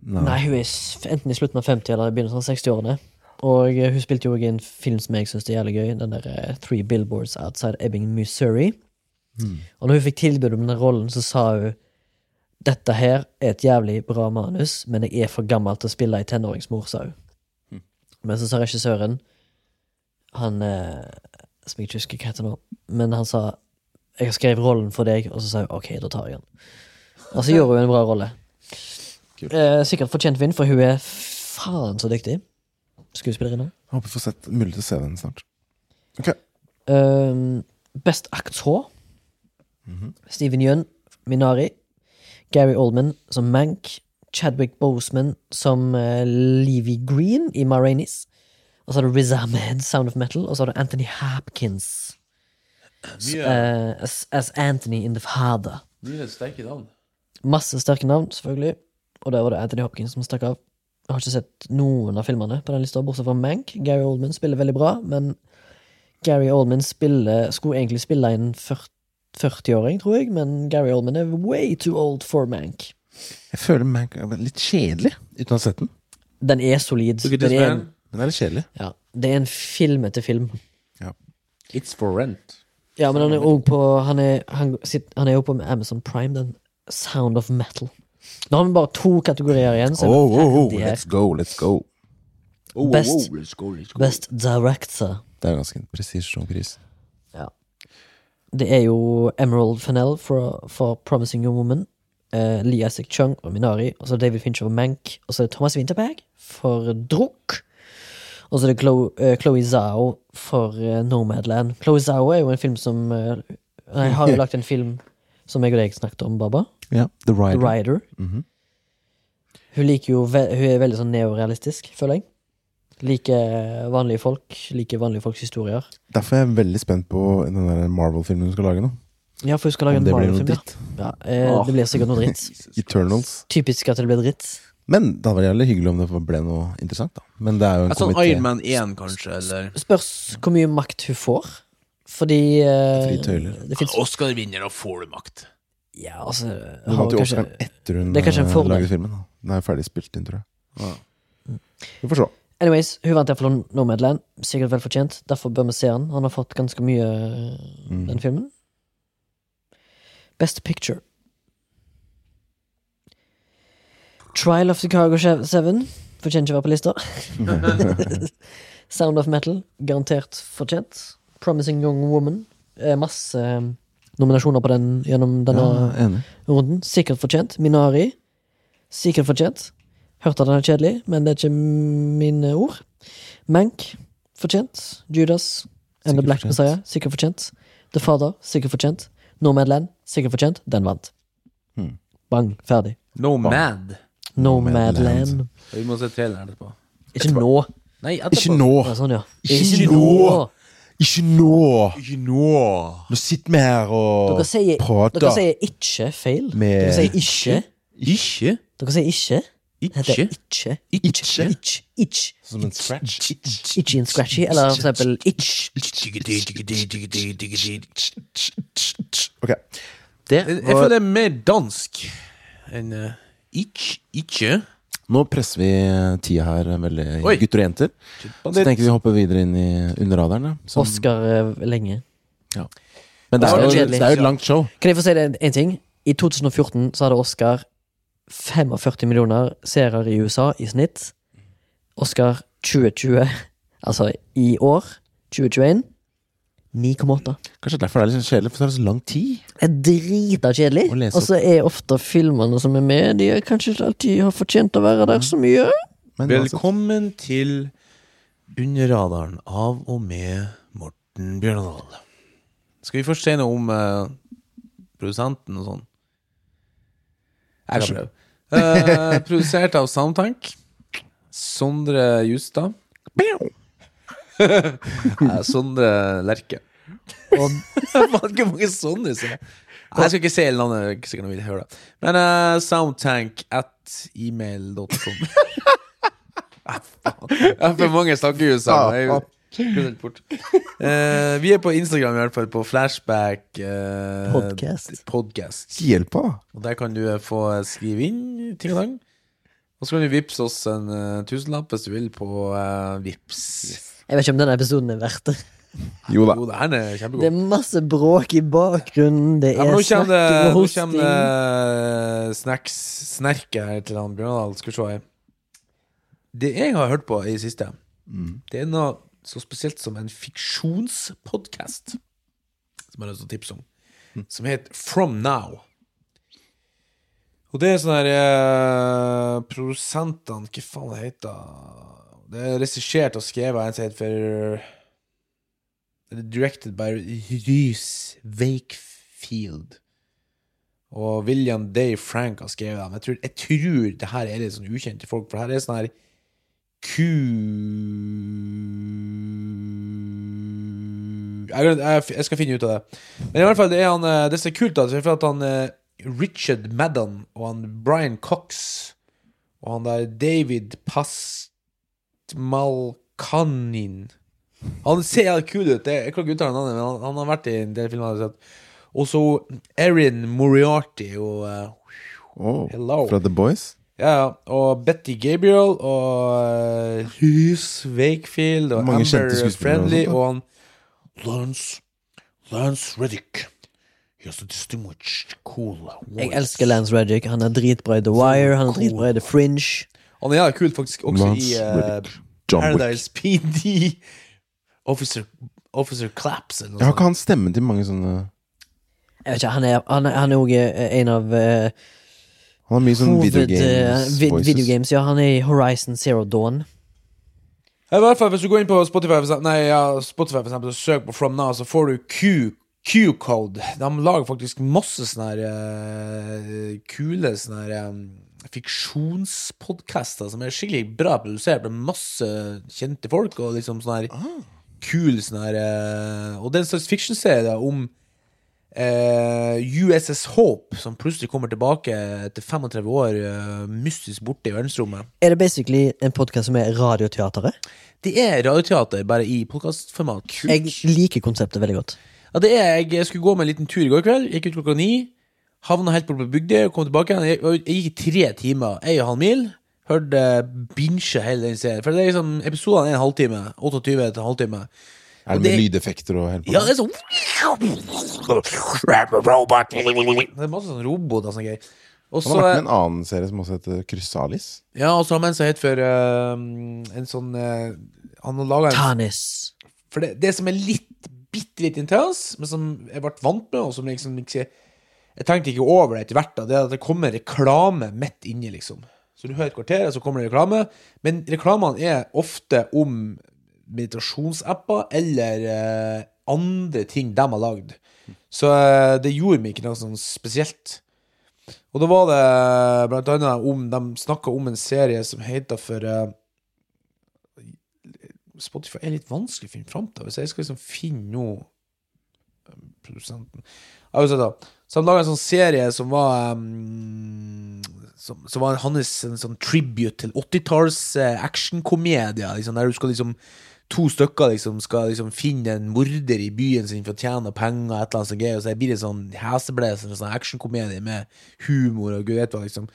[SPEAKER 1] Nei, hun er s- enten i slutten av 50 eller i begynnelsen av 60-årene. Og eh, hun spilte jo også i en film som jeg syns er jævlig gøy, den der eh, Three Billboards Outside Ebbing, Missouri. Og når hun fikk tilbud om den rollen, så sa hun dette her er et jævlig bra manus, men jeg er for gammel til å spille ei tenåringsmor, sa hun. Men så sa regissøren, han eh, som jeg ikke husker hva heter nå, men han sa jeg har skrevet rollen for deg, og så sa hun ok, da tar jeg den. Og så gjorde hun en bra rolle. Eh, sikkert fortjent vinn, for hun er faen så dyktig skuespillerinne.
[SPEAKER 3] Jeg Håper vi får sett mulig til å se den snart. Ok,
[SPEAKER 1] Um, best aktør
[SPEAKER 2] Mhm.
[SPEAKER 1] Steven Yeun, Minari. Gary Oldman som Mank. Chadwick Boseman som eh, Levy Green i Ma Rainey's. Og så har du Riz Ahmed, Sound of Metal. Og så har du Anthony Hopkins s- eh, as, as Anthony in The Father.
[SPEAKER 2] Mye sterke navn.
[SPEAKER 1] Masse sterke navn, selvfølgelig. Og der var det Anthony Hopkins som stakk av. Jeg har ikke sett noen av filmene på den lista, bortsett fra Mank. Gary Oldman spiller veldig bra, men Gary Oldman spiller, skulle egentlig spille en 40 40-åring, tror jeg, men Gary Oldman er way too old for Mank.
[SPEAKER 3] Jeg føler Mank er litt kjedelig uten å ha sett den.
[SPEAKER 1] Den er solid.
[SPEAKER 2] Look at this
[SPEAKER 1] Den er en,
[SPEAKER 2] man.
[SPEAKER 3] Den er litt kjedelig.
[SPEAKER 1] ja, det er en film etter film.
[SPEAKER 2] It's for rent.
[SPEAKER 1] Ja, men han er òg på Han er, han, sitt, han er jo på Amazon Prime, den Sound of Metal. Nå har vi bare to kategorier igjen, så
[SPEAKER 3] Oh, oh, oh,
[SPEAKER 1] ferdig her.
[SPEAKER 3] let's go, let's go.
[SPEAKER 1] Best, best Director.
[SPEAKER 3] Det er ganske en prestisjetung pris.
[SPEAKER 1] Det er jo Emerald Fennell for, for Promising Young Woman. eh, Lee Isaac Chung og Minari. Og så er det David Fincher og Mank. Og så er det Thomas Winterberg for Druk. Og så er det Chloe, Chloé Zhao for eh, Nomadland. Chloé Zhao er jo en film som eh, Jeg har jo lagt en film som jeg og deg snakket om, Baba.
[SPEAKER 3] Ja, The
[SPEAKER 1] The
[SPEAKER 3] Rider.
[SPEAKER 1] Rider.
[SPEAKER 3] Mhm.
[SPEAKER 1] Hun liker jo ve Hun er veldig sånn neorealistisk, føler jeg. Liker vanlige folk. Liker vanlige folks historier.
[SPEAKER 3] Derfor er jeg veldig spent på den der Marvel-filmen du skal lage nå.
[SPEAKER 1] Ja, for hun skal lage
[SPEAKER 3] Om
[SPEAKER 1] en
[SPEAKER 3] det blir noe
[SPEAKER 1] Marvel-film. Ja.
[SPEAKER 3] dritt.
[SPEAKER 1] Ja, eh,
[SPEAKER 2] Åh.
[SPEAKER 1] Det blir sikkert noe dritt.
[SPEAKER 3] Eternals.
[SPEAKER 1] Typisk at det blir dritt.
[SPEAKER 3] Men det hadde vært jævlig hyggelig om det ble noe interessant, da. Men det er jo en
[SPEAKER 1] Altså,
[SPEAKER 2] Sånn
[SPEAKER 3] komité.
[SPEAKER 2] Iron Man 1, kanskje, eller
[SPEAKER 1] Spørs hvor mye makt hun får. Fordi eh,
[SPEAKER 3] Fri tøyler.
[SPEAKER 1] Det fins
[SPEAKER 2] Oscar-vinner, da får du makt.
[SPEAKER 1] Ja, altså
[SPEAKER 3] Hun
[SPEAKER 1] har
[SPEAKER 3] vant jo
[SPEAKER 1] kanskje,
[SPEAKER 3] Oscaren etter hun
[SPEAKER 1] Det er kanskje en
[SPEAKER 3] eh,
[SPEAKER 1] fordel.
[SPEAKER 3] lagde filmen. da Den er jo ferdig spilt inn, tror jeg. Vi får se.
[SPEAKER 1] Anyways, hun vant iallfall Nomadland. Sikkert vel fortjent. Derfor bør vi se han. Han har fått ganske mye, eh,
[SPEAKER 3] Mm.
[SPEAKER 1] den filmen. Best Picture. Trial of Chicago She- Seven. Fortjener ikke å være på lista. Sound of Metal. Garantert fortjent. Promising Young Woman. Eh, masse eh, nominasjoner på den gjennom denne
[SPEAKER 3] enig.
[SPEAKER 1] runden. Sikkert fortjent. Minari. Sikkert fortjent. Hørte at den er kjedelig, men det er ikke mine ord. Mank. Fortjent. Judas and
[SPEAKER 3] Sikkert
[SPEAKER 1] the Black
[SPEAKER 3] fortjent.
[SPEAKER 1] Messiah. Sikkert fortjent. The Father. Sikkert fortjent. Nomadland. Sikkert fortjent. Den vant.
[SPEAKER 3] Hmm.
[SPEAKER 1] Bang. Ferdig.
[SPEAKER 2] Nomad.
[SPEAKER 1] Nomadland.
[SPEAKER 2] Vi må se traileren etterpå.
[SPEAKER 1] Ikke nå.
[SPEAKER 2] Nei,
[SPEAKER 3] Ikke
[SPEAKER 2] etterpå.
[SPEAKER 3] nå!
[SPEAKER 1] Ja, sånn, ja.
[SPEAKER 3] Ikke nå. Ikke nå!
[SPEAKER 2] Ikke nå.
[SPEAKER 3] Nå sitter vi her og
[SPEAKER 1] Dere sier,
[SPEAKER 3] prater.
[SPEAKER 1] dere sier ikke feil.
[SPEAKER 3] Med-
[SPEAKER 1] Dere sier ikke.
[SPEAKER 2] Ikke?
[SPEAKER 1] Dere sier ikke. Det heter
[SPEAKER 2] Ikke?
[SPEAKER 1] ikke.
[SPEAKER 3] Ikke.
[SPEAKER 1] Itch. Itch.
[SPEAKER 3] Som en scratch.
[SPEAKER 1] Itchy and scratchy. Eller for eksempel itch.
[SPEAKER 3] Ok.
[SPEAKER 2] Det, jeg føler det er mer dansk enn eh, ikke. Ikke.
[SPEAKER 3] Nå presser vi tida her veldig,
[SPEAKER 2] Oi.
[SPEAKER 3] gutter og jenter. Så tenker vi hopper videre inn i under radaren. ja. Som-
[SPEAKER 1] Oscar eh, lenge.
[SPEAKER 3] Men det er, jo,
[SPEAKER 1] Oscar er
[SPEAKER 3] det er jo et langt show.
[SPEAKER 1] Kan jeg få si det en- en ting? I 2014 så hadde Oscar 45 millioner seere i USA i snitt. Oscar 2020, altså i år, 2021, 9,8.
[SPEAKER 3] Kanskje derfor det er litt sånn kjedelig, for det er så lang tid.
[SPEAKER 1] er drita kjedelig.
[SPEAKER 3] Å lese
[SPEAKER 1] Og så er ofte filmene som er med, de er kanskje ikke alltid har fortjent å være der så mye.
[SPEAKER 3] Men uansett,
[SPEAKER 2] Velkommen til Under radaren av og med Morten Bjørndal. Skal vi først si noe om eh, produsenten og sånn? Jeg kan prøve. Eh, produsert av Soundtank. Sondre Justad. Eh, Sondre Lerche. Og Faen, hvor mange Sondre som er Nei, Jeg skal ikke si hele navnet, det er ikke sikkert noen vil høre det. Men eh, soundtank at email.com. Jeg har Ah, for mange snakkehus her. men jeg- kunne ikke bort. Eh, vi er på Instagram i hvert fall, på Flashback eh,
[SPEAKER 1] Podcast.
[SPEAKER 2] podcast.
[SPEAKER 3] altså, hjelp da.
[SPEAKER 2] Og der kan du eh, få skrive inn ting og tang. Og så kan du vippse oss en eh, tusenlapp hvis du vil på uh, Vips.
[SPEAKER 1] Jeg vet ikke om denne episoden er verdt det.
[SPEAKER 3] Jo da.
[SPEAKER 2] Jo, det her er
[SPEAKER 1] Det
[SPEAKER 2] kjempegod.
[SPEAKER 1] er masse bråk i bakgrunnen, det
[SPEAKER 2] Ja,
[SPEAKER 1] er
[SPEAKER 2] men nå kommer det,
[SPEAKER 1] snakking og
[SPEAKER 2] nå
[SPEAKER 1] hosting.
[SPEAKER 2] kommer det eh, snacks, snerke her til han Bjørndal. Skal vi se her. Det jeg har hørt på i det siste, det er noe så spesielt som en fiksjonspodkast som jeg har lyst til å tipse om, som heter From Now. Og det er sånn her eh, Produsentene Hva faen det heter Det er regissert og skrevet av en som heter for Directed by Rhys Wakefield. Og William Day Frank har skrevet dem. Jeg tror, jeg tror det her er litt sånn ukjente folk, for det her er sånn her Ku... Jeg, glemte- jeg, jeg skal finne ut av det. Men i hvert fall, det er han eh, Det som er kult, da, det er for at han eh, Richard Madden og han Brian Cox og han der David Pastmalkanin han ser helt kul ut. Jeg, jeg kan ikke uttale navnet, men han, han har vært i en del filmer. jeg har sett. Og så Erin Moriarty og eh,
[SPEAKER 3] Åh,
[SPEAKER 2] Hello.
[SPEAKER 3] Fra The Boys.
[SPEAKER 2] ja, ja, og Betty Gabriel og eh, Hughes Wakefield og
[SPEAKER 3] Mange kjente
[SPEAKER 2] Amber
[SPEAKER 3] skuespillere og
[SPEAKER 2] Friendly
[SPEAKER 3] sånt, da.
[SPEAKER 2] og han Lance Lance Reddick. He has a distinguished cool
[SPEAKER 1] Jeg
[SPEAKER 2] voice.
[SPEAKER 1] elsker Lance Reddick. Han er dritbra i The Wire, han er dritbra i The Fringe.
[SPEAKER 2] Han er jævla kul faktisk også
[SPEAKER 3] Lance
[SPEAKER 2] i eh,
[SPEAKER 3] Reddick. John Wick.
[SPEAKER 2] Paradise PD. Officer, Officer sånn. Claps eller noe
[SPEAKER 3] Jeg har
[SPEAKER 2] sånt.
[SPEAKER 3] ikke han stemmen til mange sånne
[SPEAKER 1] Jeg vet ikke, Han er, han er, han er også eh, en av eh,
[SPEAKER 3] Han har mye sånn
[SPEAKER 1] hoved... eh, vid-
[SPEAKER 3] videogames-voices.
[SPEAKER 1] videogames, ja. Han er i Horizon Zero Dawn.
[SPEAKER 2] Ja, I hvert fall Hvis du går inn på Spotify for eksempel, Nei, ja, Spotify for eksempel, og søker på From Now, så får du Q. Q-code. De lager faktisk masse sånne her, eh, kule sånne her, eh, fiksjonspodkaster som er skikkelig bra produsert med masse kjente folk. Og liksom sånne her kul sånn her eh, Og det er en slags fiction-serie da, om eh, USS Hope, som plutselig kommer tilbake etter 35 år, eh, mystisk borte i verdensrommet.
[SPEAKER 1] Er det basically en podkast som er radioteateret?
[SPEAKER 2] Det er radioteater, bare i podkastformat.
[SPEAKER 1] Jeg liker konseptet veldig godt.
[SPEAKER 2] Ja, det er jeg. Jeg skulle gå med en liten tur i går kveld. Gikk ut klokka ni. Havna helt borte på Bygdøy og kom tilbake igjen. Jeg, og jeg gikk i tre timer, ei og en halv mil. Hørte binche hele den serien. For det er liksom, episodene er en halvtime. 28 til en halvtime.
[SPEAKER 3] Er det med lydeffekter og helt på?
[SPEAKER 2] Ja, det er sånn Det er masse sånn roboter og sånn greier. Og
[SPEAKER 3] Han har
[SPEAKER 2] så- eh,
[SPEAKER 3] vært med i en annen serie som også heter Krysalis.
[SPEAKER 2] Ja, og så har man en som heter for eh, En sånn eh, Han har laga en
[SPEAKER 1] Tanis.
[SPEAKER 2] For det, det som er litt bitte litt intens, men som jeg ble vant med, og som liksom ikke Jeg tenkte ikke over det etter hvert, da. Det er at det kommer reklame midt inni, liksom. Så du hører et kvarter, og så kommer det reklame. Men reklamene er ofte om meditasjonsapper eller eh, andre ting de har lagd. Så eh, det gjorde meg ikke noe sånn spesielt. Og da var det blant annet om De snakka om en serie som heter for eh, Spotify er litt vanskelig å finne fram til. Hvis jeg skal liksom finne noe um, Produsenten Ja, uansett da. Så han laga en sånn serie som var um, som, som var hans en sånn tribute til 80-talls uh, actionkomedier. Liksom, der du skal liksom To stykker liksom skal liksom finne en morder i byen sin for å tjene penger, et eller annet sånt gøy, og så blir det sånn heseblesende sånn actionkomedie med humor og gud vet hva, liksom.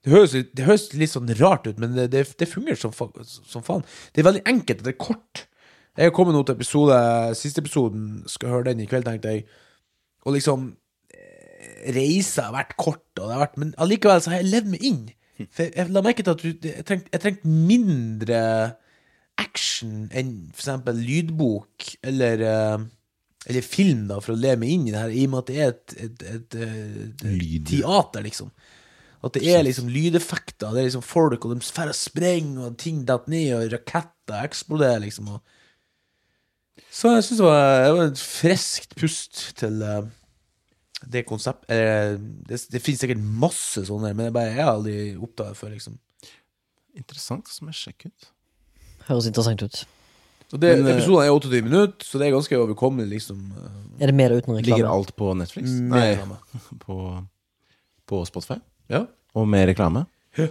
[SPEAKER 2] Det høres, litt- det høres litt sånn rart ut, men det, det, det fungerer som, fa som faen. Det er veldig enkelt, og det er kort. Jeg kommer nå til episode, siste episoden, skal høre den i kveld, tenkte jeg. Og liksom, eh, reisa har vært kort, og det har vært, men allikevel så har jeg levd meg inn. For jeg, jeg la merke til at du, det- jeg trengte jeg trengte mindre action enn for eksempel lydbok, eller... eh, eller film, da, for å leve meg inn i det her, i og med at det er et, et, et, eh, et, et teater, liksom. At det er liksom lydeffekter, det er liksom folk, og de drar og sprenger, og ting detter ned, og raketter eksploderer, liksom. Og... Så jeg syns det, var- det var et friskt pust til eh, det konsept... Eller, det, det finnes sikkert masse sånne, men jeg bare jeg har aldri oppdaget det før, liksom.
[SPEAKER 3] Interessant, så må jeg sjekke ut.
[SPEAKER 1] Høres interessant ut.
[SPEAKER 2] Så det,
[SPEAKER 3] Men, eh,
[SPEAKER 2] Episoden er 28 minutter, så det er ganske overkommelig, liksom.
[SPEAKER 1] Er det med eller uten
[SPEAKER 3] Ligger
[SPEAKER 1] reklame?
[SPEAKER 3] alt på Netflix?
[SPEAKER 2] Med reklame.
[SPEAKER 3] Nei, på, på Spotify?
[SPEAKER 2] Ja.
[SPEAKER 3] Og med reklame?
[SPEAKER 2] Ja.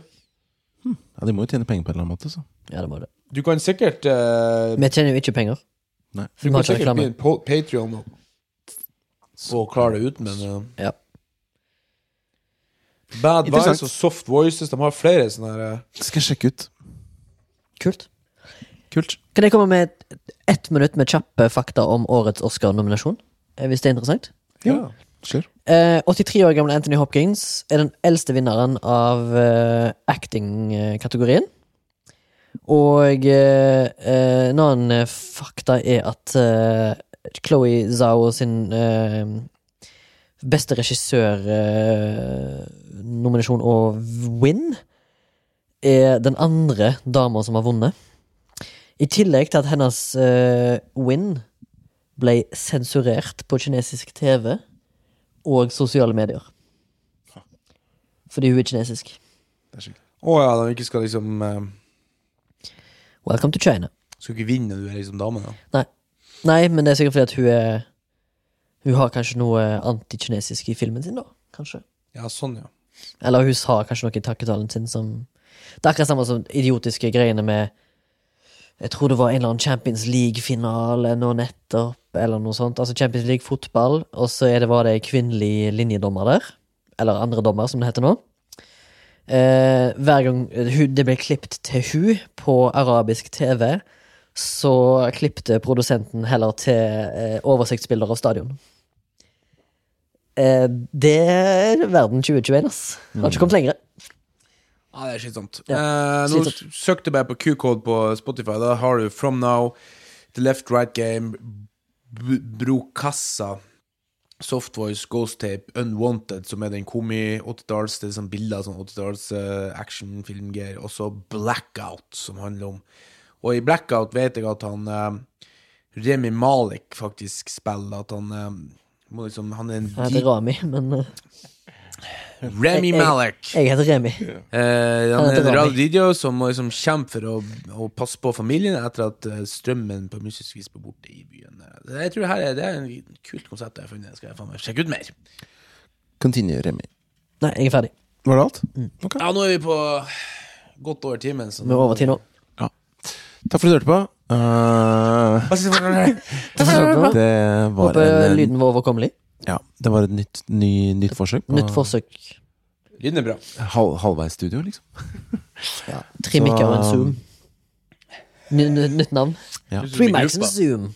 [SPEAKER 3] Hm. Ja, de må jo tjene penger på en eller annen måte, så.
[SPEAKER 1] Ja, det må det.
[SPEAKER 2] Du kan sikkert eh,
[SPEAKER 1] Vi tjener jo ikke penger.
[SPEAKER 3] Nei.
[SPEAKER 1] Vi
[SPEAKER 2] Du
[SPEAKER 1] må
[SPEAKER 2] kan
[SPEAKER 1] ikke
[SPEAKER 2] sikkert
[SPEAKER 1] reklame.
[SPEAKER 2] bli en Patrion og, og klare det ut, men eh,
[SPEAKER 1] Ja.
[SPEAKER 2] Bad
[SPEAKER 3] Interessant.
[SPEAKER 2] Vibes og Soft Voices De har flere sånne her eh,
[SPEAKER 3] Det skal jeg sjekke ut.
[SPEAKER 1] Kult.
[SPEAKER 3] Kult.
[SPEAKER 1] Kan jeg komme med et- ett minutt med kjappe fakta om årets Oscar-nominasjon? eh, Hvis det er interessant?
[SPEAKER 3] Ja. Kjør.
[SPEAKER 1] Eh, 83 år gamle Anthony Hopkins er den eldste vinneren av eh, acting-kategorien. Og eh, eh, en annen eh, fakta er at eh, Chloé Zhao sin eh, beste regissørnominasjon og win er den andre dama som har vunnet. I tillegg til at hennes eh, win ble sensurert på kinesisk TV og sosiale medier. Fordi hun er kinesisk.
[SPEAKER 2] Å ja, de ikke skal liksom eh,
[SPEAKER 1] Welcome to China.
[SPEAKER 2] Skal ikke vinne når du er liksom dame, da.
[SPEAKER 1] Nei. Nei, men det er sikkert fordi at hun er Hun har kanskje noe antikinesisk i filmen sin, da. Kanskje.
[SPEAKER 2] Ja, sånn, ja.
[SPEAKER 1] Eller hun sa kanskje noe i takketalen sin som Det er akkurat samme som idiotiske greiene med Jeg tror det var en eller annen Champions League-finale nå nettopp, eller noe sånt. Altså Champions League-fotball, og så er det, var det en kvinnelig linjedommer der. Eller andre dommer, som det heter nå. Eh, hver gang hun, det ble klippt til hun på arabisk TV, så klippte produsenten heller til eh, oversiktsbilder av stadion. Eh, det er verden 2021, ass. Har ikke kommet lenger.
[SPEAKER 2] Ja, Ah, det er slitsomt. Eh, nå
[SPEAKER 1] slitsomt.
[SPEAKER 2] søkte jeg bare på Q-code på Spotify. Da har du From Now, The Left Right Game, B- Brokassa, Soft Voice, Ghost Tape, Unwanted, som er den komi 80-talls, det er sånn bilder av sånn 80-talls eh, actionfilmgreier, og så Blackout, som handler om Og i Blackout vet jeg at han eh, Remi Malik faktisk spiller, at han eh, må liksom Han er en
[SPEAKER 1] Jeg heter Rami, men eh,
[SPEAKER 2] Remi
[SPEAKER 1] Jeg- jeg-
[SPEAKER 2] Malik!
[SPEAKER 1] jeg heter Remi.
[SPEAKER 2] Eh, han er
[SPEAKER 1] heter Rami.
[SPEAKER 2] en rar video som må liksom kjempe for å, å passe på familien etter at eh, strømmen på mystisk vis ble borte i byen. Eh, Jeg tror det her er, det er en kult konsept jeg har funnet. Skal jeg faen meg sjekke ut mer?
[SPEAKER 3] Continue, Remi.
[SPEAKER 1] Nei, jeg er ferdig.
[SPEAKER 3] Var det alt? Ok.
[SPEAKER 2] Ja, nå er vi på godt over timen. Så
[SPEAKER 1] Vi er over tid nå.
[SPEAKER 3] Ja. Takk for at du hørte på. Eh, det var
[SPEAKER 1] Håper
[SPEAKER 3] en,
[SPEAKER 1] lyden var overkommelig.
[SPEAKER 3] ja, det var et nytt, ny, nytt forsøk. på-
[SPEAKER 1] Nytt forsøk.
[SPEAKER 2] Lyden er bra.
[SPEAKER 3] Halv, halvveis studio, liksom.
[SPEAKER 1] Tre mikker og en zoom. Ny- ny- Nytt navn.
[SPEAKER 3] Ja.
[SPEAKER 1] Three mics and zoom.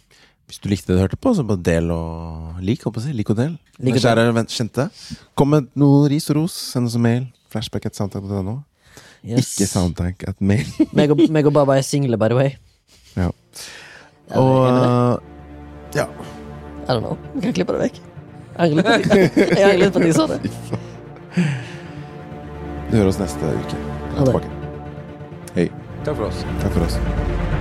[SPEAKER 3] Hvis du likte det du hørte på, så bare del og lik. Håper jeg. å si. Lik og del.
[SPEAKER 1] Lik og
[SPEAKER 3] Kjære venn- kjente. Kom med noe ris og ros. Send oss en mail. Flashback at soundtank.no.
[SPEAKER 1] Yes.
[SPEAKER 3] Ikke soundtank at mail.
[SPEAKER 1] Meg og, meg og Baba er single, by the way.
[SPEAKER 3] ja.
[SPEAKER 1] det er
[SPEAKER 3] Og ja.
[SPEAKER 1] I don't know. Vi kan klippe det vekk. Jeg angrer litt på at jeg- jeg angrer litt på at jeg sa det.
[SPEAKER 3] Vi hører oss neste uke.
[SPEAKER 1] Ha det.
[SPEAKER 3] Tilbake. Hei.
[SPEAKER 4] Takk for oss.
[SPEAKER 3] Takk for oss.